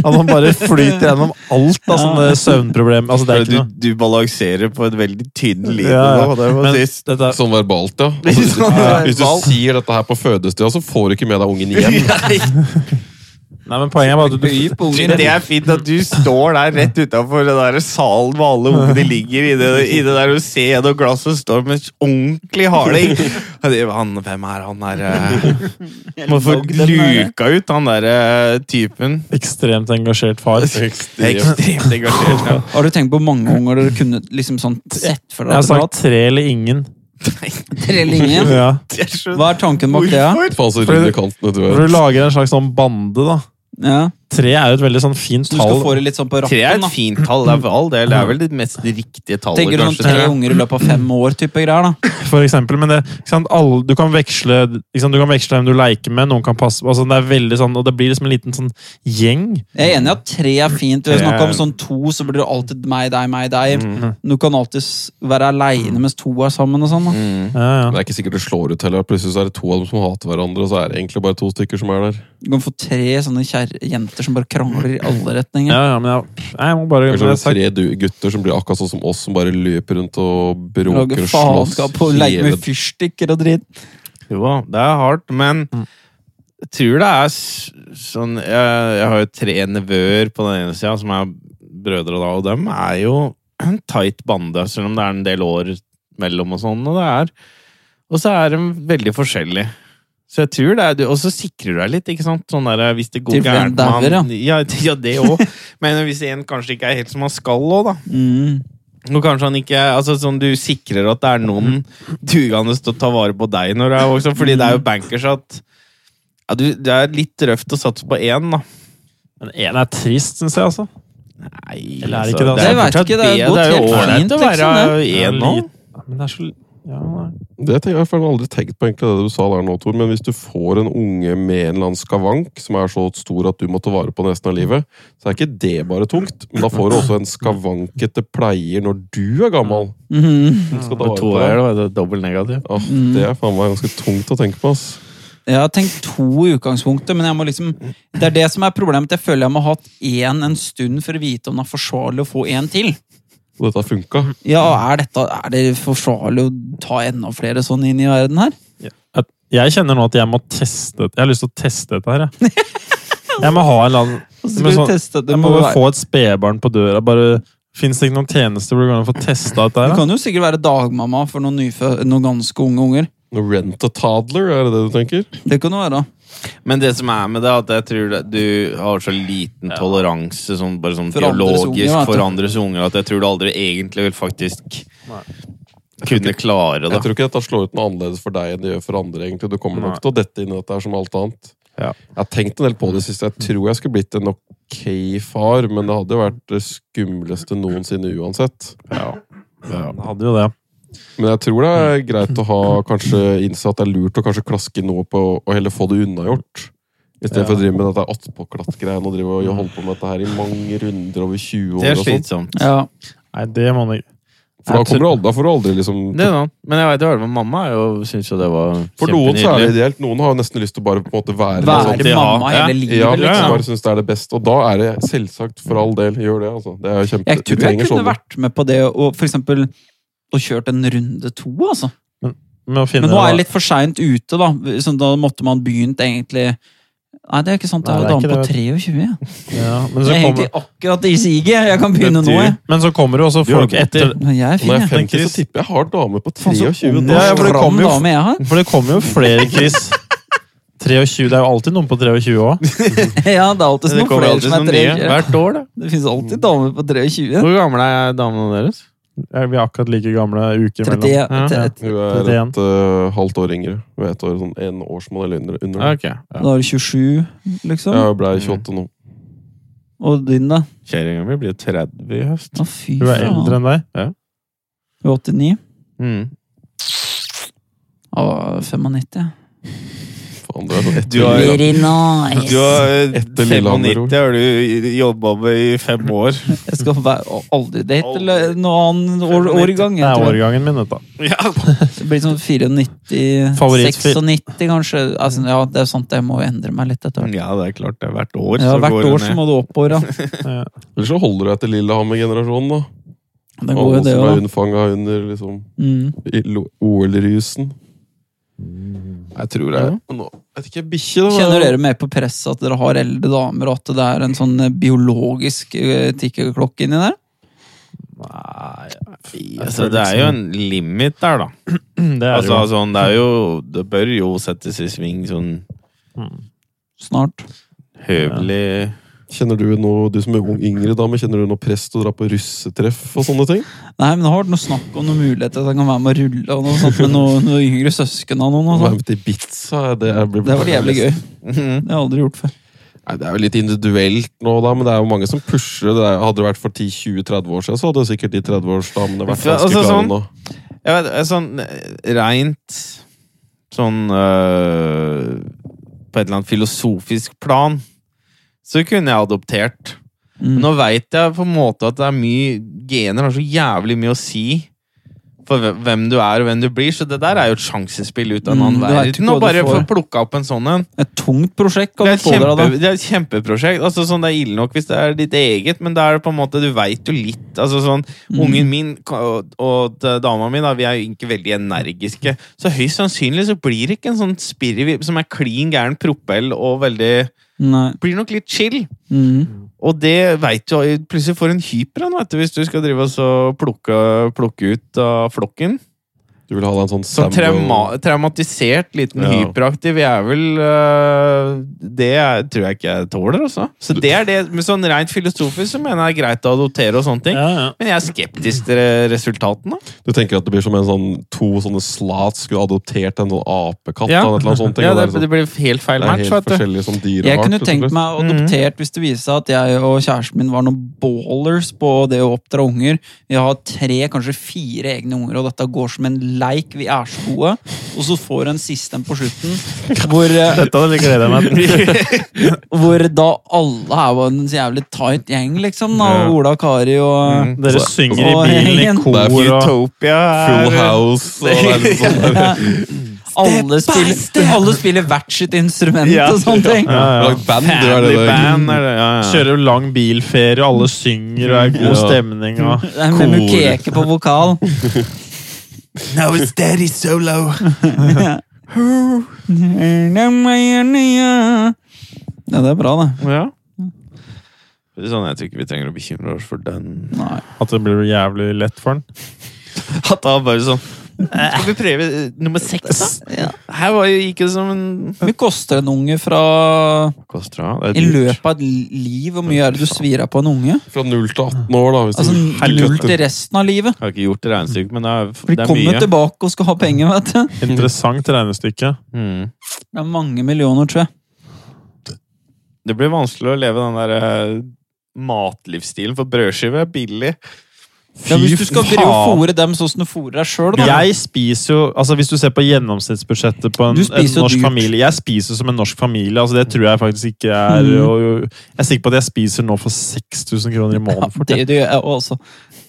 Speaker 3: at man bare flyter gjennom alt av sånne søvnproblemer. Altså, det er
Speaker 2: du,
Speaker 3: ikke noe.
Speaker 2: du balanserer på et veldig tynn linje
Speaker 3: Ja, ja.
Speaker 2: nå. Det var
Speaker 3: Men
Speaker 2: sist.
Speaker 3: dette er,
Speaker 4: Sånn verbalt, ja. Altså,
Speaker 1: sånn
Speaker 4: hvis du sier dette her på fødestua, så får du ikke med deg ungen igjen.
Speaker 3: nei, men poenget er bare at du,
Speaker 1: By på
Speaker 2: Det
Speaker 1: unger
Speaker 2: er fint at du står der rett utafor den der salen hvor alle ungene ligger i det, i det der og ser gjennom glasset og står med ordentlig harding. Og det- Han, hvem er han der eh, Må få luka ut han der eh, typen.
Speaker 3: ekstremt engasjert far.
Speaker 4: Ekstremt.
Speaker 2: Ekstremt engasjert. Ja.
Speaker 1: Har du tenkt på hvor mange unger dere kunne liksom sånn sett for deg
Speaker 3: Jeg har
Speaker 1: at det var
Speaker 3: sagt tre eller ingen.
Speaker 1: tre linjer?
Speaker 3: Ja.
Speaker 2: Det er så-
Speaker 1: Hva er tanken bak det? Ja?
Speaker 2: Hvorfor?
Speaker 4: Faen så ryddig kantene du
Speaker 3: For
Speaker 4: er.
Speaker 3: du lager en slags sånn bande, da.
Speaker 1: Ja.
Speaker 3: Tre er jo et veldig sånn fint
Speaker 1: Så du skal få
Speaker 3: tall.
Speaker 1: det litt sånn på
Speaker 2: Tre er
Speaker 1: rappen?
Speaker 2: et
Speaker 1: da
Speaker 2: fint tall, det er for all del. Det er vel det mest riktige tallet,
Speaker 1: Tenker du sånn
Speaker 2: kanskje.
Speaker 1: tre unger i løpet av fem år type greier, da?
Speaker 3: For eksempel, men det, ikke sant, alle, du kan veksle ikke sant, Du kan veksle hvem du leker med, noen kan passe altså, Det er veldig sånn, og det blir liksom en liten sånn gjeng.
Speaker 1: Jeg er enig i at tre er fint. Vi har
Speaker 2: Tre
Speaker 1: snakket om
Speaker 2: er-
Speaker 1: sånn to, så blir det alltid meg, deg, meg, deg. Du kan alltid s- være aleine mens to er sammen og sånn. da.
Speaker 4: Mm.
Speaker 3: Ja, ja.
Speaker 4: Det er ikke sikkert det slår ut heller. Plutselig så er det to av dem som hater hverandre, og så er det egentlig bare to stykker som er der.
Speaker 1: Du kan få tre sånne kjær- jenter som bare krangler i alle retninger.
Speaker 3: Ja, ja, men jeg, nei, jeg må bare
Speaker 4: Kanskje
Speaker 3: men
Speaker 4: det
Speaker 3: jeg
Speaker 4: er tre du- gutter som blir akkurat sånn som oss, som bare løper rundt og bråker
Speaker 1: Lager
Speaker 4: og slåss.
Speaker 1: faenskap og leker
Speaker 4: hele-
Speaker 1: med fyrstikker og dritt.
Speaker 2: Jo da, det er hardt, men jeg tror det er s- sånn Jeg, jeg har jo tre nevøer på den ene sida, som er brødre, da, og dem er jo en tight bande, selv om det er en del år mellom og sånn, og det er Og så er de veldig forskjellige. Så jeg tror det er, du- Og så sikrer du deg litt, ikke sant? Sånn der, hvis det går
Speaker 1: Til hvem
Speaker 2: gærent med han-
Speaker 1: dauer,
Speaker 2: ja. ja, det òg. Men hvis en kanskje ikke er helt som han skal òg, da.
Speaker 1: Mm.
Speaker 2: Og kanskje han ikke, altså sånn Du sikrer at det er noen dugende til å ta vare på deg når du er voksen. Fordi det er jo bankers at ja, du, Det er litt røft å satse på én, da.
Speaker 3: Men én er trist, syns jeg, altså.
Speaker 2: Nei, altså,
Speaker 3: Eller er det ikke det?
Speaker 1: Jeg vet
Speaker 2: fortsatt
Speaker 1: ikke, det er
Speaker 2: bedre.
Speaker 1: gått
Speaker 2: Det er jo
Speaker 1: helt fint,
Speaker 2: ålreit å være
Speaker 1: liksom,
Speaker 2: én nå.
Speaker 3: Ja, men det er så ja, nei.
Speaker 4: Det tenker jeg, jeg har aldri tenkt på egentlig det du sa der nå, Tor, men hvis du får en unge med en eller annen skavank som er så stor at du må ta vare på den resten av livet, så er ikke det bare tungt. Men da får du også en skavankete pleier når du er gammel.
Speaker 1: Mhm.
Speaker 4: som Skal ta
Speaker 2: På
Speaker 4: vare
Speaker 2: to
Speaker 4: på
Speaker 2: år,
Speaker 4: deg.
Speaker 2: da. Det er dobbelt negativ.
Speaker 4: Åh, det er faen meg ganske tungt å tenke på, ass.
Speaker 1: Jeg har tenkt to i utgangspunktet, men jeg må liksom, det er det som er problemet. Jeg føler jeg må ha hatt én en stund for å vite om det er forsvarlig å få én til.
Speaker 4: Og dette har funka.
Speaker 1: Ja, er, dette, er det forsvarlig å ta enda flere sånn inn i verden her?
Speaker 3: At jeg kjenner nå at jeg må teste Jeg har lyst til å teste dette her, jeg. Jeg må ha en eller annen
Speaker 1: skal
Speaker 3: men
Speaker 1: du teste det
Speaker 3: Jeg må
Speaker 1: på
Speaker 3: bare
Speaker 1: vei.
Speaker 3: få et spedbarn på døra. Bare Fins det ikke noen tjenester hvor du kan få testa dette
Speaker 1: Du
Speaker 3: her? da?
Speaker 1: kan jo sikkert være dagmamma for noen, nyfø- noen ganske unge unger.
Speaker 4: Noe Rent a toddler, er det det du tenker?
Speaker 1: Det kan du være.
Speaker 2: Men det som er med det, er at jeg tror det, du har så liten toleranse sånn, bare sånn
Speaker 1: For andres
Speaker 2: biologisk
Speaker 1: unger, vet du.
Speaker 2: for andres unger, at jeg tror du aldri egentlig vil faktisk kunne klare det.
Speaker 4: Jeg tror ikke dette slår ut noe annerledes for deg enn det gjør for andre. egentlig. Du kommer nok til å dette inn i dette her som alt annet.
Speaker 3: Ja.
Speaker 4: Jeg har tenkt en del på det siste. Jeg tror jeg skulle blitt en ok far, men det hadde jo vært det skumleste noensinne uansett.
Speaker 3: Han hadde jo det.
Speaker 4: Men jeg tror det er greit å ha kanskje innse at det er lurt å kanskje klaske noe på og heller få det unnagjort. Istedenfor for å drive med dette attpåklatt-greien og drive og holde på med dette her i mange runder over
Speaker 2: Det
Speaker 4: 20 år.
Speaker 2: er
Speaker 4: og sånt.
Speaker 2: slitsomt.
Speaker 1: Ja.
Speaker 3: Nei, det må han ikke.
Speaker 4: For da,
Speaker 3: Jeg tror-
Speaker 4: kommer du aldri, da får du aldri liksom
Speaker 2: Det er noe. Men jeg vet, jo, men mamma er jo, syns jo det var
Speaker 4: For noen så er det
Speaker 2: kjempenydelig.
Speaker 4: ideelt. Noen har jo nesten lyst til å bare på en måte være med sånn.
Speaker 1: Være
Speaker 2: alltid ha-
Speaker 1: mamma
Speaker 2: ja.
Speaker 1: hele livet,
Speaker 4: Ja,
Speaker 1: liksom.
Speaker 4: bare synes det er det beste. Og da er det selvsagt, for all del, gjør det. altså. Det er jo kjempe...
Speaker 1: Jeg
Speaker 4: du
Speaker 1: tror jeg
Speaker 4: trenger
Speaker 1: kunne
Speaker 4: sånne.
Speaker 1: vært med på det og for eksempel og kjørt en runde to, altså.
Speaker 3: Med å finne
Speaker 1: Men nå er jeg litt for seint ute, da. Så da måtte man begynt egentlig Nei, det er ikke sant. Det
Speaker 3: Nei,
Speaker 1: er jo
Speaker 3: det er
Speaker 1: dame på
Speaker 3: ikke
Speaker 1: 23. jeg.
Speaker 3: ja, men,
Speaker 1: Jeg
Speaker 3: så
Speaker 1: er egentlig
Speaker 3: kommer,
Speaker 1: akkurat i siget. Jeg kan begynne nå, jeg.
Speaker 3: men så kommer jo også
Speaker 2: Du har
Speaker 3: folk
Speaker 2: gått
Speaker 3: etter
Speaker 1: Men jeg er
Speaker 4: Når
Speaker 1: fin,
Speaker 4: jeg er
Speaker 1: jeg.
Speaker 4: 50, så
Speaker 2: Chris.
Speaker 4: tipper jeg har dame på
Speaker 1: Faen, så
Speaker 4: 23
Speaker 1: ung
Speaker 4: nå.
Speaker 3: Ja, ja, for
Speaker 1: og
Speaker 3: det
Speaker 1: stram
Speaker 3: kommer jo-
Speaker 1: dame jeg har.
Speaker 3: For det kommer jo flere, Chris. 23, Det er jo alltid noen på 23 òg.
Speaker 1: Ja, det er alltid
Speaker 2: Men
Speaker 1: noen
Speaker 2: det kommer
Speaker 1: flere
Speaker 2: alltid
Speaker 1: som
Speaker 2: sånn
Speaker 1: er
Speaker 2: nye.
Speaker 1: 23.
Speaker 2: Hvert år, det.
Speaker 1: Det finnes alltid damer på 23.
Speaker 2: Hvor gamle er damene deres?
Speaker 3: Vi er akkurat like gamle uker
Speaker 1: Tretti-
Speaker 3: mellom.
Speaker 1: tre-
Speaker 3: Ja, ja.
Speaker 4: Hun er et øh, halvt år yngre. Hun er et år, sånn en årsmodell under. under.
Speaker 2: Ok. Ja.
Speaker 1: Da er det 27, liksom.
Speaker 4: Jeg ble 28 nå.
Speaker 1: Og din, da?
Speaker 2: Kjerringa mi blir 30 i høst.
Speaker 1: Å, fy
Speaker 3: Hun er
Speaker 1: faen.
Speaker 3: eldre enn deg.
Speaker 1: Hun er 89.
Speaker 2: Mm.
Speaker 1: Å, 95.
Speaker 4: Faen, du er sånn ett
Speaker 2: Du har-
Speaker 4: yngre.
Speaker 1: Very nice.
Speaker 2: Du har
Speaker 4: Etter Lillehammer,
Speaker 2: 95 har du jobba med i fem år.
Speaker 1: Jeg skal være- å, aldri date eller noe annen år, år i gang.
Speaker 3: Det
Speaker 1: Jeg
Speaker 3: er
Speaker 1: tror.
Speaker 3: årgangen min, dette.
Speaker 2: Ja.
Speaker 1: Det blir sånn 94
Speaker 3: Favorittfil-
Speaker 1: 96, kanskje. Altså, ja, det er sant, jeg må jo endre meg litt etter hvert.
Speaker 2: ja, det er klart. det er Hvert år
Speaker 1: Ja,
Speaker 2: Mm. så
Speaker 1: hvert
Speaker 2: går
Speaker 1: år så
Speaker 2: det ned.
Speaker 1: må du oppover, ja.
Speaker 3: Ja.
Speaker 4: Ellers så holder du deg til Lillehammer-generasjonen, da.
Speaker 1: Det går jo
Speaker 4: Alle
Speaker 1: det
Speaker 4: som er
Speaker 1: òg.
Speaker 4: unnfanga under liksom,
Speaker 1: Mm.
Speaker 4: i lo- OL-rusen. Jeg tror det er Nå, Jeg vet ikke, bikkje, da.
Speaker 1: Mm. Kjenner dere mer på presset at dere har eldre damer, og at det er en sånn eh, biologisk eh, tikkerklokke inni der?
Speaker 3: Nei,
Speaker 2: Altså, det er jo en limit der, da.
Speaker 3: det er
Speaker 2: Altså,
Speaker 3: jo.
Speaker 2: sånn, det, er jo, det bør jo settes i sving sånn
Speaker 1: Snart.
Speaker 2: høvelig
Speaker 4: Kjenner du noe, du som er ung yngre dame, kjenner du noe press til å dra på russetreff og sånne ting?
Speaker 1: Nei, men har vært noe snakk om noen muligheter at jeg kan være med å rulle og noe sånt med noen noe yngre søsken av noen. og
Speaker 4: Være
Speaker 1: sånt.
Speaker 4: med til Ibiza, det er blir-
Speaker 1: Det har vært jævlig gøy.
Speaker 2: Mhm.
Speaker 1: Det har jeg aldri gjort før.
Speaker 4: Nei, det er jo litt individuelt nå, da, men det er jo mange som pusher det. det. er- Hadde det vært for 10-20-30 år siden, så hadde sikkert de 30-årsdamene vært
Speaker 2: Ja,
Speaker 4: ganske
Speaker 2: altså,
Speaker 4: klare
Speaker 2: sånn-
Speaker 4: nå.
Speaker 2: Jeg vet, eh, sånn eh, rent Sånn øh, På et eller annet filosofisk plan så kunne jeg adoptert. Men
Speaker 1: Mm.
Speaker 2: nå veit jeg på en måte at det er mye gener har så jævlig mye å si for hve- hvem du er og hvem du blir, så det der er jo et sjansespill ut av en
Speaker 1: Mm,
Speaker 2: annen
Speaker 1: du vet ikke
Speaker 2: verden. Å
Speaker 1: hva du
Speaker 2: bare
Speaker 1: får.
Speaker 2: få plukka opp en sånn en.
Speaker 1: Et tungt prosjekt kan
Speaker 2: Det
Speaker 1: du
Speaker 2: er,
Speaker 1: få
Speaker 2: et
Speaker 1: dere av
Speaker 2: kjempe,
Speaker 1: det.
Speaker 2: det er et kjempeprosjekt. Altså, sånn, det er ille nok hvis det er ditt eget, men det er på en måte, du veit jo litt. Altså, sånn,
Speaker 1: Mm.
Speaker 2: Ungen min ka- og, og d- dama mi da, vi er jo ikke veldig energiske. Så høyst sannsynlig så blir det ikke en sånn spirrevipp som er klin gæren propell og veldig
Speaker 1: Nei.
Speaker 2: Blir nok litt chill.
Speaker 1: Mm.
Speaker 2: Og det veit du plutselig får en hyper han, vet du, hvis du skal drive og så plukke, plukke ut av flokken.
Speaker 4: Du vil ha deg en sånn
Speaker 2: Så
Speaker 4: Sambo-
Speaker 2: trauma, traumatisert, liten
Speaker 4: Ja.
Speaker 2: hyperaktiv Jeg er vel øh, Det er, tror jeg ikke jeg tåler, altså. Så det er det, men sånn rent filosofisk så mener jeg det er greit å adoptere og sånne ting.
Speaker 3: Ja, ja.
Speaker 2: Men jeg er skeptisk til re- resultatene.
Speaker 4: Du tenker at det blir som en sånn to sånne slats skulle adoptert en sånn apekatt?
Speaker 2: Ja.
Speaker 4: eller et eller annet sånt, ting,
Speaker 2: Ja,
Speaker 4: og
Speaker 2: det,
Speaker 4: det, er sånn-
Speaker 2: det blir helt feil
Speaker 4: det er
Speaker 2: match,
Speaker 4: helt
Speaker 2: vet du.
Speaker 4: forskjellig som dyreart.
Speaker 1: Jeg kunne
Speaker 4: rett og
Speaker 1: tenkt
Speaker 4: slett.
Speaker 1: meg adoptert hvis det viste seg at jeg og kjæresten min var noen ballers på det å oppdra unger. Vi har tre, kanskje fire egne unger, og dette går som en leik. Vi er så gode. Og så får du en siste en på slutten, hvor, eh,
Speaker 3: Dette hadde jeg gledet meg til.
Speaker 1: hvor da alle er jo en jævlig tight gjeng, liksom. Da.
Speaker 2: Ja.
Speaker 1: Ola, Kari og
Speaker 3: Dere
Speaker 4: Så-
Speaker 3: synger i
Speaker 1: Å,
Speaker 3: bilen
Speaker 1: gjengen.
Speaker 3: i kor
Speaker 4: Det er fint,
Speaker 3: og
Speaker 2: Utopia
Speaker 4: Full
Speaker 2: er
Speaker 4: House og det er litt sånn
Speaker 1: alle spiller, alle spiller hvert sitt instrument
Speaker 2: Ja.
Speaker 1: og sånne ting.
Speaker 3: ja, ja.
Speaker 4: Lag band, det er det
Speaker 2: Family
Speaker 4: der.
Speaker 2: band er det, ja, ja.
Speaker 3: Kjører lang bilferie, og alle synger, og det er god
Speaker 4: Ja.
Speaker 3: stemning og
Speaker 1: Det er Med
Speaker 4: Kor.
Speaker 1: mukeke på vokal.
Speaker 2: Now it's daddy solo.
Speaker 1: Ja, det er bra, det.
Speaker 2: Ja. Det er Sånn, jeg tror ikke vi trenger å bekymre oss for den.
Speaker 1: Nei.
Speaker 3: At det blir jævlig lett for den.
Speaker 2: At da bare sånn Skal vi prøve eh, nummer seks, da?
Speaker 1: Ja.
Speaker 2: Her var jo ikke som en
Speaker 1: Hvor mye koster en unge fra I løpet av et liv? Hvor mye er det du svir av på en unge?
Speaker 4: sånn- Fra 0 til 18 år, da. Hvis
Speaker 1: Altså
Speaker 4: du,
Speaker 2: Mm.
Speaker 1: Null til resten av livet.
Speaker 2: Jeg har ikke gjort
Speaker 3: Mm.
Speaker 2: regnestykket, men det er,
Speaker 1: For de
Speaker 2: det er
Speaker 1: kommer jo
Speaker 2: mye.
Speaker 1: tilbake og skal ha penger. vet du
Speaker 3: Interessant regnestykke.
Speaker 2: Mm.
Speaker 1: Det er mange millioner, tror jeg.
Speaker 2: Det blir vanskelig å leve den der eh, matlivsstilen, for brødskive er billig.
Speaker 1: Ja, hvis du skal drive og fôre dem sånn som du fôrer deg sjøl, da.
Speaker 3: Jeg spiser jo, altså Hvis du ser på gjennomsnittsbudsjettet på en,
Speaker 1: Du
Speaker 3: en
Speaker 1: spiser jo
Speaker 3: norsk
Speaker 1: dyrt.
Speaker 3: familie Jeg spiser som en norsk familie. altså Det tror jeg faktisk ikke er
Speaker 1: Mm.
Speaker 3: og, Jeg er sikker på at jeg spiser nå for 6000 kroner i måneden. for
Speaker 1: det,
Speaker 3: det.
Speaker 1: det gjør jeg også.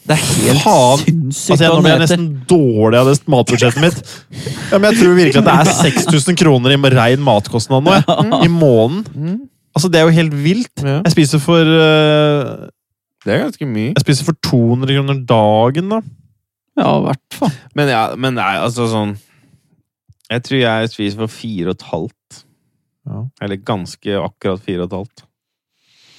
Speaker 1: Det er helt
Speaker 3: Faen.
Speaker 1: sinnssykt
Speaker 3: Altså, jeg,
Speaker 1: hva den
Speaker 3: nå blir jeg
Speaker 1: heter.
Speaker 3: nesten dårlig av det matbudsjettet mitt. Ja, men Jeg tror virkelig at det er 6000 kroner i rein matkostnad nå. jeg. I måneden. Altså, Det er jo helt vilt.
Speaker 2: Ja.
Speaker 3: Jeg spiser for eh,
Speaker 2: Det er ganske mye.
Speaker 3: Jeg spiser for 200 kroner dagen, da.
Speaker 1: Ja, i hvert fall.
Speaker 2: Men, ja, men nei, altså sånn Jeg tror jeg spiser for fire og et halvt.
Speaker 3: Ja.
Speaker 2: Eller ganske akkurat fire og et halvt.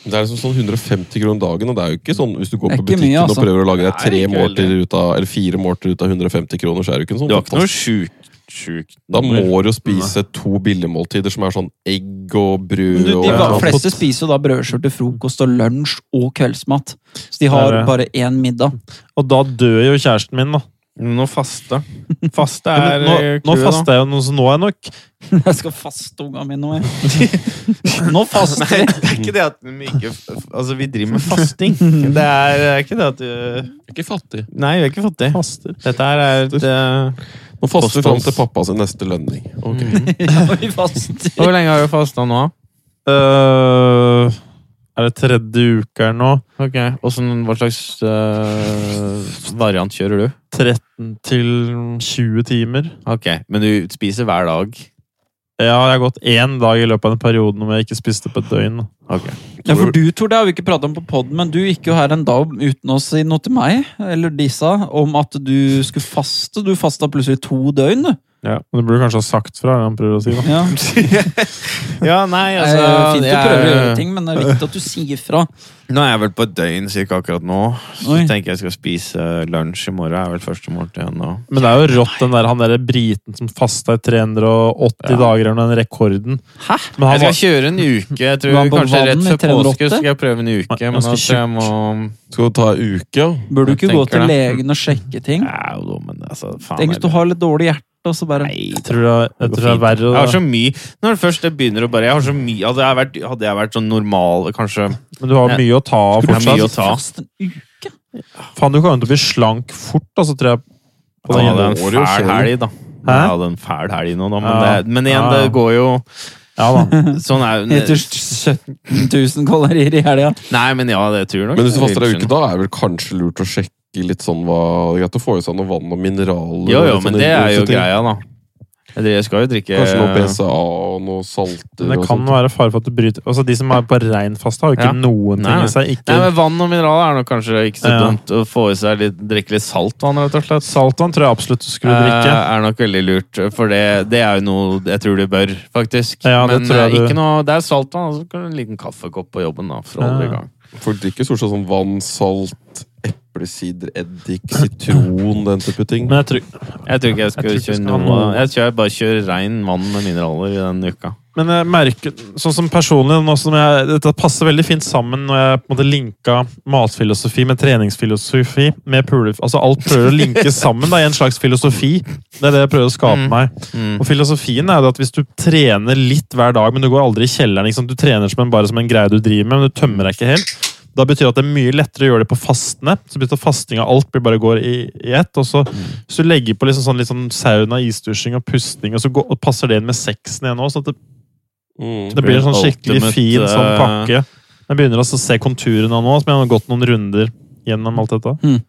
Speaker 4: Det er liksom sånn 150 kroner dagen, og det er jo ikke sånn hvis du går
Speaker 1: Det er
Speaker 4: på
Speaker 1: ikke
Speaker 4: butikken
Speaker 1: mye, altså.
Speaker 4: og prøver å lage deg
Speaker 2: Nei,
Speaker 4: tre
Speaker 2: ikke
Speaker 4: måltider
Speaker 2: veldig.
Speaker 4: ut av, eller fire måltider ut av 150 kroner, så er det jo ikke en sånn
Speaker 2: Det var ikke noe
Speaker 4: fantastisk-
Speaker 2: sjukt sjuk
Speaker 4: Da må du jo spise to billigmåltider som er sånn egg og
Speaker 1: Men
Speaker 4: brød
Speaker 1: Du,
Speaker 4: og
Speaker 1: de
Speaker 4: Ja.
Speaker 1: va- fleste spiser jo da brødskiver til frokost og lunsj og kveldsmat. Så de har
Speaker 3: Det er det.
Speaker 1: bare én middag.
Speaker 3: Og da dør jo kjæresten min, da.
Speaker 2: Nå faste. Faste
Speaker 3: Ja,
Speaker 2: er
Speaker 3: men nå, nå
Speaker 2: clouet, da.
Speaker 3: faster jeg jo, nå, så nå er jeg nok.
Speaker 1: Jeg skal faste unga mine nå, jeg. Nå faster
Speaker 2: Nei,
Speaker 1: jeg.
Speaker 2: det er ikke det at vi ikke Altså, vi driver med fasting. Det er, det er ikke det at du
Speaker 4: Ikke fattig.
Speaker 2: Nei, vi er ikke fattig.
Speaker 3: Faster.
Speaker 2: Dette her er et eh,
Speaker 4: Nå faster vi
Speaker 2: Kostholds-
Speaker 4: fram til pappa sin neste lønning. Ok.
Speaker 1: Ja, vi faster.
Speaker 2: Hvor lenge har du fasta nå?
Speaker 3: Øh, er det tredje uke her nå?
Speaker 2: Ok, og så Hva slags eh, variant kjører du?
Speaker 3: 13 til 20 timer.
Speaker 2: Ok, Men du spiser hver dag?
Speaker 3: Ja, jeg har gått én dag i løpet av en periode hvor jeg ikke spiste på et døgn.
Speaker 2: Ok.
Speaker 1: Ja, for du, Tor, det har vi ikke pratet om på podden, men du gikk jo her en dag uten å si noe til meg, eller disse, om at du skulle faste. Du fasta plutselig to døgn, du.
Speaker 3: Ja. Du burde kanskje ha sagt fra. er det Han prøver å si da.
Speaker 1: Ja.
Speaker 2: Ja, nei,
Speaker 1: Det
Speaker 2: altså
Speaker 1: er fint å
Speaker 2: jeg-
Speaker 1: prøve å gjøre ting, men det er viktig at du sier fra.
Speaker 2: Nå er jeg vel på et døgn cirka akkurat nå. Så
Speaker 1: Oi.
Speaker 2: tenker jeg skal spise lunsj i morgen. er vel første måltid igjen nå.
Speaker 3: Men det er jo rått, den der, han der briten som fasta i 380 dager under den rekorden.
Speaker 1: Hæ?
Speaker 3: Men
Speaker 2: Jeg
Speaker 3: han
Speaker 2: skal
Speaker 3: var,
Speaker 2: kjøre en uke. Jeg
Speaker 1: Du var
Speaker 2: tror
Speaker 1: på
Speaker 2: kanskje
Speaker 1: vann
Speaker 2: rett
Speaker 1: i
Speaker 2: før
Speaker 1: 308?
Speaker 2: påske så skal jeg prøve en uke.
Speaker 3: Nei,
Speaker 2: Men
Speaker 3: ganske
Speaker 2: at jeg må
Speaker 4: Skal du ta en uke? ja?
Speaker 1: Bør du
Speaker 2: Jeg
Speaker 1: ikke gå
Speaker 2: tenker
Speaker 1: til
Speaker 2: det.
Speaker 1: legen og sjekke ting?
Speaker 2: Jeg er jo dum, men altså, faen
Speaker 1: Tenk hvis du
Speaker 2: heller.
Speaker 1: har litt dårlig hjerte, og så bare
Speaker 2: Nei,
Speaker 3: jeg tror det er, jeg tror det er verre.
Speaker 2: Jeg har så
Speaker 3: å-
Speaker 2: mye Når det først det begynner å bare jeg har så mye, hadde, jeg vært, hadde jeg vært sånn normal, kanskje
Speaker 3: Men du har mye å ta av
Speaker 2: Det er mye å
Speaker 3: fortsatt.
Speaker 2: ta.
Speaker 1: Fast en uke?
Speaker 3: Faen, du kommer til å bli slank fort, altså, tror jeg.
Speaker 2: Jeg hadde en
Speaker 4: går jo
Speaker 2: fæl
Speaker 4: selv.
Speaker 2: helg, da.
Speaker 3: Hæ?
Speaker 2: Jeg hadde en fæl helg nå, da. Men,
Speaker 3: Ja.
Speaker 2: det, men igjen,
Speaker 3: Ja.
Speaker 2: det går jo
Speaker 3: Ja da.
Speaker 2: Sånn er
Speaker 1: Etter
Speaker 2: jo
Speaker 1: 17 000 kalorier i helga.
Speaker 2: Nei, men ja, det tror jeg nok.
Speaker 4: Men hvis du faster ei
Speaker 2: Vil
Speaker 4: uke, da er det vel kanskje lurt å sjekke litt sånn hva Det er greit å få i seg noe vann og mineraler.
Speaker 2: Jo,
Speaker 4: og
Speaker 2: jo,
Speaker 4: litt
Speaker 2: men
Speaker 4: sånne
Speaker 2: det er jo
Speaker 4: ting.
Speaker 2: greia, da. Jeg driver- Jeg skal jo drikke
Speaker 4: Kanskje noe BCA og noe salter.
Speaker 3: Men det
Speaker 4: og
Speaker 3: kan
Speaker 4: sånt.
Speaker 3: være fare for at du bryter Altså, De som er på rein faste, har jo ikke
Speaker 2: sånn. Ja.
Speaker 3: noen ting
Speaker 2: Nei.
Speaker 3: i seg.
Speaker 2: Nei,
Speaker 3: Ikke
Speaker 2: men Vann og mineraler er nok kanskje ikke så
Speaker 3: Ja.
Speaker 2: dumt. Å få i seg litt, drikke litt saltvann, rett og slett.
Speaker 3: Saltvann tror jeg absolutt du skulle drikke.
Speaker 2: Eh, er nok veldig lurt, for det, det er jo noe jeg tror du bør, faktisk.
Speaker 3: Ja, det
Speaker 2: Men
Speaker 3: tror jeg
Speaker 2: eh,
Speaker 3: du-
Speaker 2: ikke noe, det er saltvann, og så kan du ha en liten kaffekopp på jobben. da, for å holde
Speaker 3: Ja.
Speaker 2: i gang.
Speaker 4: Folk drikker stort sett sånn vann, salt, eplesider, eddik, sitron, den type
Speaker 2: Eh,
Speaker 4: ting.
Speaker 3: Men jeg tror,
Speaker 2: Jeg tror ikke jeg skal
Speaker 3: Jeg tror ikke
Speaker 2: kjøre
Speaker 3: jeg skal ha
Speaker 2: noe
Speaker 3: noe.
Speaker 2: Jeg tror jeg bare kjører rein vann med mineraler i den uka.
Speaker 3: Men jeg merker, sånn som personlig nå som jeg, Dette passer veldig fint sammen når jeg på en måte linka matfilosofi med treningsfilosofi. med pule, altså Alt prøver å linke sammen da, i en slags filosofi. Det er det jeg prøver å skape
Speaker 2: Mm.
Speaker 3: meg.
Speaker 2: Mm.
Speaker 3: Og filosofien er jo det at Hvis du trener litt hver dag, men du går aldri i kjelleren ikke sant? Du trener som en, bare som en greie du driver med, men du tømmer deg ikke helt. Da betyr det at det er mye lettere å gjøre det på fastene. Så betyr det at fasting av alt blir bare går i, i ett. Og så Hvis du legger på liksom sånn, litt sånn sauna, isdusjing og pusting, og så går, og passer det inn med sexen igjen òg, sånn at det
Speaker 4: Mm.
Speaker 3: det blir en sånn
Speaker 2: Blir en
Speaker 3: skikkelig
Speaker 2: ultimate,
Speaker 3: fin sånn
Speaker 2: eh,
Speaker 3: pakke. Jeg begynner også å se konturene nå, som jeg har gått noen runder gjennom alt dette.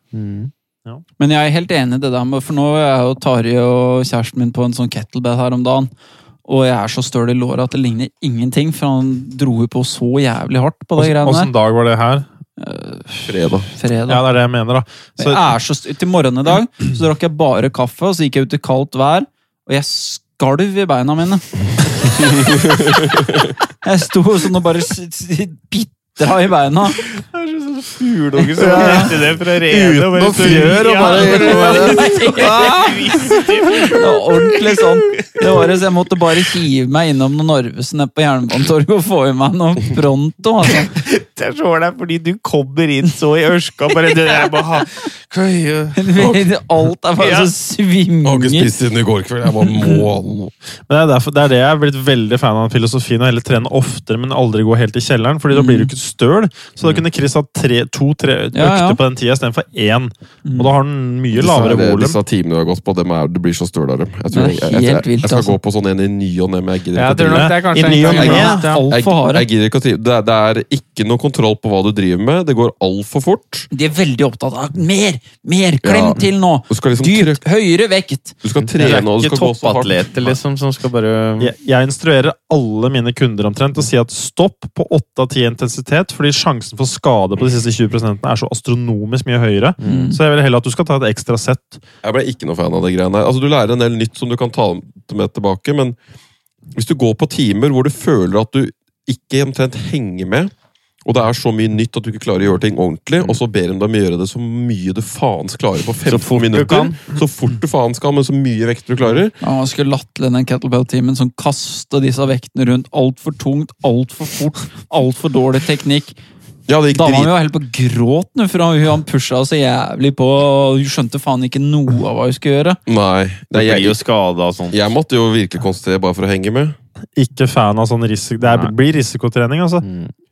Speaker 1: Men jeg er helt enig i det der med For nå er jeg og Tarjei og kjæresten min på en sånn kettlebell her om dagen. Og jeg er så støl i låret at det ligner ingenting, for han dro jo på så jævlig hardt på de greiene
Speaker 3: Åssen
Speaker 1: der.
Speaker 3: dag var det her?
Speaker 4: Fredag.
Speaker 1: Fredag.
Speaker 3: Ja, det er det jeg mener, da. Så,
Speaker 1: jeg er så st til morgenen i dag så drakk jeg bare kaffe, og så gikk jeg ut i kaldt vær, og jeg skalv i beina mine. jeg sto sånn og bare s- s- bitra i beina.
Speaker 2: Fuglunger sånn som
Speaker 3: Ja.
Speaker 2: rett i det fra redet.
Speaker 3: Uten noe fjør og bare-
Speaker 2: sånn
Speaker 1: Det var ordentlig sånn. Det året så jeg måtte bare hive meg innom noen Narvesen nede på Jernbanetorget og få i meg noe pronto. Altså.
Speaker 2: Jeg slår deg fordi du kommer inn så i ørska. Bare, du, jeg må ha
Speaker 1: Alt er bare
Speaker 2: Ja.
Speaker 1: så svinger.
Speaker 4: har ikke spist siden i går kveld. Jeg bare
Speaker 3: Mm.
Speaker 4: må
Speaker 3: Men det er, derfor, det er det jeg er blitt veldig fan av filosofien, å heller trene oftere, men aldri gå helt i kjelleren, fordi da
Speaker 5: Mm.
Speaker 3: blir du ikke støl. Så da kunne Chris hatt tre, to-tre økter
Speaker 1: Ja, ja.
Speaker 3: på den tida istedenfor én.
Speaker 5: Mm.
Speaker 3: Og da har han mye
Speaker 4: Disse
Speaker 3: lavere
Speaker 4: er det-
Speaker 3: volum.
Speaker 4: Disse timene du har gått på, dem er, du blir så støl av dem. Jeg, tror,
Speaker 1: Det er
Speaker 4: jeg, jeg, jeg,
Speaker 1: helt vilt,
Speaker 4: jeg skal
Speaker 1: altså.
Speaker 4: gå på sånn en i ny og ne, men jeg gidder
Speaker 5: Jeg
Speaker 4: ikke
Speaker 5: tror
Speaker 4: å drive.
Speaker 5: nok det er kanskje
Speaker 3: I ny og
Speaker 5: en gang
Speaker 3: ne.
Speaker 5: iblant, ja.
Speaker 4: Jeg,
Speaker 1: Altfor harde.
Speaker 4: jeg gidder ikke å drive. Det, er- det er ikke noe kontroll på hva du driver med. Det går altfor fort.
Speaker 1: De er veldig opptatt av mer, mer, klem
Speaker 4: Ja.
Speaker 1: til nå!
Speaker 4: Du skal liksom
Speaker 1: Dypt, høyere vekt!
Speaker 4: Du skal
Speaker 2: Det
Speaker 4: trene
Speaker 2: er
Speaker 4: og du
Speaker 2: ikke
Speaker 4: skal gå så hardt.
Speaker 2: toppatleter liksom, som skal bare
Speaker 3: Jeg, jeg instruerer alle mine kunder omtrent til å si at stopp på 8 av 10 intensitet, fordi sjansen for skade på de siste 20 er så astronomisk mye høyere.
Speaker 5: Mm.
Speaker 3: Så jeg vil heller at du skal ta et ekstra sett.
Speaker 4: Jeg ble ikke noe fan av det greiene her. Altså, du lærer en del nytt som du kan ta med tilbake, men hvis du går på timer hvor du føler at du ikke omtrent henger med, og det er så mye nytt at du ikke klarer å gjøre ting ordentlig, og så ber de dem gjøre det så mye du faens klarer på 15 minutter.
Speaker 2: kan.
Speaker 4: Så fort du faen skal, men så mye vekter du klarer.
Speaker 1: Ja, man skulle latterlig den kettlebell-timen som kaster disse vektene rundt altfor tungt, altfor fort, altfor dårlig teknikk.
Speaker 4: Ja, det gikk
Speaker 1: Dama mi
Speaker 4: drit.
Speaker 1: var helt på gråt nå, for hun- han pusha så jævlig på. og Hun skjønte faen ikke noe av hva hun skulle gjøre.
Speaker 4: Nei,
Speaker 2: Det
Speaker 4: nei
Speaker 2: blir jo
Speaker 4: jeg,
Speaker 2: skada og sånn.
Speaker 4: jeg måtte jo virkelig konsentrere bare for å henge med.
Speaker 3: Ikke fan av sånn risiko... Det er, blir risikotrening, altså.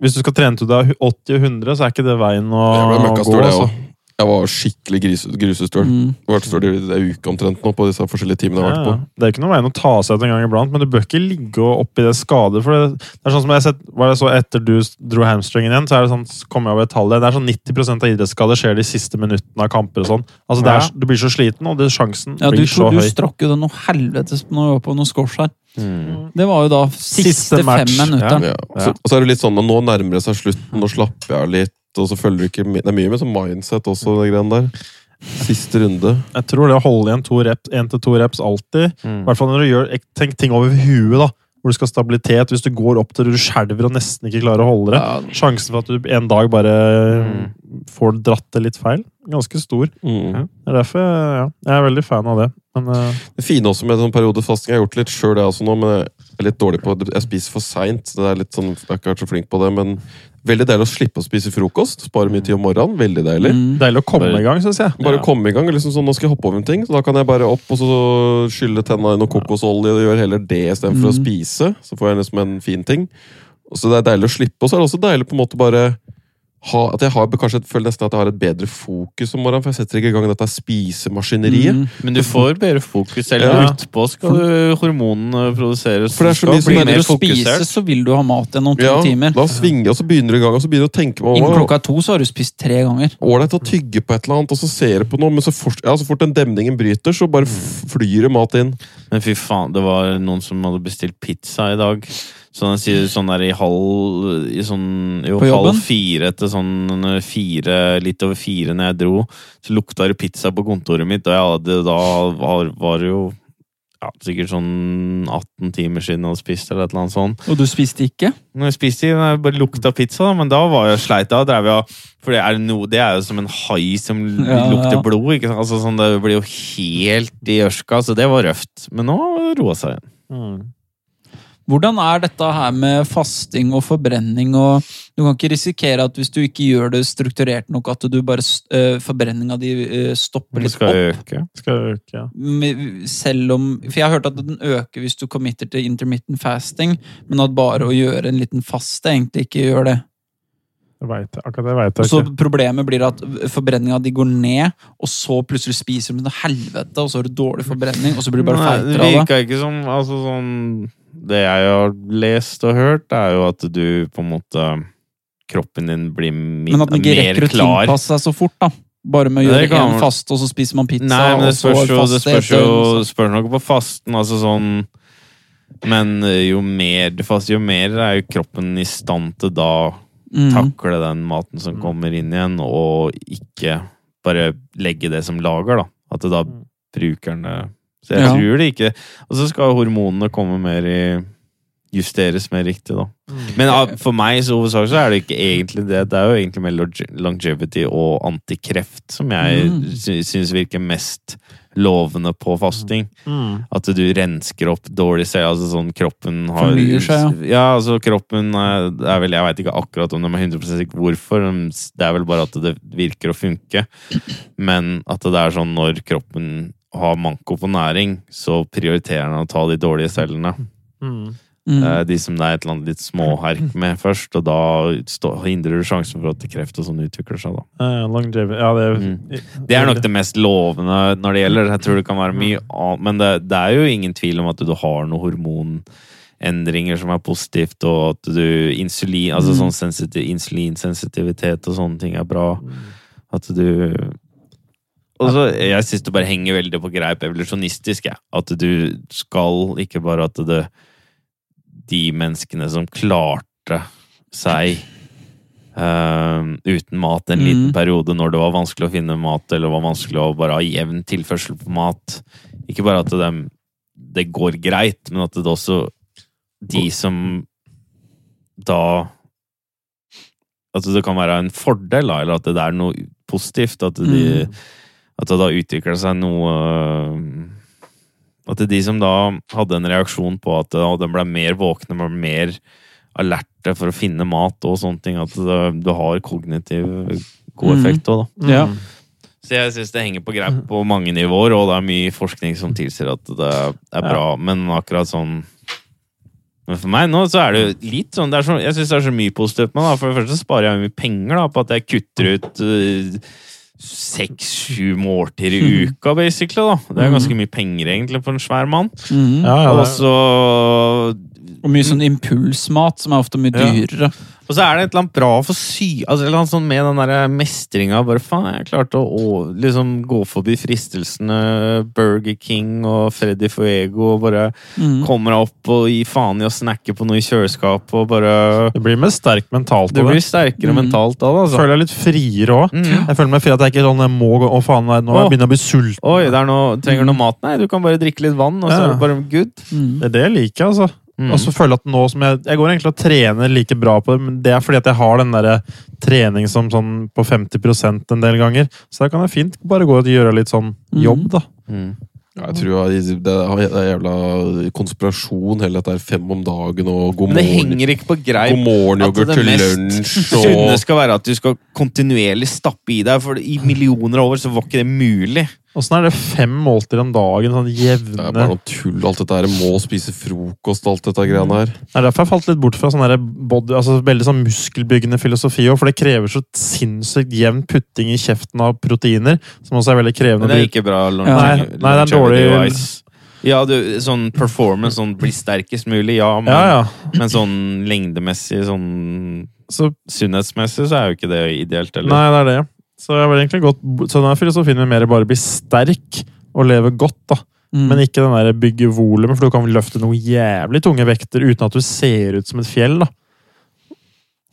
Speaker 3: Hvis du skal trene til du er 80-100, så er ikke det veien å,
Speaker 4: Jeg ble
Speaker 3: å gå.
Speaker 4: møkkastøl, jeg
Speaker 3: Altså.
Speaker 4: også. Jeg var skikkelig gris, grusestøl.
Speaker 1: Mm.
Speaker 4: Jeg har vært støl i en uke omtrent nå på disse forskjellige timene jeg har
Speaker 3: Ja,
Speaker 4: vært på.
Speaker 3: ja. Det er ikke noe veien å ta seg ut en gang iblant, men du bør ikke ligge og oppi det skade. For det, det er sånn som jeg har sett, var det så etter du s- dro hamstringen igjen, så er det sånn, så kom jeg over et tall der, Det er sånn 90 av idrettsskader skjer de siste minuttene av kamper og sånn. Altså, det er, s- Du blir så sliten, og det, sjansen
Speaker 1: Ja, du,
Speaker 3: blir så
Speaker 1: du
Speaker 3: høy.
Speaker 1: strakk jo det noe helvetes på noe, på noe squash her.
Speaker 2: Mm.
Speaker 1: Det var jo da siste,
Speaker 3: Siste
Speaker 1: fem
Speaker 3: match,
Speaker 1: minutter.
Speaker 4: Ja. Så, og så er det litt sånn at nå nærmer det seg slutten, nå slapper jeg av litt. Og så følger du ikke med. Det er mye med sånn mindset også, det greiene der. Siste runde.
Speaker 3: Jeg tror det å holde igjen to reps, en til to reps alltid, i
Speaker 2: Mm.
Speaker 3: hvert fall når du gjør ek- tenk ting over huet, da. Hvor du skal ha stabilitet, hvis du går opp til du skjelver og nesten ikke klarer å holde det. Sjansen for at du en dag bare
Speaker 2: Mm.
Speaker 3: får dratt det litt feil, ganske stor.
Speaker 4: Mm.
Speaker 3: Det er derfor ja, jeg er veldig fan av det. Men eh,
Speaker 4: Det fine også med sånn periodefasting, jeg har gjort litt sjøl det også nå, men jeg er litt dårlig på Jeg spiser for seint, så det er litt sånn, jeg er ikke vært så flink på det, men veldig deilig å slippe å spise frokost. Spare mye tid om morgenen. Veldig deilig.
Speaker 1: Mm.
Speaker 3: deilig å komme
Speaker 2: Bare-
Speaker 3: i gang, syns jeg.
Speaker 4: Bare komme i gang. liksom sånn, Nå skal jeg hoppe over en ting, så da kan jeg bare opp og så skylle tenna i noe kokosolje og gjøre heller det istedenfor
Speaker 1: Mm.
Speaker 4: å spise. Så får jeg liksom en fin ting. Og så Det er deilig å slippe, og så er det også deilig på en måte bare ha, at jeg har, kanskje jeg føler nesten at jeg har et bedre fokus om morgenen, for jeg setter ikke i gang dette spisemaskineriet.
Speaker 1: Mm.
Speaker 2: Men du får bedre fokus. Selv
Speaker 4: Ja.
Speaker 2: utpå skal du hormonene produseres.
Speaker 4: For det er
Speaker 2: Du
Speaker 4: så
Speaker 2: skal
Speaker 4: mye som
Speaker 2: bli mer
Speaker 4: er-
Speaker 1: Begynner du å spise,
Speaker 2: fokusert.
Speaker 1: så vil du ha mat igjen om to
Speaker 4: Ja,
Speaker 1: timer.
Speaker 4: da svinger jeg, og så begynner du i gang, og så begynner du å tenke på
Speaker 1: Innen
Speaker 4: «Å,
Speaker 1: klokka to så har du spist tre ganger.
Speaker 4: ålreit å tygge på et eller annet, og så ser du på noe, men så fort, ja, så fort den demningen bryter, så bare f-
Speaker 1: Mhm.
Speaker 4: flyr det mat inn.
Speaker 2: Men fy faen, det var noen som hadde bestilt pizza i dag. Så den sier sånn der i halv i sånn, jo,
Speaker 1: På jobben?
Speaker 2: halv fire til sånn fire, litt over fire når jeg dro. Så lukta det pizza på kontoret mitt, og jeg hadde, da var, var det jo ja, sikkert sånn 18 timer siden jeg hadde spist, eller et eller annet sånt.
Speaker 1: Og du spiste ikke?
Speaker 2: Når jeg spiste, jeg bare lukta pizza, da, men da var jeg sleit. Da drev jeg For det er, no, det er jo som en hai som l-
Speaker 1: Ja,
Speaker 2: lukter
Speaker 1: ja.
Speaker 2: blod. Ikke sant? Altså, sånn, det blir jo helt i ørska, så det var røft. Men nå roa seg igjen.
Speaker 3: Mm.
Speaker 1: Hvordan er dette her med fasting og forbrenning og Du kan ikke risikere at hvis du ikke gjør det strukturert nok, at du bare s- øh, forbrenninga di øh, stopper
Speaker 2: Det
Speaker 1: litt
Speaker 2: skal
Speaker 1: opp?
Speaker 2: øke.
Speaker 3: Skal jeg øke, ja.
Speaker 1: Med- Selv om For jeg har hørt at den øker hvis du committer til intermittent fasting, men at bare å gjøre en liten faste egentlig ikke gjør det.
Speaker 3: Jeg vet, det. akkurat det veit
Speaker 1: Og
Speaker 3: jeg
Speaker 1: så
Speaker 3: ikke.
Speaker 1: Problemet blir at forbrenninga di går ned, og så plutselig spiser du med noe helvete, og så har du dårlig forbrenning, og så blir du bare
Speaker 2: Nei, det
Speaker 1: feitere av det.
Speaker 2: virka ikke som altså, sånn, Det jeg har lest og hørt, er jo at du på en måte Kroppen din blir min,
Speaker 1: Men at den ikke
Speaker 2: mer
Speaker 1: rekker å
Speaker 2: klar.
Speaker 1: tilpasse seg så fort, da. Bare med å
Speaker 2: Det
Speaker 1: gjøre
Speaker 2: kan
Speaker 1: én
Speaker 2: vel-
Speaker 1: fast, og så spiser man pizza,
Speaker 2: Nei, men det
Speaker 1: og så
Speaker 2: spørs jo, det
Speaker 1: faste
Speaker 2: spørs jo
Speaker 1: etter- liksom.
Speaker 2: spørs noe på fasten, altså sånn Men eh, jo mer du faster, jo mer er jo kroppen i stand til da
Speaker 1: Mm.
Speaker 2: takle den maten som kommer inn igjen, og ikke bare legge det som lager, da. At det da bruker den det. Så jeg
Speaker 1: Ja.
Speaker 2: tror det ikke Og så skal jo hormonene komme mer i justeres mer riktig, da. Men ah, for meg så hovedsakelig så er det ikke egentlig det. Det er jo egentlig mer longe- longevity og antikreft som jeg
Speaker 1: Mm.
Speaker 2: sy- syns virker mest lovende på fasting.
Speaker 3: Mm.
Speaker 2: At du rensker opp dårlig selv, altså sånn kroppen har
Speaker 1: Fornyer seg,
Speaker 2: ja. altså kroppen eh, er vel Jeg veit ikke akkurat om de er 100 sikre hvorfor, men s- det er vel bare at det virker å funke. Men at det er sånn når kroppen har manko på næring, så prioriterer den å ta de dårlige cellene.
Speaker 1: Mm.
Speaker 2: Eh, De som det er et eller annet litt småherk med først, og da stå- hindrer du sjansen for at kreft og sånn utvikler seg, da.
Speaker 3: Eh, longevity Ja, det
Speaker 2: Mm.
Speaker 3: Mm.
Speaker 2: Det er nok det mest lovende når det gjelder. Jeg tror det kan være mye annet, men det, det er jo ingen tvil om at du har noen hormonendringer som er positivt, og at du insulin, altså sånn sensitiv, insulinsensitivitet og sånne ting er bra. At du og så, Jeg syns det bare henger veldig på greip evolusjonistisk, jeg. At du skal ikke bare at det De menneskene som klarte seg eh, uten mat en
Speaker 1: Mm.
Speaker 2: liten periode når det var vanskelig å finne mat, eller var vanskelig å bare ha jevn tilførsel på mat Ikke bare at det, det går greit, men at det også De som da At det kan være en fordel, da, eller at det er noe positivt. At, de, at det da utvikler seg noe øh, At det er de som da hadde en reaksjon på at øh, de ble mer våkne, ble mer alerte for å finne mat og sånne ting, at det, det har kognitiv god
Speaker 1: Mhm.
Speaker 2: effekt òg, da.
Speaker 1: Ja.
Speaker 3: Mm.
Speaker 2: Så jeg syns det henger på greip på mange nivåer, og det er mye forskning som tilsier at det er bra, men akkurat sånn men for meg nå så er det jo litt sånn, det er sånn Jeg syns det er så mye positivt med det. da. For det første så sparer jeg mye penger da, på at jeg kutter ut seks-sju måltider i uka, basically. da. Det er ganske mye penger egentlig for en svær mann.
Speaker 1: Mm.
Speaker 3: Mm. Ja, ja,
Speaker 2: Og
Speaker 3: det,
Speaker 2: så
Speaker 1: Og mye sånn impulsmat, som er ofte mye
Speaker 2: Ja.
Speaker 1: dyrere.
Speaker 2: Og så er det et eller annet bra for sy... Altså, et eller annet sånn med den der mestringa. Bare faen, jeg klarte å, å liksom gå forbi fristelsene Burger King og Freddy Fuego og bare
Speaker 1: Mm.
Speaker 2: kommer meg opp og gir faen i å snakke på noe i kjøleskapet og bare
Speaker 3: det blir mer sterk mentalt.
Speaker 2: Du
Speaker 3: av
Speaker 2: blir
Speaker 3: det.
Speaker 2: sterkere
Speaker 1: Mm.
Speaker 2: mentalt da, da. Altså.
Speaker 3: Føler jeg litt friere òg.
Speaker 2: Mm.
Speaker 3: Jeg føler meg fri at jeg ikke er sånn jeg må gå Å, faen, nei, nå har jeg
Speaker 2: Å.
Speaker 3: begynner jeg å bli sulten.
Speaker 2: Oi, det er noe, trenger du noe mat? Nei, du kan bare drikke litt vann, og så
Speaker 3: Ja.
Speaker 2: er det bare good.
Speaker 1: Mm.
Speaker 3: Det er det jeg liker, altså.
Speaker 2: Mm.
Speaker 3: Og så føler jeg at nå som jeg Jeg går egentlig og trener like bra på det, men det er fordi at jeg har den derre trening som sånn på 50 en del ganger. Så da kan jeg fint bare gå og gjøre litt sånn jobb, da.
Speaker 2: Mm.
Speaker 4: Ja, jeg tror jeg, det er det er jævla konspirasjon, hele dette her fem om dagen og god
Speaker 2: Men det
Speaker 4: morgen.
Speaker 2: henger ikke på greip.
Speaker 4: God morgen-yoghurt
Speaker 2: At
Speaker 4: til
Speaker 2: det
Speaker 4: lunsj og
Speaker 2: Sunne skal være at du skal kontinuerlig stappe i deg, for i millioner av år så var ikke det mulig.
Speaker 3: Åssen er det fem måltider om dagen? Sånn
Speaker 4: Det
Speaker 3: jevne
Speaker 4: er bare noe tull, alt dette her. Må spise frokost, alt dette greiene her.
Speaker 3: Det er derfor jeg falt litt bort fra sånn der body, altså veldig sånn muskelbyggende filosofi òg, for det krever så sinnssykt jevn putting i kjeften av proteiner, som også er veldig krevende.
Speaker 2: Men det er ikke bra. Long,
Speaker 1: Ja.
Speaker 3: Nei, nei, det er dårlig-
Speaker 2: longevity-wise. Ja, du, sånn performance, sånn bli sterkest mulig, ja. Men,
Speaker 3: ja, ja.
Speaker 2: men sånn lengdemessig, sånn
Speaker 3: Så,
Speaker 2: sunnhetsmessig, så er jo ikke det ideelt, eller?
Speaker 3: nei, det er det. Så jeg vil egentlig godt, så den her filosofien vil mer bare bli sterk og leve godt, da.
Speaker 1: Mm.
Speaker 3: Men ikke den der bygge volumet, for du kan løfte noen jævlig tunge vekter uten at du ser ut som et fjell, da.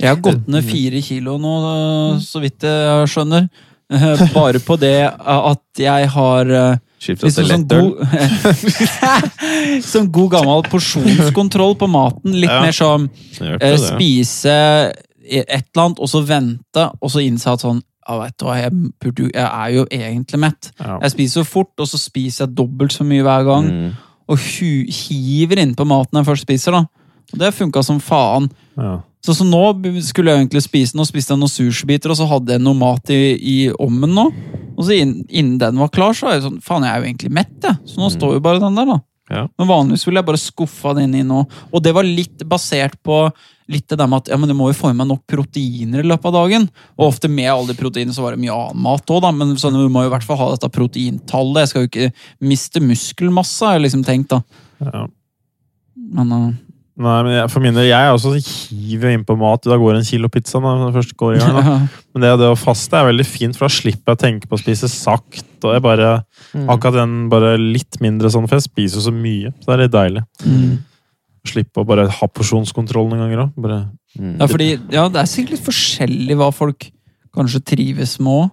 Speaker 1: Jeg har gått ned fire kilo nå, da, så vidt jeg skjønner. Eh, Bare på det at jeg har eh,
Speaker 2: Skiftet
Speaker 1: liksom
Speaker 2: til
Speaker 1: sånn
Speaker 2: lettøl.
Speaker 1: god Sånn god gammel porsjonskontroll på maten. Litt
Speaker 2: Ja.
Speaker 1: mer sånn
Speaker 2: Hørte
Speaker 1: eh,
Speaker 2: det.
Speaker 1: spise e- et eller annet, og så vente, og så innse at sånn ja, vet du hva, jeg, burde, jo- jeg er jo egentlig mett.
Speaker 3: Ja.
Speaker 1: Jeg spiser jo fort, og så spiser jeg dobbelt så mye hver gang.
Speaker 2: Mm.
Speaker 1: Og hu hiver innpå maten jeg først spiser. da. Og det funka som faen.
Speaker 3: Ja.
Speaker 1: Så, så nå b- skulle jeg egentlig spise Nå spiste jeg noen sushibiter, og så hadde jeg noe mat i, i ommen nå. Og så inn, innen den var klar, så var jeg sånn Faen, jeg er jo egentlig mett, jeg. Så
Speaker 3: Mm.
Speaker 1: nå står jo bare den der, da.
Speaker 2: Ja.
Speaker 1: Men vanligvis ville jeg bare skuffa den inn i nå. Og det var litt basert på litt det der med at ja, men du må jo få i meg nok proteiner i løpet av dagen. Og ofte med alle de proteinene så var det mye annen mat òg, da. Men sånn, du må jo i hvert fall ha dette proteintallet. Jeg skal jo ikke miste muskelmasse, har jeg liksom tenkt, da.
Speaker 3: Ja.
Speaker 1: Men eh,
Speaker 3: Nei, men jeg, for min del, jeg er også hiver innpå mat. Da går en kilo pizza da, når jeg først går i gang. da. Men det, det å faste er veldig fint, for da slipper jeg å tenke på å spise sakte. Og jeg bare, Akkurat den bare litt mindre sånn, for jeg spiser jo så mye. Så det er litt deilig.
Speaker 1: Mm.
Speaker 3: Slippe å bare ha porsjonskontroll noen ganger òg. Bare
Speaker 2: Mm.
Speaker 1: Ja, fordi, ja, det er sikkert litt forskjellig hva folk kanskje trives med òg.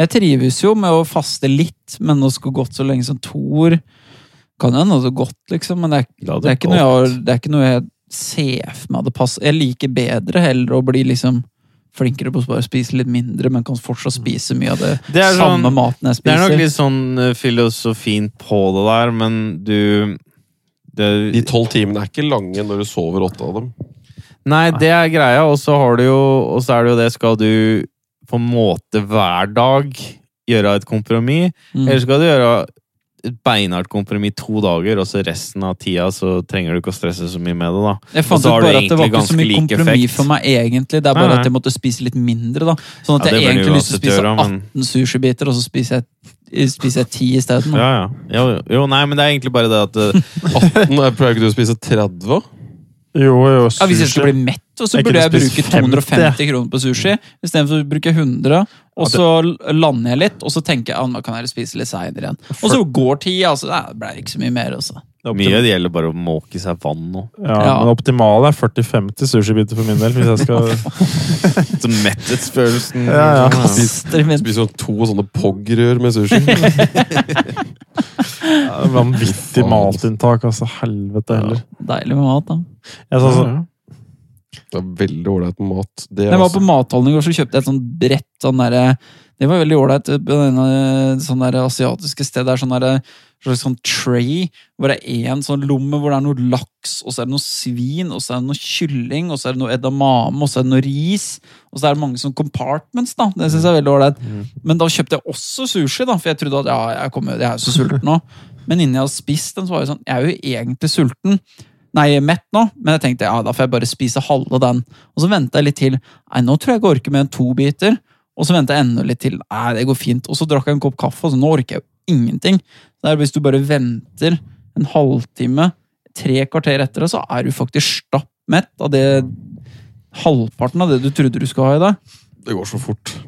Speaker 1: Jeg trives jo med å faste litt, men å skulle gått så lenge som to år Kan jo hende det har gått, liksom, men det er,
Speaker 2: La det
Speaker 1: det er, ikke,
Speaker 2: gå.
Speaker 1: noe jeg, har- det er ikke noe jeg se for meg det passer. Jeg liker bedre heller å bli liksom flinkere på å bare spise litt mindre, men kan fortsatt spise mye av det,
Speaker 2: Det er
Speaker 1: samme
Speaker 2: sånn-
Speaker 1: maten jeg
Speaker 2: Det
Speaker 1: spiser.
Speaker 2: er nok litt sånn eh, filosofien på det der, men du
Speaker 4: De
Speaker 2: det,
Speaker 4: tolv timene er ikke lange når du sover åtte av dem.
Speaker 2: Nei, det er greia, og så har du jo Og så er det jo det, skal du på en måte hver dag gjøre et kompromiss?
Speaker 1: Mm.
Speaker 2: Eller skal du gjøre et beinhardt kompromiss to dager, og så resten av tida så trenger du ikke å stresse så mye med det, da.
Speaker 1: Jeg
Speaker 2: Og
Speaker 1: fant ut
Speaker 2: så har du
Speaker 1: bare at det var
Speaker 2: egentlig
Speaker 1: ikke så
Speaker 2: ganske
Speaker 1: mye
Speaker 2: lik
Speaker 1: kompromiss
Speaker 2: effekt.
Speaker 1: for meg, egentlig. Det er
Speaker 2: Nei,
Speaker 1: bare
Speaker 2: nei.
Speaker 1: at jeg måtte spise litt mindre, da. Sånn at
Speaker 2: Ja, det
Speaker 1: jeg
Speaker 2: burde
Speaker 1: egentlig
Speaker 2: du
Speaker 1: har lyst til å
Speaker 2: uansett
Speaker 1: spise
Speaker 2: gjøre, men-
Speaker 1: 18 sushibiter, og så spiser jeg, eh, spiser jeg 10 isteden. da.
Speaker 2: Ja, ja. Jo, jo. jo, nei, men det er egentlig bare det at eh,
Speaker 4: 18, jeg pleier ikke du å spise 30?
Speaker 3: Jo, jo,
Speaker 1: Ja, hvis jeg
Speaker 3: sushi.
Speaker 1: skulle bli mett, så
Speaker 3: Jeg
Speaker 1: burde
Speaker 3: kunne
Speaker 1: jeg
Speaker 3: spist
Speaker 1: bruke 250 kroner på sushi. Istedenfor å bruke 100, og så l- lander jeg litt, og så tenker jeg at nå kan jeg spise litt seinere igjen. Og så går tida, altså. Nei, det ble ikke så mye mer, altså.
Speaker 2: mye det gjelder bare å måke seg vann nå.
Speaker 3: Ja,
Speaker 1: Ja.
Speaker 3: men det optimale er 40-50 sushibiter for min del. Hvis jeg skal
Speaker 2: Så metthetsfølelsen
Speaker 3: Ja, ja.
Speaker 1: Kaster min
Speaker 4: Spiser sånn to sånne pog-rør med sushi.
Speaker 3: Vanvittig
Speaker 4: Faen.
Speaker 3: matinntak, altså. Helvete heller.
Speaker 1: Deilig med mat, da.
Speaker 3: Jeg sa sånn,
Speaker 4: Det er veldig ålreit med mat. Det
Speaker 1: Når jeg var
Speaker 4: altså.
Speaker 1: på mathallen i går, så kjøpte jeg et sånn brett sånn derre Det var veldig ålreit. eh, på det ene Sånn der asiatiske stedet er sånn derre slags sånn tray, hvor det er én sånn lomme hvor det er noe laks, og så er det noe svin, og så er det noe kylling, og så er det noe edamame, og så er det noe ris, og så er det mange sånn compartments, da. Det syns jeg er veldig ålreit. Men da kjøpte jeg også sushi, da, for jeg trodde at ja, jeg, kommer, jeg er jo så sulten nå. Men innen jeg hadde spist den, så var jeg sånn Jeg er jo egentlig sulten. Nei, jeg er mett nå, men jeg tenkte ja, da får jeg bare spise halve den. Og så venta jeg litt til. Nei, nå tror jeg jeg orker mer enn to biter. Og så venta jeg enda litt til. Nei, det går fint. Og så drakk jeg en kopp kaffe, og så nå orker jeg jo ingenting. Så det er hvis du bare venter en halvtime, tre kvarter etter det, så er du faktisk stapp mett av det Halvparten av det du trodde du skulle ha i dag.
Speaker 4: Det går så fort.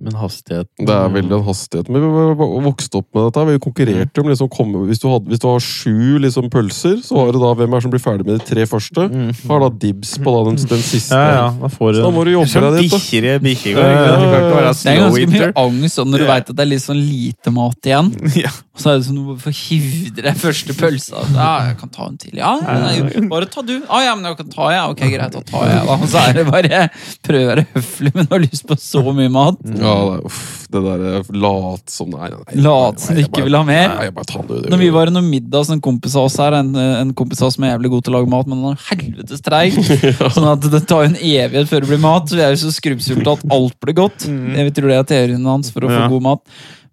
Speaker 2: Men hastigheten
Speaker 4: Det
Speaker 1: Mm.
Speaker 4: er veldig en hastighet. Men vi var- var- vokste opp med dette. Vi konkurrerte om liksom, komme, hvis, du hadde, hvis du har sju liksom, pølser, så var det da hvem er det som blir ferdig med de tre første.
Speaker 2: Mm.
Speaker 4: Har da dibs på da, den, den siste.
Speaker 3: ja, ja, da får
Speaker 4: Så da må
Speaker 3: du
Speaker 4: du jobbe
Speaker 2: Som
Speaker 4: deg dit. Da.
Speaker 2: bikkjer i bikkjegård.
Speaker 3: Ja, ja,
Speaker 2: Det
Speaker 3: ja.
Speaker 2: kan ikke være
Speaker 1: Det er
Speaker 2: slow
Speaker 1: ganske mye
Speaker 2: eater.
Speaker 1: angst sånn, når du vet
Speaker 2: Ja.
Speaker 1: veit at det er litt sånn lite mat igjen.
Speaker 2: Ja.
Speaker 1: Og så er det sånn, hvorfor hivde deg første pølsa? Ja, jeg kan ta en til. Ja, nei, bare ta du. Ah, ja, men jeg kan ta, ja. Ok, greit, da tar jeg. Da. Og så er det bare prøv å være høflig, men du har lyst på så mye mat.
Speaker 4: Mm. Ja, det, uff, det der eh, lat som Nei, nei, nei.
Speaker 1: Late som du
Speaker 4: Nei, jeg
Speaker 1: ikke
Speaker 4: bare-
Speaker 1: vil ha mer.
Speaker 4: Nei, jeg bare tar det. det-
Speaker 1: Når vi var i noen middag hos en kompis av oss her, en, en kompis av oss som er jævlig god til å lage mat, men han er helvetes treig, sånn at det tar jo en evighet før det blir mat, så vi er jo så skrubbsulta at alt blir godt. Jeg tror det er teorien hans for å få
Speaker 2: Mm. Ja.
Speaker 1: god mat.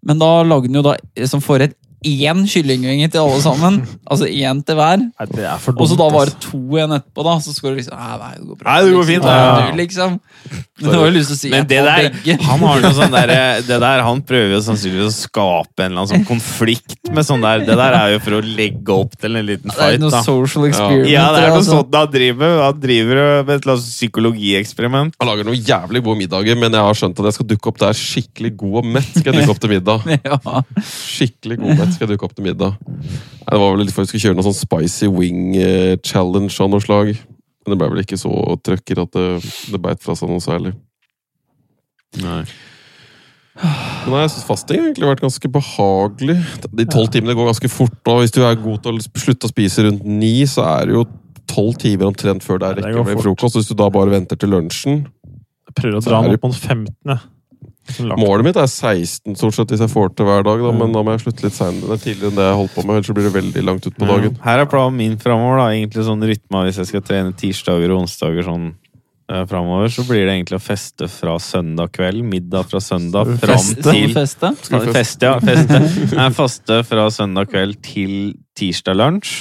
Speaker 1: Men da lagde han jo da som forrett én kyllingvinge til alle sammen. Altså én til hver.
Speaker 3: Nei, det er for dumt.
Speaker 1: Og så da var
Speaker 3: ass.
Speaker 1: det to igjen etterpå, da. Så skal du liksom Nei, nei, det går bra.
Speaker 2: Nei, det går
Speaker 1: Liksom,
Speaker 2: fint,
Speaker 3: ja.
Speaker 1: nei, du, liksom. Men det var jo lyst til å si
Speaker 2: Men
Speaker 1: jeg
Speaker 2: det
Speaker 1: får
Speaker 2: der,
Speaker 1: begge.
Speaker 2: han har noe sånn der, det der Han prøver jo sannsynligvis å skape en eller annen sånn konflikt med sånn der. Det der er jo for å legge opp til en liten
Speaker 1: Det er
Speaker 2: fight,
Speaker 1: noe
Speaker 2: da.
Speaker 1: social experiment.
Speaker 2: Ja, det er noe
Speaker 1: altså.
Speaker 2: sånt han driver med. Han driver med et eller annet psykologieksperiment.
Speaker 4: Jeg lager noen jævlig gode middager, men jeg har skjønt at jeg skal dukke opp der skikkelig god og mett. skal jeg dukke opp til middag.
Speaker 1: Ja.
Speaker 4: Skikkelig god og mett skal jeg dukke opp til middag. Nei, Det var vel litt for at vi skulle kjøre noen sånn spicy wing eh, challenge av noe slag. Men det ble vel ikke så trøkker at det, det beit fra seg noe særlig. Men nei, jeg synes fasting har egentlig vært ganske behagelig. De tolv timene går ganske fort. Og hvis du er god til å slutte å spise rundt ni, så er det jo tolv timer omtrent før det er
Speaker 3: Ja, det
Speaker 4: rekke å
Speaker 3: går
Speaker 4: bli
Speaker 3: fort.
Speaker 4: frokost. Hvis du da bare venter til lunsjen
Speaker 3: Jeg prøver å dra
Speaker 4: Så er
Speaker 3: den
Speaker 4: det-
Speaker 3: opp mot 15. jeg.
Speaker 4: Målet mitt er 16 stort sett hvis jeg får til hver dag, da, men da må jeg slutte litt senere, tidligere enn det jeg holdt på med. Ellers så blir det veldig langt ut på dagen.
Speaker 2: Her er planen min framover. da. Egentlig sånn rytme av hvis jeg skal trene tirsdager og onsdager sånn eh, framover, så blir det egentlig å feste fra søndag kveld, middag fra søndag,
Speaker 3: Skal du
Speaker 2: fram
Speaker 1: Feste.
Speaker 2: til
Speaker 1: Feste.
Speaker 2: Skal vi feste, ja. Feste. Nei, faste fra søndag kveld til tirsdag lunsj.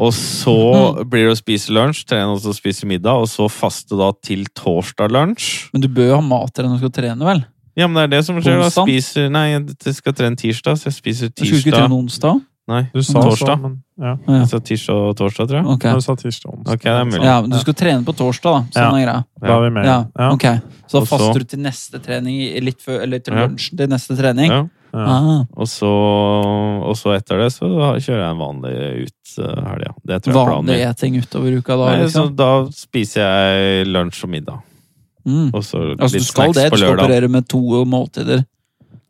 Speaker 2: Og så
Speaker 1: Mm.
Speaker 2: blir det å spise lunsj, trene og så spise middag, og så faste da til torsdag lunsj.
Speaker 1: Men du bør jo ha mat til deg når du skal trene, vel?
Speaker 2: Ja, men det er det som skjer. da.
Speaker 1: Onsdag?
Speaker 2: Spiser, nei, jeg skal trene tirsdag, så jeg spiser
Speaker 1: Du skulle ikke
Speaker 2: tirsdag
Speaker 1: trene onsdag?
Speaker 2: Nei,
Speaker 3: Du sa
Speaker 2: torsdag.
Speaker 3: så, men ja.
Speaker 1: Ja.
Speaker 2: Så tirsdag og torsdag, tror jeg.
Speaker 1: Ok.
Speaker 3: Men Du sa tirsdag onsdag.
Speaker 2: Ok, det er mulig.
Speaker 1: Ja, men du skal trene på torsdag, da. Sånn er greia.
Speaker 3: Da er vi med.
Speaker 1: Ja,
Speaker 3: Ja.
Speaker 1: ok. Så
Speaker 2: Og
Speaker 1: da
Speaker 2: så-
Speaker 1: faster du til neste trening, i- litt før, eller til
Speaker 2: Ja.
Speaker 1: lunsjen til neste trening?
Speaker 2: Ja.
Speaker 3: Ja.
Speaker 1: Ah,
Speaker 2: Og, så, og så etter det så kjører jeg en vanlig ut eh, helg, ja. Det tror jeg er planen
Speaker 1: vanlig
Speaker 2: min.
Speaker 1: eting utover uka da,
Speaker 2: Nei, så
Speaker 1: liksom?
Speaker 2: da spiser jeg lunsj og middag.
Speaker 1: Mm.
Speaker 2: Og
Speaker 1: Altså,
Speaker 2: så
Speaker 1: du
Speaker 2: litt
Speaker 1: skal
Speaker 2: snacks
Speaker 1: det,
Speaker 2: på
Speaker 1: du skal
Speaker 2: lørdag.
Speaker 1: operere med to måltider.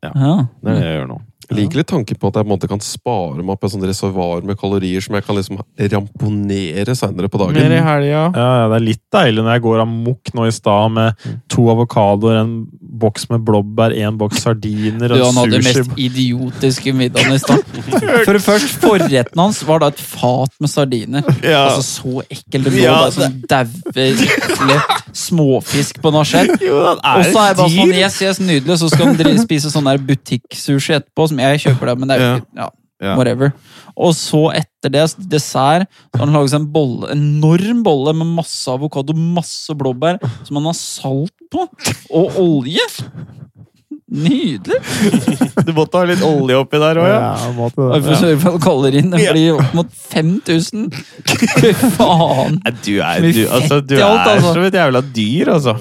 Speaker 2: Ja.
Speaker 1: Ja.
Speaker 2: Det er det jeg gjør nå.
Speaker 4: Jeg liker litt tanken på at jeg på en måte kan spare meg opp et sånt reservoar med kalorier som jeg kan liksom ramponere seinere på dagen.
Speaker 2: Mer i helga.
Speaker 3: Ja, ja, det er litt deilig når jeg går amok nå i stad med to avokadoer, en boks med blåbær, en boks sardiner,
Speaker 1: Du, han
Speaker 3: en
Speaker 1: hadde den
Speaker 3: sushi
Speaker 1: mest idiotiske middagen i stad. For det første, forretten hans var da et fat med sardiner.
Speaker 2: Ja.
Speaker 1: Altså Så ekkel det lå da,
Speaker 2: Ja,
Speaker 1: sånn daue, ekle småfisk på nasjett.
Speaker 2: Jonan
Speaker 1: Og så er jeg bare sånn yes, yes, nydelig, så skal han dri- spise sånn der butikksushi etterpå, som jeg kjøper der, men det er jo ikke ja,
Speaker 2: Ja.
Speaker 1: whatever. Og så etter det, dessert, så har han laget seg en bolle, enorm bolle med masse avokado, masse blåbær, som han har salt på, og olje. Nydelig!
Speaker 2: Du måtte ha litt olje oppi der òg, ja.
Speaker 3: Ja, måtte
Speaker 1: Og
Speaker 3: det.
Speaker 1: Vi får sørge for at han kaller inn. Det
Speaker 2: Ja.
Speaker 1: blir opp mot 5000! Fy faen!
Speaker 2: Nei, Du er,
Speaker 1: Mye
Speaker 2: du, altså,
Speaker 1: fett
Speaker 2: du
Speaker 1: i alt,
Speaker 2: er
Speaker 1: altså.
Speaker 2: som et jævla dyr, altså.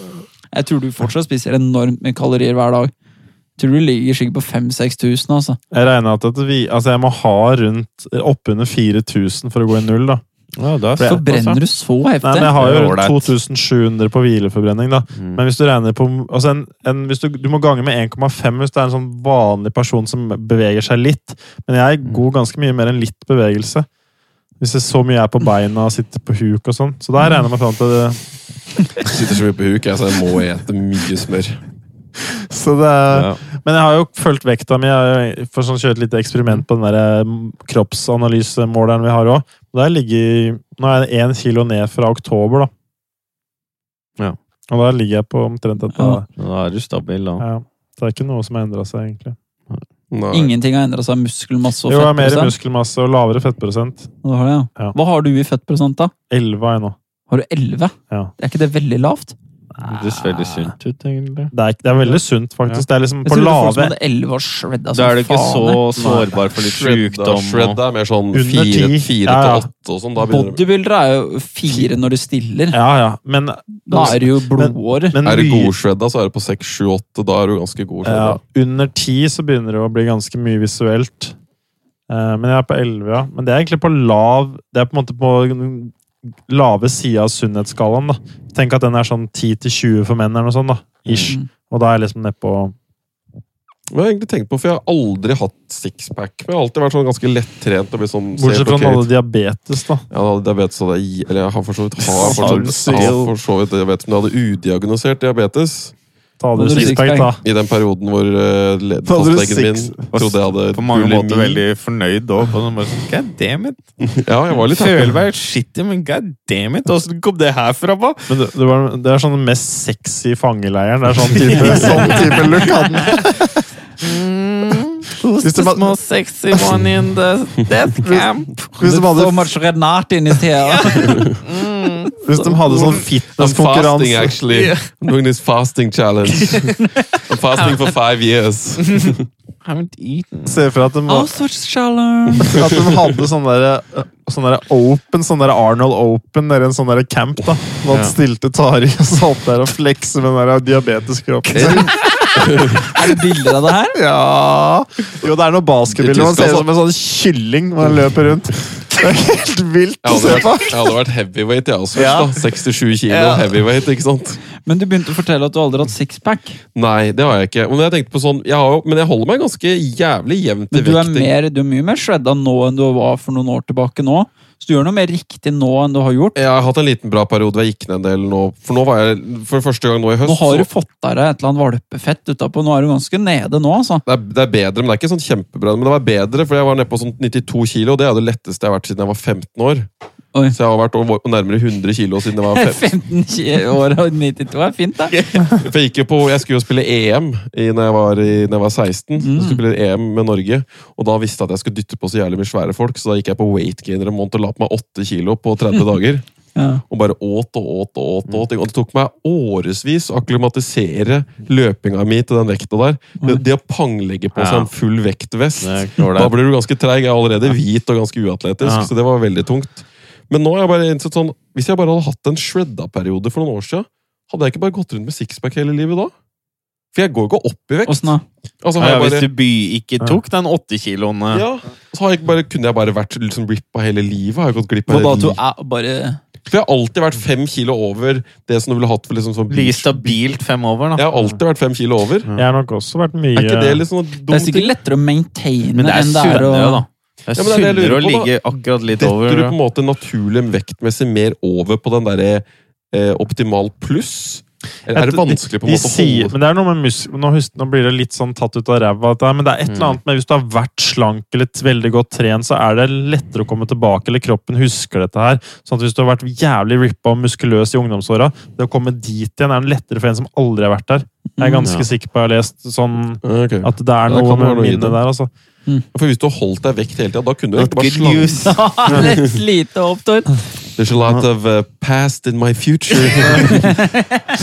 Speaker 1: Jeg tror du fortsatt spiser enormt med kalorier hver dag. Jeg tror du ligger sikkert på 5000-6000, altså.
Speaker 3: Jeg regner at, at vi, altså jeg må ha rundt eh, oppunder 4000 for å gå i null, da.
Speaker 2: Ja, du er altså.
Speaker 3: For jeg-
Speaker 1: Så brenner du så
Speaker 3: Nei, men
Speaker 1: heftig.
Speaker 3: jeg har jo
Speaker 2: Det er
Speaker 3: rundt
Speaker 2: ålreit.
Speaker 3: 2700 på hvileforbrenning, da.
Speaker 2: Mm.
Speaker 3: Men hvis du regner på altså en, en, hvis du, du må gange med 1,5 hvis det er en sånn vanlig person som beveger seg litt. Men jeg går ganske mye mer enn litt bevegelse. Hvis det er så mye jeg er på beina og sitter på huk og sånn. Så der regner jeg meg fram til det.
Speaker 4: Jeg sitter så mye på huk, jeg, så jeg må ete mye smør.
Speaker 3: Så det er,
Speaker 2: Ja.
Speaker 3: Men jeg har jo fulgt vekta mi. Jeg har jo for sånn kjørt litt eksperiment på den der eh, kroppsanalysemåleren vi har òg. Der ligger Nå er jeg én kilo ned fra oktober, da.
Speaker 2: Ja.
Speaker 3: Og der ligger jeg på omtrent dette.
Speaker 1: Ja.
Speaker 2: Da er du stabil, da.
Speaker 3: Ja. Så det er ikke noe som har endra seg, egentlig.
Speaker 4: Nei.
Speaker 1: Ingenting har endra seg. Muskelmasse og
Speaker 3: Jo, jeg har mer
Speaker 1: fettprosent.
Speaker 3: muskelmasse og lavere fettprosent.
Speaker 1: Du har det,
Speaker 3: Ja.
Speaker 1: ja. Hva har du i fettprosent, da?
Speaker 3: 11 er jeg nå.
Speaker 1: Har du 11?
Speaker 3: Ja.
Speaker 1: Er ikke det veldig lavt?
Speaker 2: Det ser veldig sunt ut, egentlig.
Speaker 3: Det er, ikke- det er veldig sunt, faktisk. Det er liksom
Speaker 1: Jeg
Speaker 3: på
Speaker 1: trodde folk som
Speaker 3: lave
Speaker 1: hadde 11 var shredda
Speaker 2: Da
Speaker 1: som
Speaker 2: er du ikke
Speaker 1: altså, faen.
Speaker 2: så
Speaker 1: jeg.
Speaker 2: sårbar for litt
Speaker 4: Shredda,
Speaker 2: sjukdom. og-
Speaker 4: shredda er mer sånn
Speaker 3: Under
Speaker 4: fire,
Speaker 3: ti.
Speaker 4: fire
Speaker 3: Ja, ja.
Speaker 4: til åtte og sånn. Da begynner det
Speaker 1: Bodybuildere er jo fire når de stiller.
Speaker 3: Ja, ja. Men,
Speaker 1: Da er det jo blodårer.
Speaker 3: men
Speaker 4: Er du
Speaker 3: mye-
Speaker 4: god shredda, så er det på seks, sju, åtte. Da er du ganske god shredda.
Speaker 3: ja, under 10 så begynner det å bli ganske mye visuelt. Eh, men jeg er på 11, ja. Men det er egentlig på lav Det er på en måte på den lave sida av sunnhetsskalaen, da. Tenk at den er sånn 10 til 20 for menn, eller noe sånt, da. Ish.
Speaker 1: Mm.
Speaker 3: Og da er jeg liksom nedpå
Speaker 4: Hva har jeg egentlig tenkt på, for jeg har aldri hatt sixpack. Men jeg har alltid vært sånn ganske lettrent. og blitt sånn
Speaker 3: Bortsett
Speaker 4: ser
Speaker 3: fra
Speaker 4: ok
Speaker 3: når du hadde diabetes, da.
Speaker 4: Ja, da- diabetes hadde jeg gi- Eller jeg har for så vidt har for så
Speaker 3: Sinnssykt.
Speaker 4: vidt, har for så vidt diabetes, men jeg hadde udiagnosert diabetes
Speaker 3: Ta
Speaker 1: Nå
Speaker 3: du
Speaker 1: hadde du
Speaker 3: sixpack,
Speaker 1: sixpack.
Speaker 3: da.
Speaker 4: i den perioden hvor eh, le-
Speaker 3: Da hadde du
Speaker 4: fastlegen min
Speaker 3: six.
Speaker 4: trodde jeg hadde
Speaker 2: På mange
Speaker 4: bulimi.
Speaker 2: måter veldig fornøyd da. på sånn bare sånn, God damn it!
Speaker 4: Ja, jeg var litt
Speaker 2: Føler meg skittig, men god damn it! Åssen kom det her fra? Ba?
Speaker 3: Men det, det, var, det er sånn den mest sexy fangeleiren. Det er sånn type, sånn type look. hadde den.
Speaker 2: Who's
Speaker 3: the most
Speaker 2: sexy one in the death camp?
Speaker 3: Hvis
Speaker 1: So
Speaker 3: de hadde,
Speaker 1: much renat inni tea.
Speaker 3: hvis de hadde sånn
Speaker 4: I'm fasting,
Speaker 3: fitnesskonkurranse
Speaker 4: actually. I'm doing this fasting challenge. I'm fasting for five years.
Speaker 2: Haven't eaten.
Speaker 3: Se for deg at de,
Speaker 1: Oh, such shallow.
Speaker 3: at de hadde sånn der, sånn der open, sånn der Arnold Open nede i en sånn der camp. da Hvor han stilte Tari og satt der og flekset med den der diabeteskroppen. sin.
Speaker 1: Er det bilder av det her?
Speaker 3: Ja Jo, det er noen basketbilder. Man ser ut som en sånn kylling når han løper rundt. Det er helt vilt
Speaker 4: Jeg
Speaker 3: å
Speaker 4: hadde
Speaker 3: se på.
Speaker 4: vært, jeg hadde vært heavyweight, jeg også.
Speaker 3: Ja.
Speaker 4: først da. 67 kilo
Speaker 3: Ja.
Speaker 4: heavyweight, ikke sant?
Speaker 1: Men du begynte å fortelle at du aldri har hatt sixpack.
Speaker 4: Nei, det har jeg ikke. Men jeg tenkte på sånn, jeg har jo, men jeg holder meg ganske jævlig jevnt i
Speaker 1: Men du er,
Speaker 4: vekt. ikke?
Speaker 1: mer, du er mye mer shredda nå enn du var for noen år tilbake nå. Så du gjør noe mer riktig nå enn du har gjort.
Speaker 4: Jeg har hatt en liten bra periode hvor jeg gikk ned en del nå. For nå var jeg, for første gang nå i høst
Speaker 1: Nå har
Speaker 4: så-
Speaker 1: du fått deg et eller annet valpefett utapå. Nå er du ganske nede nå, altså.
Speaker 4: det er, det er bedre, men det er ikke sånn kjempebra. Men det var bedre, for jeg var nede på sånn 92 kilo, og det er det letteste jeg har vært siden jeg var 15 år.
Speaker 1: Oi.
Speaker 4: Så jeg har vært over, nærmere 100 kilo siden jeg var 15.
Speaker 1: 15 år og 92 er fint, det.
Speaker 4: For jeg, gikk jo på, jeg skulle jo spille EM i, når, jeg var, i, når jeg var 16.
Speaker 2: Mm.
Speaker 4: Jeg skulle spille EM med Norge, og da visste jeg at jeg skulle dytte på så jævlig mye svære folk, så da gikk jeg på weight gainer en måned og la på meg 8 kilo på 30 dager.
Speaker 1: Ja.
Speaker 4: Og bare åt og åt og åt. og åt. Og det tok meg årevis å akklimatisere løpinga mi til den vekta der. Det, det å panglegge på seg
Speaker 2: Mm. Ja.
Speaker 4: en full vektvest,
Speaker 2: Det er ikke ålreit.
Speaker 4: da blir du ganske treig. Jeg er allerede hvit og ganske uatletisk,
Speaker 3: Ja.
Speaker 4: så det var veldig tungt. Men nå har jeg bare innsett sånn, hvis jeg bare hadde hatt en shredda-periode for noen år siden, hadde jeg ikke bare gått rundt med sixpack hele livet da? For jeg går jo ikke opp i vekt.
Speaker 1: Åssen da?
Speaker 4: Altså, har
Speaker 2: Ja,
Speaker 4: jeg
Speaker 2: hvis
Speaker 4: bare,
Speaker 2: du by ikke tok den eh, åttekiloen
Speaker 4: ja, så har jeg ikke bare, kunne jeg bare vært liksom, rippa hele livet. Har jeg gått glipp
Speaker 1: På
Speaker 4: av hele
Speaker 1: dato
Speaker 4: livet?
Speaker 1: er bare
Speaker 4: For jeg har alltid vært fem kilo over det som du ville hatt for liksom sånn
Speaker 2: Ligger stabilt fem over,
Speaker 4: Jeg
Speaker 2: da.
Speaker 4: har alltid vævært fem kilo over.
Speaker 3: Jeg har nok også vært mye
Speaker 4: Er ikke det litt sånn dum
Speaker 1: Det er sikkert
Speaker 4: ting?
Speaker 1: lettere å maintaine
Speaker 2: Men det er
Speaker 1: enn det er å
Speaker 2: sunnere, da. Det er
Speaker 4: Ja, men det er det jeg
Speaker 2: sunnere å
Speaker 4: lurer på, da.
Speaker 2: ligge akkurat litt
Speaker 4: Detter
Speaker 2: over. eh,
Speaker 4: du på
Speaker 2: da.
Speaker 4: en måte naturlig vektmessig mer over på den derre eh, optimal pluss? Eller er det vanskelig på en
Speaker 3: de
Speaker 4: måte å
Speaker 3: sier,
Speaker 4: holde
Speaker 3: Men det er noe med musk... Nå, hus- nå blir det litt sånn tatt ut av ræva, dette her, men det er et eller
Speaker 2: Mm.
Speaker 3: annet med hvis du har vært slank eller t- veldig godt trent, så er det lettere å komme tilbake, eller kroppen husker dette her. Sånn at hvis du har vært jævlig rippa og muskuløs i ungdomsåra, det å komme dit igjen er lettere for en som aldri har vært der. Jeg er ganske sikker på jeg har lest sånn
Speaker 4: Eh, Ok.
Speaker 3: at det er
Speaker 4: Ja, det
Speaker 3: noe
Speaker 4: kan være
Speaker 3: med
Speaker 4: noe i
Speaker 3: minnet
Speaker 4: det.
Speaker 3: der, altså.
Speaker 4: For hvis du har holdt deg vekt hele tida, da kunne du
Speaker 2: Not
Speaker 4: egentlig bare
Speaker 2: good
Speaker 4: slange
Speaker 2: news.
Speaker 1: Litt lite opptår.
Speaker 4: There's a lot of uh, past in my future.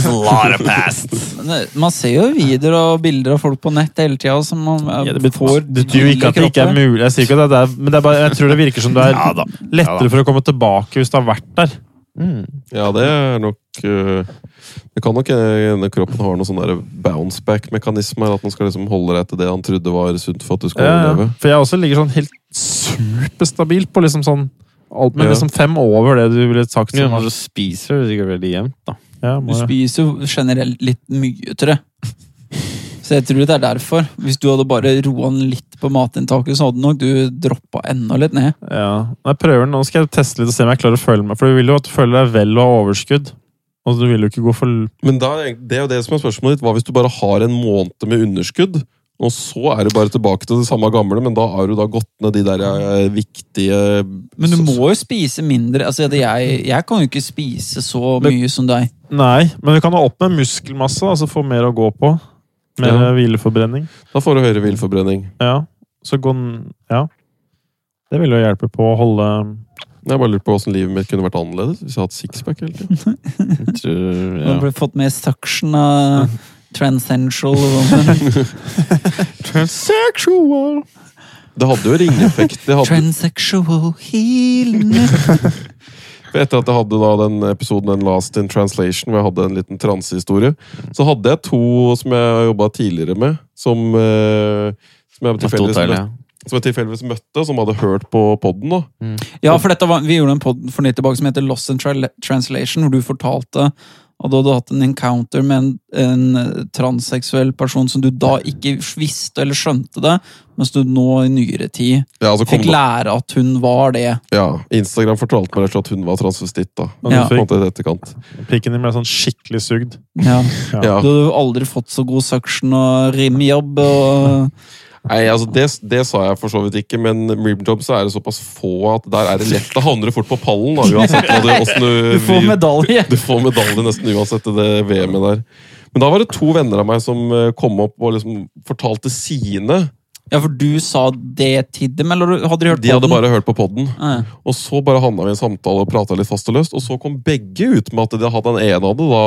Speaker 2: Lot of past.
Speaker 1: Men det- Man ser jo videoer og bilder av folk på nett hele tida som man eh,
Speaker 3: Ja, det betyr-
Speaker 1: får
Speaker 3: det betyr jo ikke at det ikke er mulig, jeg sier ikke at det er, men det er bare, jeg tror det virker som det er
Speaker 2: Ja da. Ja da.
Speaker 3: lettere for å komme tilbake hvis du har vært der.
Speaker 4: ja, det er nok uh, Det kan nok hende kroppen har noen sånne bounceback-mekanismer. At den skal liksom holde deg til det han trodde var sunt for at du skal
Speaker 3: Ja, ja.
Speaker 4: overleve.
Speaker 3: For jeg også ligger sånn helt superstabilt på liksom sånn alt, Men
Speaker 4: Ja.
Speaker 3: liksom fem over det du ville sagt.
Speaker 2: Ja,
Speaker 3: Som,
Speaker 2: men så spiser du sikkert veldig jevnt, da.
Speaker 3: ja, må
Speaker 1: Du
Speaker 3: jeg.
Speaker 1: spiser jo generelt litt mye, tror jeg. Så jeg tror det er derfor. Hvis du hadde bare roa den litt på matinntaket, så hadde nok du droppa enda litt ned.
Speaker 3: Ja. Men Jeg prøver, nå skal jeg teste litt og se om jeg klarer å føle meg For du vil jo at du føler deg vel og har overskudd. Og du vil jo ikke gå for l-
Speaker 4: Men da, er det er jo det som er spørsmålet ditt. Hva hvis du bare har en måned med underskudd? Og så er du bare tilbake til det samme gamle, men da har du da gått ned de der eh, viktige
Speaker 1: Men du må jo spise mindre. Altså, det- jeg, jeg kan jo ikke spise så
Speaker 3: Men-
Speaker 1: mye som deg.
Speaker 3: Nei, men du kan ha opp med muskelmasse, altså få mer å gå på. Mer
Speaker 4: Ja.
Speaker 3: hvileforbrenning.
Speaker 4: Da får du høyere villforbrenning.
Speaker 3: Ja. Så gå n- Ja. Det vil jo hjelpe på å holde um,
Speaker 4: Jeg bare lurer på hvordan livet mitt kunne vært annerledes hvis jeg hadde hatt sixpack hele tiden.
Speaker 2: Jeg tror-
Speaker 1: Du
Speaker 2: Ja.
Speaker 1: har fått mer suction av Transcensual og sånn.
Speaker 2: Transsexual!
Speaker 4: Det hadde jo ringeffekt. Det hadde,
Speaker 1: Transsexual healing.
Speaker 4: For etter at jeg hadde da den episoden den Last in Translation, hvor jeg hadde en liten transehistorie, så hadde jeg to som jeg jobba tidligere med, som, eh, som jeg tilfeldigvis
Speaker 2: Total,
Speaker 4: møtte,
Speaker 2: ja.
Speaker 4: som jeg tilfeldigvis møtte, som hadde hørt på podden. da.
Speaker 1: Ja, for dette var, vi gjorde en podd for nytt tilbake som heter Lost in Tra- Translation, hvor du fortalte at du hadde hatt en encounter med en, en eh, transseksuell person som du da ikke visste eller skjønte det, mens du nå i nyere tid
Speaker 4: Ja, altså kom
Speaker 1: fikk lære at hun var det.
Speaker 4: ja, Instagram fortalte meg rett og slett at hun var transvestitt. da.
Speaker 3: Og du
Speaker 1: Ja.
Speaker 4: På en
Speaker 3: fikk
Speaker 4: måte i etterkant.
Speaker 3: pikken din ble sånn skikkelig sugd.
Speaker 1: Ja.
Speaker 4: Ja.
Speaker 1: Du hadde jo aldri fått så god suction og rimjobb og
Speaker 4: Nei, altså det, det sa jeg for så vidt ikke, men rimjob så er det såpass få at der er det lett. Da havner du fort på pallen, da, uansett hva du, hvordan du,
Speaker 1: Du får
Speaker 4: vrir-
Speaker 1: medalje!
Speaker 4: Du får medalje nesten uansett i det VM-et der. Men da var det to venner av meg som eh, kom opp og liksom fortalte sine.
Speaker 1: Ja, for du sa det til dem, eller hadde de hørt
Speaker 4: De hadde
Speaker 1: podden? Ah,
Speaker 4: bare hørt på podden.
Speaker 1: Ja.
Speaker 4: Og så bare havna vi i en samtale og prata litt fast og løst, og så kom begge ut med at de hadde den ene hadde da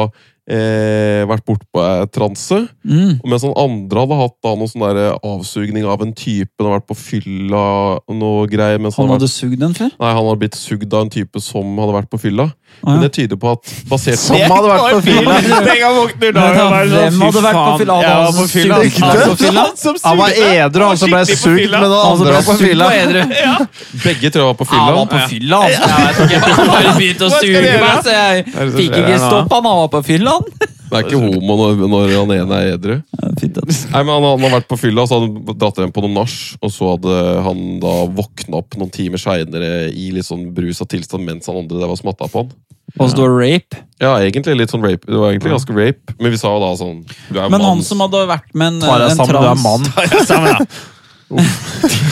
Speaker 4: eh, vært bortpå ei transe,
Speaker 1: Mm.
Speaker 4: og mens den andre hadde hatt da noe sånn der eh, avsugning av en type, den hadde vært på fylla og noe greier mens
Speaker 1: Han
Speaker 4: han, hadde...
Speaker 1: hadde sugd den før?
Speaker 4: Nei, han hadde blitt sugd av en type som hadde vært på fylla.
Speaker 1: Å,
Speaker 4: Men
Speaker 1: ja.
Speaker 4: det tyder på at basert
Speaker 3: Som hadde vært på fylla!
Speaker 2: Tenk, han våkner
Speaker 1: Men da,
Speaker 2: og er sånn,
Speaker 1: hvem hadde
Speaker 2: fy
Speaker 1: vært på
Speaker 2: faen,
Speaker 1: fylla? Han
Speaker 2: jeg
Speaker 1: var
Speaker 2: var på
Speaker 1: så
Speaker 2: fylla.
Speaker 1: sykt
Speaker 2: Han
Speaker 1: glad.
Speaker 2: var på fylla.
Speaker 3: Han var edru, han som ble
Speaker 2: skikkelig på
Speaker 3: sugd,
Speaker 2: fylla.
Speaker 3: men den
Speaker 1: Han
Speaker 3: andre
Speaker 1: ble
Speaker 3: var på
Speaker 1: sugd
Speaker 3: fylla.
Speaker 1: på edru.
Speaker 4: Begge tror jeg var på
Speaker 1: Han
Speaker 4: fylla.
Speaker 1: var på fylla, altså. Jeg vet ikke, han bare begynte å
Speaker 2: Hva skal
Speaker 1: suge
Speaker 2: jeg
Speaker 1: meg,
Speaker 2: gjøre?
Speaker 1: så jeg
Speaker 2: er det som
Speaker 1: fikk
Speaker 2: skjer
Speaker 1: ikke
Speaker 2: her nå?
Speaker 1: stopp. Han var på fylla, han.
Speaker 4: Det er ikke homo når, når han ene er edru. Nei, men han, han har vært på fylla, så han dratt hjem på noen nach. Og så hadde han da våkna opp noen timer seinere i litt sånn brus av tilstand mens han andre der var smatta på han.
Speaker 1: Og så det var rape.
Speaker 4: Ja, egentlig litt sånn rape. Det var egentlig ganske rape. Men vi sa jo da sånn Du er jo
Speaker 1: Men han
Speaker 4: mann.
Speaker 1: som hadde vært med en,
Speaker 3: Tar deg
Speaker 1: en
Speaker 3: sammen, du er
Speaker 1: trans,
Speaker 3: mann.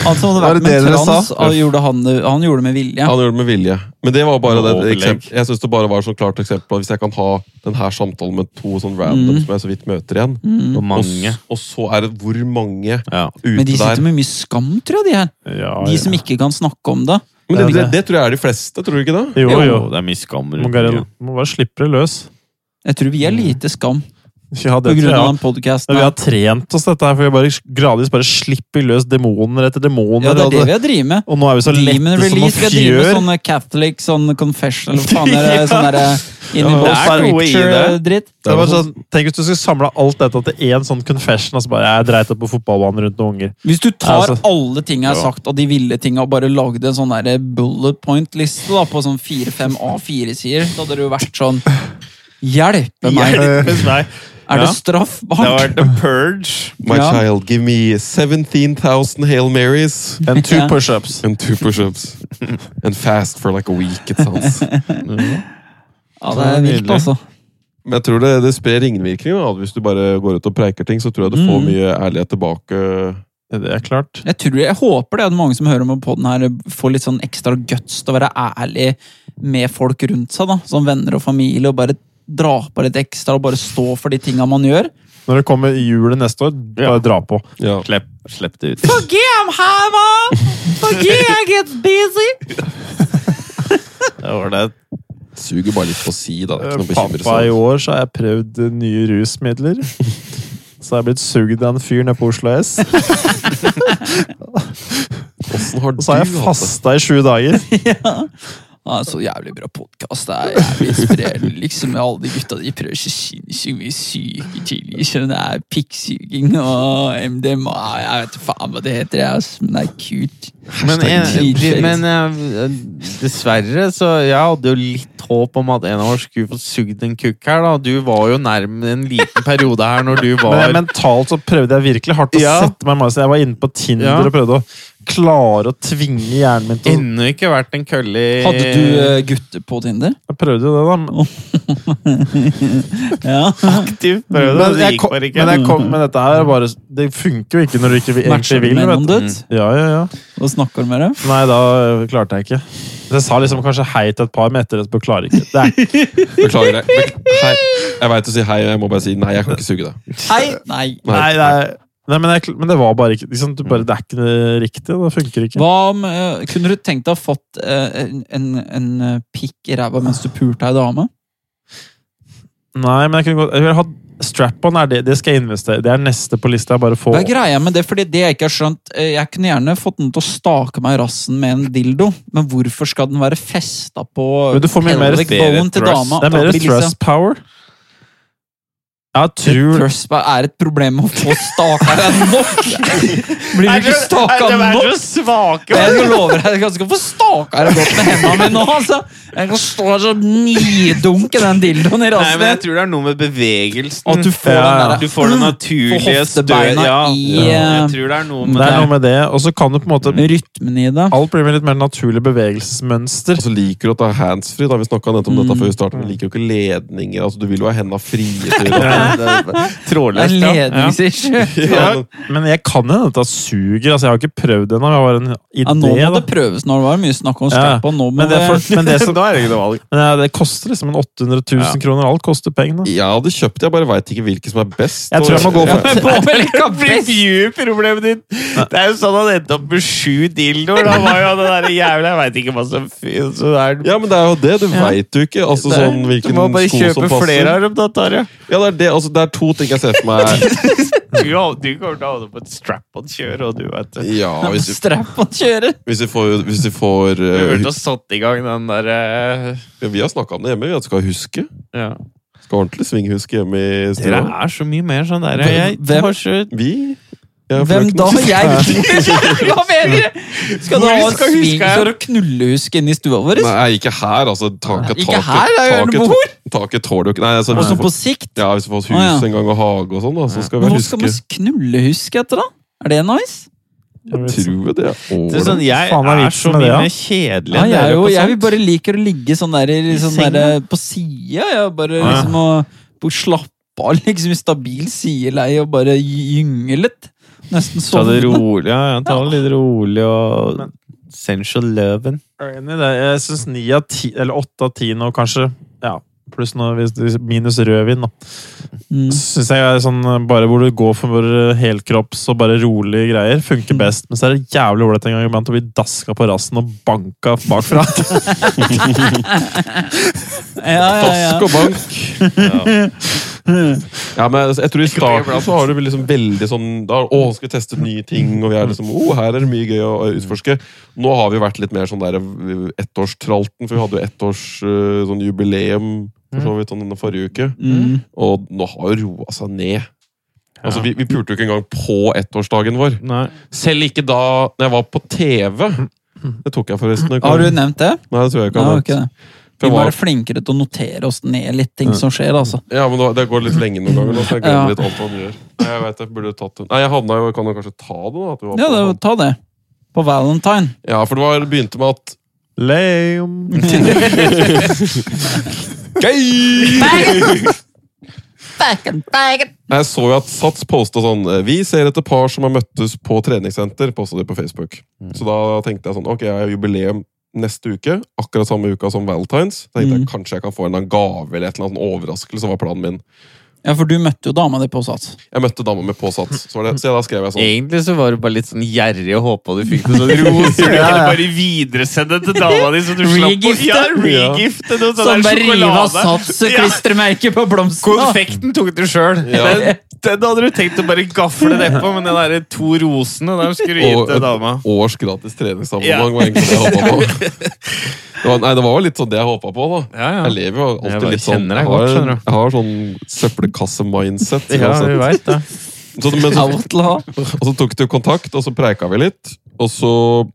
Speaker 1: han som hadde
Speaker 3: Var
Speaker 1: vært
Speaker 3: det
Speaker 1: med
Speaker 3: det
Speaker 1: en
Speaker 3: dere
Speaker 1: trans
Speaker 3: sa?
Speaker 1: han gjorde, han, det- han gjorde det med vilje.
Speaker 4: Han gjorde det med vilje. Men det var bare
Speaker 2: Nå
Speaker 4: det
Speaker 2: overlegg.
Speaker 4: eksempel- Jeg synes det bare var et sånn klart eksempel på at hvis jeg kan ha den her samtalen med to sånn random
Speaker 1: Mm.
Speaker 4: som jeg så vidt møter igjen,
Speaker 2: På
Speaker 4: og,
Speaker 2: mange.
Speaker 4: s- og så er det hvor mange
Speaker 2: Ja.
Speaker 4: ute
Speaker 1: Men de
Speaker 4: der
Speaker 1: sitter med mye skam, tror jeg, de her.
Speaker 3: Ja,
Speaker 1: De
Speaker 3: ja.
Speaker 1: som ikke kan snakke om det.
Speaker 4: Men det, det, det tror jeg er de fleste, tror du ikke det?
Speaker 3: Jo, jo.
Speaker 2: Det er mye skam
Speaker 3: Må
Speaker 2: rundt
Speaker 3: bare,
Speaker 2: det.
Speaker 3: må bare slippe det løs.
Speaker 1: Jeg tror vi er lite skam.
Speaker 3: Ikke ha
Speaker 1: På
Speaker 3: det til,
Speaker 1: grunn
Speaker 3: ja.
Speaker 1: av den podcasten
Speaker 3: Men vi
Speaker 1: her.
Speaker 3: har trent oss dette her, for vi bare gradvis bare slipper løs demoner etter demoner.
Speaker 1: Ja, det er
Speaker 3: og
Speaker 1: det vi har drevet med.
Speaker 3: Og nå er vi så
Speaker 1: Demon
Speaker 3: lette som
Speaker 1: Release.
Speaker 3: noen
Speaker 1: Vi har drevet med
Speaker 3: fjør.
Speaker 1: sånn Catholic sånn confession eller hva faen er det? Sånn derre
Speaker 2: Ja, men det er noe i det.
Speaker 1: scripture-dritt.
Speaker 3: Det er bare sånn, tenk hvis du skulle samla alt dette til én sånn confession. og så bare, jeg dreit opp på fotballbanen rundt noen unger.
Speaker 1: Hvis du tar
Speaker 3: Altså.
Speaker 1: alle ting jeg har
Speaker 2: Ja.
Speaker 1: sagt, og de ville tinga, og bare lagde en sånn derre bullet point-liste da, på sånn fire-fem A4-sider, så hadde det jo vært sånn Hjelpe meg!
Speaker 3: Hjelpes meg.
Speaker 1: Er det
Speaker 2: Ja. Det har
Speaker 1: straffbart?
Speaker 2: vært en purge.
Speaker 4: My
Speaker 1: Ja.
Speaker 4: child, give me 17,000 Hail Marys
Speaker 3: And two
Speaker 1: Ja.
Speaker 3: pushups.
Speaker 4: and two push-ups. And fast for like a week, it sounds.
Speaker 1: Ja, det er vilt, altså.
Speaker 4: Men jeg tror det, det sprer ringvirkninger. da. Hvis du bare går ut og preiker ting, så tror jeg du
Speaker 1: Mm.
Speaker 4: får mye ærlighet tilbake.
Speaker 3: Det er klart.
Speaker 1: Jeg, tror, jeg håper det at mange som hører om på den her, får litt sånn ekstra guts til å være ærlig med folk rundt seg. da, Som venner og familie, og bare dra på litt ekstra og bare stå for de tinga man gjør.
Speaker 3: Når det kommer i julen neste år, bare dra på.
Speaker 4: Ja.
Speaker 2: Slipp, slipp det ut.
Speaker 1: Forgive her, man! Forgive, I get busy!
Speaker 2: Det var det.
Speaker 4: Suger bare litt på si, da. Det er ikke noe å bekymre
Speaker 3: Eh, Pappa i
Speaker 4: seg om.
Speaker 3: år så har jeg prøvd eh, nye rusmidler. Så har jeg blitt sugd av en fyr nede på Oslo S. Og
Speaker 4: Åssen har du
Speaker 3: så har jeg
Speaker 4: hatt det?
Speaker 3: fasta i sju dager.
Speaker 1: Ja, så jævlig bra podkast. Det er jævlig inspirerende. liksom med Alle de gutta de prøver så sinnssykt mye syke chili. Skjønner det er pikksuging og MDMA. Jeg vet faen hva det heter, jeg, ass, men det er kult.
Speaker 2: Men,
Speaker 1: Hashtag
Speaker 2: en,
Speaker 1: cheatshades.
Speaker 2: de, men eh, dessverre, så jeg hadde jo litt håp om at en av oss skulle få sugd en kukk her, da. Du var jo nærm en liten periode her når du
Speaker 3: Men jeg,
Speaker 2: var
Speaker 3: mentalt så prøvde jeg virkelig hardt å
Speaker 2: Ja.
Speaker 3: sette meg i mindset. Jeg var inne på Tinder
Speaker 2: Ja.
Speaker 3: og prøvde å klare å tvinge hjernen min til å
Speaker 2: Ennå ikke vært en kølle i
Speaker 1: Hadde du eh, gutter på Tinder?
Speaker 3: Jeg prøvde jo det, da. men-
Speaker 1: Ja.
Speaker 2: aktiv prøve?
Speaker 3: Men
Speaker 2: Det
Speaker 3: jeg,
Speaker 2: gikk
Speaker 3: kom,
Speaker 2: bare ikke.
Speaker 3: men jeg kom med dette her bare Det funker jo ikke når du ikke vil- egentlig
Speaker 1: Matcher du
Speaker 3: vil.
Speaker 1: med
Speaker 3: Vet
Speaker 1: noen
Speaker 3: du.
Speaker 1: dudes?
Speaker 3: Ja, ja, ja.
Speaker 1: Og Mm. snakker du med dem?
Speaker 3: Nei, da ø, klarte jeg ikke. Så Jeg sa liksom kanskje hei til et par, men etter det så klarer jeg ikke. Det er,
Speaker 4: Beklager. Jeg, Bekl- hei. jeg veit du sier hei, og jeg må bare si nei. Jeg kan ikke suge deg.
Speaker 1: Hei! Nei.
Speaker 3: nei, det er, nei, men, jeg, kl- men det var bare ikke liksom, du bare, Det er ikke det riktig. Det funker ikke.
Speaker 1: Hva om eh, Kunne du tenkt deg å fått eh, en, en, en eh, pikk i ræva mens du pulte ei dame?
Speaker 3: Nei, men jeg kunne godt jeg vil ha Strap-on er det, det skal jeg investere Det er neste på lista. Jeg bare få
Speaker 1: Hva er greia med det? Fordi det jeg ikke har skjønt eh, Jeg kunne gjerne fått den til å stake meg i rassen med en dildo, men hvorfor skal den være festa på
Speaker 3: Men du får mye mer
Speaker 1: pelvic
Speaker 2: stere
Speaker 1: bone til
Speaker 2: thrust.
Speaker 1: dama?
Speaker 3: Det er mer
Speaker 1: Da blir liksom-
Speaker 3: stress power. Jeg tror
Speaker 1: Thrust er et problem å få staka deg nok! Blir du ikke staka nok?
Speaker 2: svake!
Speaker 1: Jeg skal love deg, jeg skal få staka deg godt med hendene mine nå, altså! Jeg kan stå her og nidunke den dildoen i
Speaker 2: Nei, men jeg
Speaker 1: rassen.
Speaker 2: tror det er noe med bevegelsen.
Speaker 1: At du får
Speaker 3: Ja, ja.
Speaker 1: den der,
Speaker 2: Du får det naturlige
Speaker 1: Får hoftebeina
Speaker 2: stø- Ja.
Speaker 1: i, eh,
Speaker 2: Jeg tror det er noe med
Speaker 3: det er
Speaker 2: det.
Speaker 3: noe med det. Og så kan du på en måte
Speaker 1: rytmen i det.
Speaker 3: Alt blir med litt mer naturlig bevegelsesmønster.
Speaker 4: Og så liker du å ta handsfree. da. Vi snakka nettopp om dette før vi startet. men Liker jo ikke ledninger. altså Du vil jo ha henda frie. til å-
Speaker 1: Det er
Speaker 2: Trådløst, ja.
Speaker 1: ledningsissue.
Speaker 4: Ja, men-
Speaker 3: Men jeg kan jo dette suger. altså Jeg har ikke prøvd det ennå. Jeg har en
Speaker 1: Ja, nå
Speaker 3: idé,
Speaker 1: må
Speaker 3: da.
Speaker 1: det prøves. Nå var det mye snakk om
Speaker 3: Ja,
Speaker 1: strap on. Nå må
Speaker 3: Men det, er for, men det, som,
Speaker 2: Da er det ikke noe valg.
Speaker 3: men ja, det koster liksom en 800 000 kroner. Alt koster penger. da.
Speaker 4: Jeg hadde kjøpt det, jeg bare veit ikke hvilke som er best.
Speaker 3: Jeg tror jeg må gå for-
Speaker 4: Ja.
Speaker 1: det må vel ikke ha best
Speaker 2: Review-problemet ditt! Det er jo sånn han endte opp med sju dildoer. Da var jo det der jævla Jeg veit ikke hva som så det er
Speaker 4: Ja, men det er jo det. Du vet veit jo ikke altså, sånn,
Speaker 2: Du
Speaker 4: hvilken
Speaker 2: må bare
Speaker 4: sko som
Speaker 2: kjøpe
Speaker 4: passer.
Speaker 2: flere av dem, da, Tarjei.
Speaker 4: Ja, det er, det, altså, det er to ting jeg ser for meg.
Speaker 2: Du, du kommer til å havne på et strap-on-kjør, og du vet det.
Speaker 4: Ja, hvis vi,
Speaker 1: strap on kjøre?
Speaker 4: hvis vi får, hvis vi, får
Speaker 2: Du
Speaker 4: eh,
Speaker 2: burde ha satt i gang den der eh,
Speaker 4: hu- vi har snakka om det hjemme. Vi at skal huske.
Speaker 2: ja.
Speaker 4: Skal ordentlig svinghuske hjemme i
Speaker 2: Dere
Speaker 4: stua.
Speaker 2: er så mye mer sånn der.
Speaker 1: Hvem-
Speaker 2: Jeg har så
Speaker 4: Vi? Jeg og
Speaker 1: Hvem
Speaker 4: frøken.
Speaker 1: da? Jeg? Hva mener du? Skal du ha en svingsår og knullehusk inni stua vår?
Speaker 4: Nei, ikke her, altså. Taket,
Speaker 1: Ikke
Speaker 4: taket,
Speaker 1: her, det er jo en
Speaker 4: taket,
Speaker 1: bord.
Speaker 4: taket tåler jo ikke Nei, altså, hvis
Speaker 1: Også
Speaker 4: vi
Speaker 1: på
Speaker 4: får,
Speaker 1: sikt?
Speaker 4: ja, hvis vi får oss
Speaker 1: Å,
Speaker 4: hus
Speaker 1: ja.
Speaker 4: en gang og hage og sånn, da, så skal vi
Speaker 1: Men hva skal
Speaker 4: huske.
Speaker 1: man knullehuske etter, da? Er det nice?
Speaker 3: Jeg vet ikke.
Speaker 4: Tror vi det er
Speaker 2: Det er sånn,
Speaker 4: ålreit.
Speaker 2: jeg
Speaker 3: Faen,
Speaker 2: er, så
Speaker 3: er vitsen med
Speaker 2: mye
Speaker 3: det, ja.
Speaker 2: mer kjedelig
Speaker 1: Ja,
Speaker 2: enn
Speaker 1: jeg, er
Speaker 2: dere
Speaker 1: jo,
Speaker 2: på
Speaker 1: jeg
Speaker 2: sånt.
Speaker 1: vil bare liker å ligge sånn der, i- sånn
Speaker 2: senga.
Speaker 1: der på sida. Jeg bare liksom å på slappe av liksom i stabil sideleie og bare gynge litt. Nesten
Speaker 2: Ta det
Speaker 1: sovne.
Speaker 2: rolig, ja, ja. Ta det litt rolig og Sensual loven.
Speaker 3: Jeg er enig i det. Jeg syns ni av ti, eller åtte av ti nå, kanskje. Ja. Pluss noe, hvis- hvis- minus rødvin, da.
Speaker 1: Mm.
Speaker 3: Syns jeg er sånn eh, bare hvor du går for bare helkropps og bare rolige greier, funker best. Men så er det jævlig ålreit en gang iblant å bli daska på rassen og banka bakfra.
Speaker 1: Ja, ja, ja.
Speaker 4: Dask og bank. Ja, men jeg tror I starten så har du vel liksom veldig sånn da, Å, skal vi teste nye ting? Og vi er liksom, å, her er det mye gøy å å utforske. Nå har vi vært litt mer sånn der eh, ettårstralten, for vi hadde jo ettårs eh, sånn jubileum for så vidt sånn denne forrige uke.
Speaker 1: Mm.
Speaker 4: Og nå har jo roa seg ned. Altså, vi, vi pulte jo ikke engang på ettårsdagen vår.
Speaker 2: Nei.
Speaker 4: Selv ikke da når jeg var på TV. Det tok jeg forresten. ikke?
Speaker 1: Har du nevnt det?
Speaker 4: Nei, det tror jeg ikke.
Speaker 1: Nei,
Speaker 4: jeg har
Speaker 1: ok,
Speaker 4: nevnt.
Speaker 1: det.
Speaker 4: For
Speaker 1: Vi
Speaker 4: jeg
Speaker 1: må
Speaker 4: var-
Speaker 1: være flinkere til å notere oss ned litt ting som skjer, altså.
Speaker 4: Ja, men da- det går litt lenge noen ganger. nå, så
Speaker 1: Ja.
Speaker 4: jeg glemmer litt alt han gjør. Nei, jeg vet, jeg burde tatt det. Nei, jeg havna jo, kan jo kanskje ta det, da? At vi var
Speaker 1: Ja,
Speaker 4: på
Speaker 1: det,
Speaker 4: den.
Speaker 1: ta det. På valentine.
Speaker 4: ja, for det var, begynte med at
Speaker 3: Lame.
Speaker 4: Gøy! Jeg så jo at Sats posta sånn Vi ser etter par som har møttes på treningssenter. Posta det på Facebook.
Speaker 2: Mm.
Speaker 4: Så da tenkte jeg sånn Ok, jeg har jubileum neste uke. Akkurat samme uka som Valentine's. Tenkte
Speaker 2: Mm.
Speaker 4: jeg Kanskje jeg kan få en eller annen gave eller et eller annet sånn overraskelse. var planen min.
Speaker 1: Ja, for du møtte jo dama di på Sats.
Speaker 4: Jeg møtte dama med på Sats. Så, var det, så da skrev jeg sånn
Speaker 2: Egentlig så var du bare litt sånn gjerrig og håpa du fikk noen sånne roser. Du
Speaker 3: Ja,
Speaker 2: kunne
Speaker 3: ja.
Speaker 2: bare videresende til dama di, så du slapp å
Speaker 1: Regifte.
Speaker 2: ja, regifte noe sånn
Speaker 1: Som
Speaker 2: der
Speaker 1: bare rive av
Speaker 2: sjokolade. Ja,
Speaker 1: Sats-klistremerket på blomstene!
Speaker 2: Konfekten tok du sjøl.
Speaker 4: Ja.
Speaker 2: Den, den hadde du tenkt å bare gafle nedpå, men den derre to rosene der skulle du gi
Speaker 4: Og
Speaker 2: til
Speaker 4: et
Speaker 2: dama.
Speaker 4: års gratis treningsabonnement
Speaker 2: Ja.
Speaker 4: var egentlig det jeg håpa på. Det var, nei, det var jo litt sånn det jeg håpa på, da.
Speaker 2: Ja, ja.
Speaker 4: Jeg lever jo
Speaker 2: Jeg
Speaker 4: alltid
Speaker 2: bare
Speaker 4: litt sånn
Speaker 2: kjenner deg
Speaker 4: jeg,
Speaker 2: godt,
Speaker 4: har,
Speaker 2: skjønner du.
Speaker 4: jeg har sånn søppelkasse-mindset.
Speaker 2: Ja,
Speaker 4: uansett.
Speaker 2: vi vet det.
Speaker 4: Så, men så,
Speaker 1: Av og til å ha.
Speaker 4: og så tok du kontakt, og så preika vi litt. Og så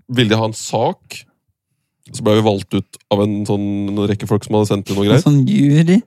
Speaker 4: ville de ha en sak. Så ble vi valgt ut av en sånn en rekke folk som hadde sendt inn noe
Speaker 1: En
Speaker 4: greier.
Speaker 1: sånn jury.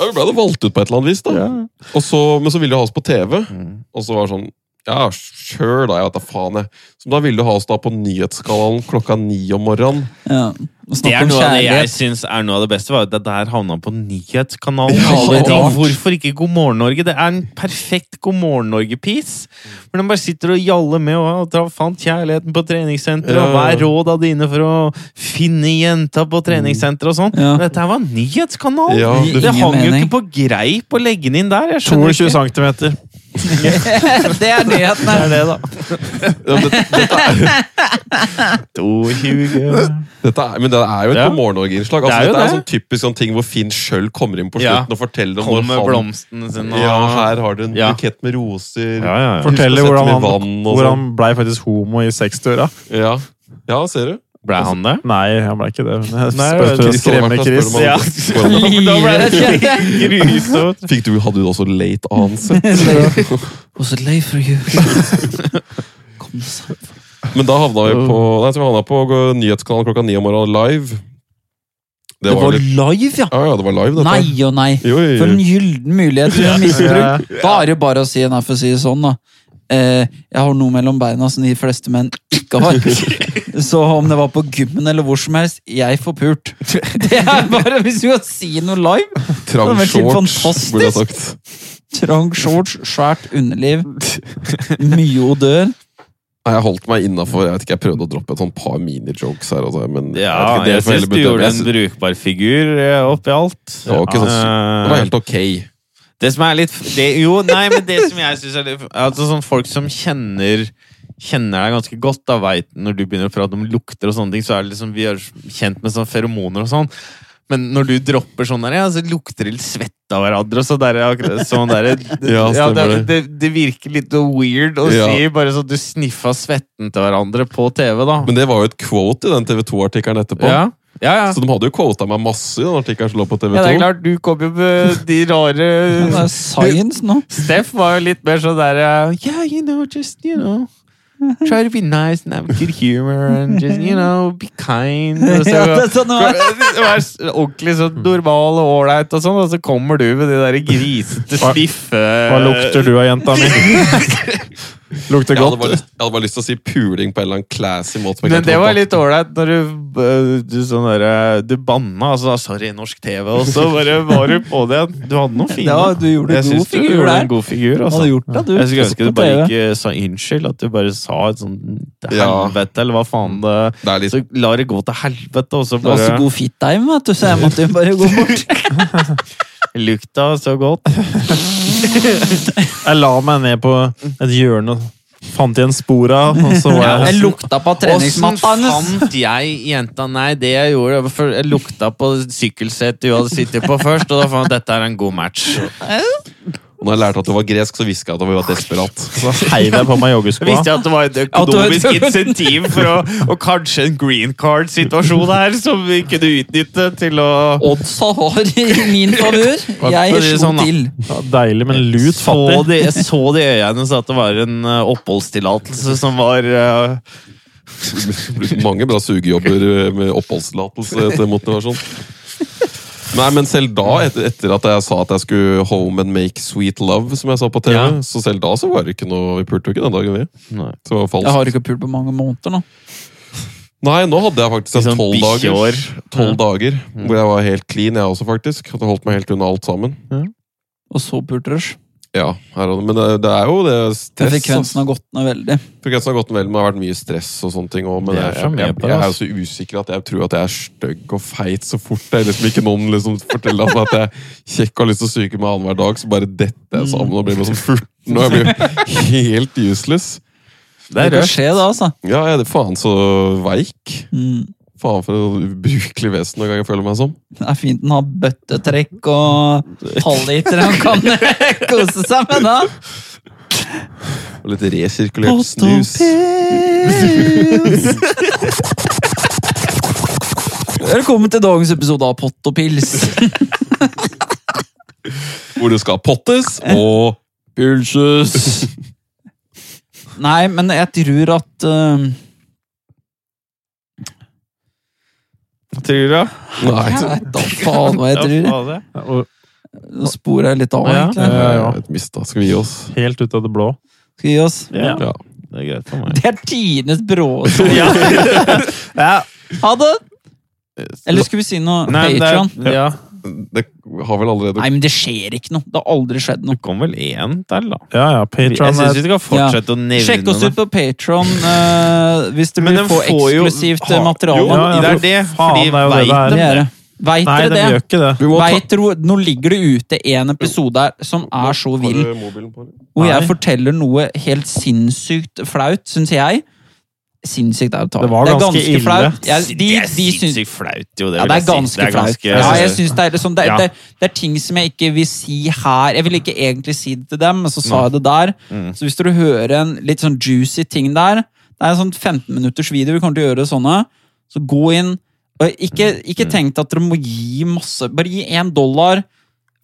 Speaker 4: Ja, vi ble da valgt ut på et eller annet vis, da. Og så, men så ville de ha oss på TV.
Speaker 2: Mm.
Speaker 4: Og så var det sånn Ja, sure, da. Jeg vet da faen, jeg. Så da ville de ha oss da på Nyhetskanalen klokka ni om morgenen.
Speaker 1: Ja. Og
Speaker 2: Det
Speaker 1: Snakk
Speaker 2: er
Speaker 1: om
Speaker 2: noe av det jeg
Speaker 1: kjærlighet.
Speaker 2: syns er noe av det beste. Var at det der havna på nyhetskanalen.
Speaker 4: Ja,
Speaker 2: Alle
Speaker 4: det er
Speaker 2: ting.
Speaker 1: rart.
Speaker 2: Hvorfor ikke God morgen Norge? Det er en perfekt God morgen Norge-piece. Hvor de bare sitter og jaller med og drar- fant kjærligheten på treningssenteret. Og hva
Speaker 4: Ja.
Speaker 2: er råda dine for å finne jenta på treningssenteret og sånn?
Speaker 1: Ja.
Speaker 2: Men Dette her var en nyhetskanal!
Speaker 4: Ja,
Speaker 1: det-
Speaker 2: det hang jo
Speaker 1: mening.
Speaker 2: ikke på greip å legge den inn der. Jeg skjønner
Speaker 3: 22 cm.
Speaker 1: Det er nyhetene!
Speaker 2: Det er det, da.
Speaker 4: Ja, men det, dette, er,
Speaker 2: 22.
Speaker 4: dette er, men det er jo et
Speaker 2: Ja.
Speaker 4: God morgen Norge-innslag. Altså,
Speaker 2: Det er jo
Speaker 4: dette er
Speaker 2: det.
Speaker 4: sånn typisk sånn ting hvor Finn sjøl kommer inn på
Speaker 2: Ja.
Speaker 4: slutten og forteller om
Speaker 2: Kom med
Speaker 4: når han
Speaker 2: blomstene sine. og-
Speaker 4: Ja, her har du en
Speaker 2: Ja.
Speaker 4: bukett med roser.
Speaker 2: Ja, ja, ja.
Speaker 3: Forteller hvordan
Speaker 4: Husk å sette
Speaker 3: han,
Speaker 4: dem i vann og
Speaker 3: hvor han blei faktisk homo i 60-åra.
Speaker 4: Ja. ja, ser du?
Speaker 2: Ble han det?
Speaker 3: Nei, han ble ikke det. men Jeg
Speaker 2: Nei,
Speaker 3: spør for å
Speaker 4: Chris hadde
Speaker 3: skremme
Speaker 4: vært
Speaker 3: Chris.
Speaker 4: der,
Speaker 2: Ja.
Speaker 4: spør om han-
Speaker 2: Da ble det
Speaker 1: Livet
Speaker 2: grusomt.
Speaker 4: Fikk du, hadde du også late ansett?
Speaker 1: was it late for you? Kom, sa-
Speaker 4: Men da havna vi på, nei, så vi havna på gå- nyhetskanalen klokka ni om morgenen live.
Speaker 1: Det var
Speaker 4: litt,
Speaker 1: live, ja!
Speaker 4: ja, ja, det var live, dette.
Speaker 1: Nei og nei.
Speaker 4: Jo, jo,
Speaker 1: For en
Speaker 4: jo.
Speaker 1: gyllen mulighet til å
Speaker 3: Ja.
Speaker 1: misbruke. Da er det jo bare å si nei, for å si det sånn, da. Eh, jeg har noe mellom beina som de fleste menn ikke har. Så om det var på gymmen eller hvor som helst, jeg får pult. Det er bare hvis vi kan si noe live.
Speaker 4: Trang
Speaker 1: Det var helt
Speaker 4: shorts,
Speaker 1: fantastisk.
Speaker 4: burde jeg sagt.
Speaker 1: Trang shorts, svært underliv, mye odør.
Speaker 4: Nei, jeg holdt meg innafor. Jeg vet ikke, jeg prøvde å droppe et sånn par mini-jokes her. Altså, men
Speaker 2: Ja,
Speaker 4: jeg vet ikke, det
Speaker 2: jeg
Speaker 4: får heller
Speaker 2: syns du
Speaker 4: bedømme.
Speaker 2: gjorde en
Speaker 4: Jeg sy-
Speaker 2: brukbar figur eh, oppi alt.
Speaker 4: Det var ikke sånn
Speaker 2: Eh,
Speaker 4: Det var helt ok.
Speaker 2: Det som er litt det, Jo, nei, men det som jeg syns er litt Altså sånn folk som kjenner Kjenner deg ganske godt, da veit når du begynner å prate om lukter og sånne ting, så er det liksom Vi er kjent med sånn feromoner og sånn. Men når du dropper sånn der, ja, så lukter det litt svette av hverandre. og Så der, er akkurat sånn der,
Speaker 4: Ja,
Speaker 2: det,
Speaker 4: stemmer det.
Speaker 2: det, det virker litt weird å
Speaker 4: Ja.
Speaker 2: si bare sånn du sniffa svetten til hverandre på TV, da.
Speaker 4: Men det var jo et quote i den TV2-artikkelen etterpå.
Speaker 2: ja, ja, ja.
Speaker 4: Så de hadde jo quota meg masse i den artikkelen som lå på TV2.
Speaker 2: Ja, det er klart, du kom jo med de
Speaker 1: Det
Speaker 2: rare
Speaker 1: er science nå.
Speaker 2: Steff var jo litt mer sånn der uh, Yeah, you know, just, you know Try to be nice and have good humor And just, you know, be kind Og så
Speaker 1: Ja, det er sånn det var.
Speaker 2: Vær s- ordentlig sånn normal og ålreit og sånn, og så kommer du med de der grisete,
Speaker 3: Hva-
Speaker 2: sniffe
Speaker 3: Hva lukter du av jenta mi? Lukter
Speaker 4: Jeg hadde, bare
Speaker 3: godt.
Speaker 4: lyst, jeg hadde bare lyst til å si puling på en eller annen classy måte. som jeg
Speaker 2: Men
Speaker 4: ikke
Speaker 2: det
Speaker 4: hadde
Speaker 2: var
Speaker 4: tatt.
Speaker 2: litt ålreit når du, eh, du sånn derre Du banna, altså. Sorry, norsk TV. Og så bare var du på det. Du hadde noe fint.
Speaker 1: Ja, du gjorde
Speaker 2: jeg
Speaker 1: god
Speaker 2: syns du
Speaker 1: figur
Speaker 2: gjorde
Speaker 1: der.
Speaker 2: en god figur. Altså.
Speaker 1: Hadde gjort det, du.
Speaker 2: Jeg skulle ønske
Speaker 1: På
Speaker 2: du bare
Speaker 1: TV.
Speaker 2: ikke sa unnskyld. At du bare sa et sånt
Speaker 4: Ja.
Speaker 2: helvete, eller hva faen det
Speaker 4: Det er litt,
Speaker 2: Så la det gå til helvete, og så
Speaker 1: Det var så
Speaker 2: bare
Speaker 1: god fitteim, vet du, så jeg måtte jo bare gå bort.
Speaker 2: Lukta så godt.
Speaker 3: Jeg la meg ned på et hjørne og Fant igjen spora, og så var
Speaker 2: altså.
Speaker 1: Jeg
Speaker 3: jeg
Speaker 1: lukta på treningsmatta hennes!
Speaker 2: fant jeg jenta? Nei, det jeg gjorde det var for- Jeg lukta på sykkelsetet hun hadde sittet på først, og da fant jeg at dette er en god match.
Speaker 4: Og når jeg lærte at du var gresk, så hviska jeg at jeg var desperat.
Speaker 3: Så heiv jeg på meg
Speaker 2: Jeg
Speaker 3: joggeskoa.
Speaker 2: visste jeg at det var et
Speaker 1: Ja,
Speaker 2: økonomisk
Speaker 1: du-
Speaker 2: insentiv for å, og kanskje en green card-situasjon her som vi kunne utnytte til å
Speaker 1: Oddsa har i min favør.
Speaker 2: for å
Speaker 1: Jeg
Speaker 2: si det
Speaker 1: slo
Speaker 2: sånn, da.
Speaker 1: til.
Speaker 3: Ja, deilig, men lut fattig.
Speaker 2: så de, jeg så de i øynene hennes at det var en eh, oppholdstillatelse som var eh,
Speaker 4: Mange bra sugejobber eh, med oppholdstillatelse til motivasjon. Nei, men selv da, etter, etter at jeg sa at jeg skulle home and make sweet love, som jeg sa på TV,
Speaker 2: Ja.
Speaker 4: så selv da så var det ikke noe Vi pulte jo ikke den dagen, vi.
Speaker 2: Nei.
Speaker 4: Så det var
Speaker 1: Jeg
Speaker 4: falskt.
Speaker 1: har ikke pult på mange måneder nå.
Speaker 4: Nei, nå hadde jeg faktisk
Speaker 2: Litt
Speaker 4: en
Speaker 2: sånn
Speaker 4: tolv dager,
Speaker 2: bikkjeår.
Speaker 4: 12 dager
Speaker 2: Mm.
Speaker 4: hvor jeg var helt clean, jeg også, faktisk. Hadde holdt meg helt unna alt sammen.
Speaker 1: Og så pultrush.
Speaker 4: Ja, her og Men det, det er jo det altså. stress. ass.
Speaker 1: Frekvensen har gått ned veldig.
Speaker 4: Frekvensen har gått vel, men det har vært mye stress og sånne ting òg. Men
Speaker 2: Det er
Speaker 4: jeg,
Speaker 2: så
Speaker 4: jeg,
Speaker 2: mye
Speaker 4: jeg,
Speaker 2: på det,
Speaker 4: er jo så usikker at jeg tror at jeg er stygg og feit så fort det er liksom ikke noen liksom forteller meg at jeg er kjekk og har lyst til å suge meg annenhver dag, så bare detter jeg sammen og blir bare sånn
Speaker 2: Mm.
Speaker 4: 14. Og jeg blir helt useless.
Speaker 1: Det, kan skje, det, altså.
Speaker 4: Ja, jeg er faen så veik.
Speaker 1: Mm.
Speaker 4: Faen for et ubrukelig vesen noen ganger jeg føler meg som.
Speaker 1: Det er fint den har bøttetrekk og halvliter han kan kose seg med, da.
Speaker 4: Og litt resirkulert snus.
Speaker 1: Velkommen til dagens episode av Pott og pils.
Speaker 4: Hvor det skal pottes og pulses.
Speaker 1: Nei, men jeg tror at eh,
Speaker 2: Tror du?
Speaker 4: Nei,
Speaker 1: Jeg vet da faen hva jeg tror. jeg.
Speaker 2: faen, det.
Speaker 3: Ja, og
Speaker 1: Nå sporer jeg litt av,
Speaker 2: Ja.
Speaker 1: egentlig.
Speaker 3: Ja, ja.
Speaker 4: Et mista. Skal vi gi oss?
Speaker 3: Helt ut av det blå.
Speaker 1: Skal vi gi oss?
Speaker 2: Ja,
Speaker 4: Ja.
Speaker 2: det er greit for meg.
Speaker 1: Det er tidenes bråsår.
Speaker 3: Ja.
Speaker 1: Ha det! Eller skulle vi si noe
Speaker 2: Eh, Nei, det,
Speaker 1: Patreon?
Speaker 2: er- ja.
Speaker 4: Det har vel allerede
Speaker 1: Nei, men det skjer ikke noe. Det har aldri skjedd noe.
Speaker 2: det kom vel én til, da.
Speaker 3: Ja, ja.
Speaker 2: Jeg
Speaker 3: Patron
Speaker 2: syns
Speaker 3: er
Speaker 2: vi skal fortsette å nevne
Speaker 1: Sjekk oss ut
Speaker 2: det.
Speaker 1: på Patron eh, hvis du
Speaker 2: Men
Speaker 1: vil
Speaker 2: den
Speaker 1: få
Speaker 2: får jo-
Speaker 1: eksklusivt eh,
Speaker 2: har-
Speaker 1: materiale.
Speaker 2: Jo,
Speaker 3: Ja, ja,
Speaker 2: det er
Speaker 3: for
Speaker 2: det.
Speaker 3: faen,
Speaker 2: Fordi
Speaker 3: det er jo det
Speaker 2: veit
Speaker 3: det er.
Speaker 2: de
Speaker 1: det er
Speaker 2: det?
Speaker 1: det. Veit
Speaker 3: Nei,
Speaker 1: dere
Speaker 3: de
Speaker 1: det?
Speaker 3: gjør ikke det.
Speaker 4: Vi må
Speaker 1: Vet dere, Nå ligger det ute en episode her som er så vill, hvor jeg
Speaker 3: Nei.
Speaker 1: forteller noe helt sinnssykt flaut, syns jeg. Sinnssykt er å ta
Speaker 3: Det var
Speaker 1: er
Speaker 3: ganske ille.
Speaker 1: flaut. Jeg, de,
Speaker 2: Det er
Speaker 1: de syns,
Speaker 2: sinnssykt flaut, jo. Det
Speaker 1: ja,
Speaker 2: vil
Speaker 1: det er
Speaker 2: jeg si.
Speaker 1: ganske flaut.
Speaker 2: ganske- Altså,
Speaker 1: Ja, jeg synes det, er liksom, det,
Speaker 2: Ja.
Speaker 1: det, det er ting som jeg ikke vil si her. Jeg ville ikke egentlig si det til dem, men så sa
Speaker 2: Nei.
Speaker 1: jeg det der.
Speaker 2: Mm.
Speaker 1: Så hvis dere hører en litt sånn juicy ting der, det er en sånn 15 minutters video, vi kommer til å gjøre sånne, så gå inn. Og ikke, ikke tenk at dere må gi masse, bare gi én dollar.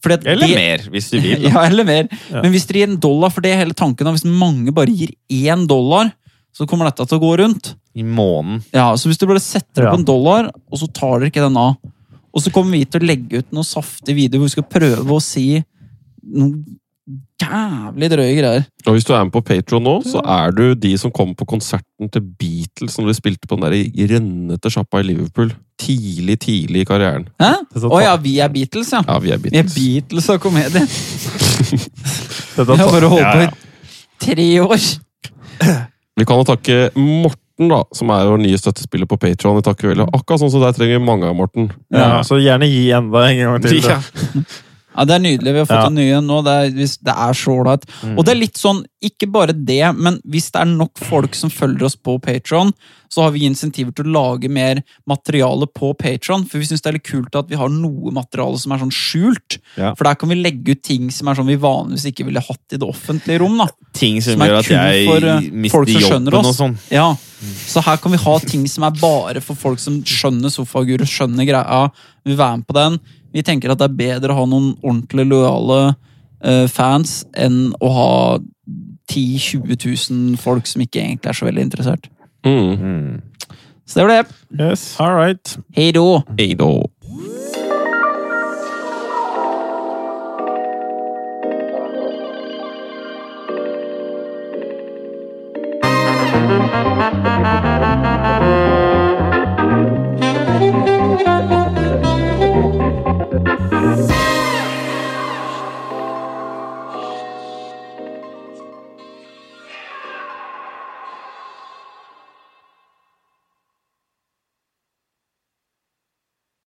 Speaker 1: Fordi at
Speaker 2: Eller
Speaker 1: det-
Speaker 2: mer, hvis du vil. da.
Speaker 1: Ja, eller mer.
Speaker 3: Ja.
Speaker 1: Men hvis dere gir en dollar, for det er hele tanken, da, hvis mange bare gir én dollar, så kommer dette til å gå rundt.
Speaker 2: I måneden.
Speaker 1: Ja, så hvis du bare setter opp
Speaker 3: Ja.
Speaker 1: en dollar, og så tar dere ikke den av, og så kommer vi til å legge ut noen saftige videoer hvor vi skal prøve å si noen jævlig drøye greier.
Speaker 4: Og hvis du er med på Patreon nå, så er du de som kom på konserten til Beatles når de spilte på den der i rønnete sjappa i Liverpool. Tidlig, tidlig i karrieren.
Speaker 1: Hæ?
Speaker 3: Dette
Speaker 1: Å
Speaker 3: tar-
Speaker 1: ja, vi er Beatles, ja.
Speaker 4: Ja, vi er
Speaker 1: Vi er
Speaker 4: Beatles.
Speaker 1: Beatles og komedie.
Speaker 3: Dette
Speaker 1: Vi har
Speaker 3: tar-
Speaker 1: bare holdt
Speaker 2: Ja,
Speaker 1: på
Speaker 2: ja.
Speaker 1: i tre år.
Speaker 4: Vi kan jo takke Morten, da, som er vår nye støttespiller på Patreon. Vi takker veldig. Akkurat sånn som deg trenger vi mange av Morten.
Speaker 3: Ja, så gjerne gi enda en gang til.
Speaker 2: Ja.
Speaker 1: Ja, Det er nydelig. Vi har fått
Speaker 3: Ja.
Speaker 1: en ny en nå. Det er, hvis- det er så ålreit. Og det er litt sånn, ikke bare det, men hvis det er nok folk som følger oss på Patron, så har vi insentiver til å lage mer materiale på Patron. For vi syns det er litt kult at vi har noe materiale som er sånn skjult.
Speaker 2: Ja.
Speaker 1: For der kan vi legge ut ting som er sånn vi vanligvis ikke ville hatt i det offentlige rom. da.
Speaker 2: Ting som,
Speaker 1: Som er
Speaker 2: gjør at
Speaker 1: kun
Speaker 2: jeg
Speaker 1: for, eh, folk
Speaker 2: mister
Speaker 1: som skjønner
Speaker 2: jobben og
Speaker 1: oss.
Speaker 2: sånn.
Speaker 1: Ja, Så her kan vi ha ting som er bare for folk som skjønner sofaguru, skjønner greia, vil være med på den. Vi tenker at det er bedre å ha noen ordentlig lojale eh, fans enn å ha 10 000-20 000 folk som ikke egentlig er så veldig interessert.
Speaker 4: Mm.
Speaker 2: Mm.
Speaker 1: Så det var det.
Speaker 3: Yes. All right.
Speaker 1: Hei då!
Speaker 4: Hei då.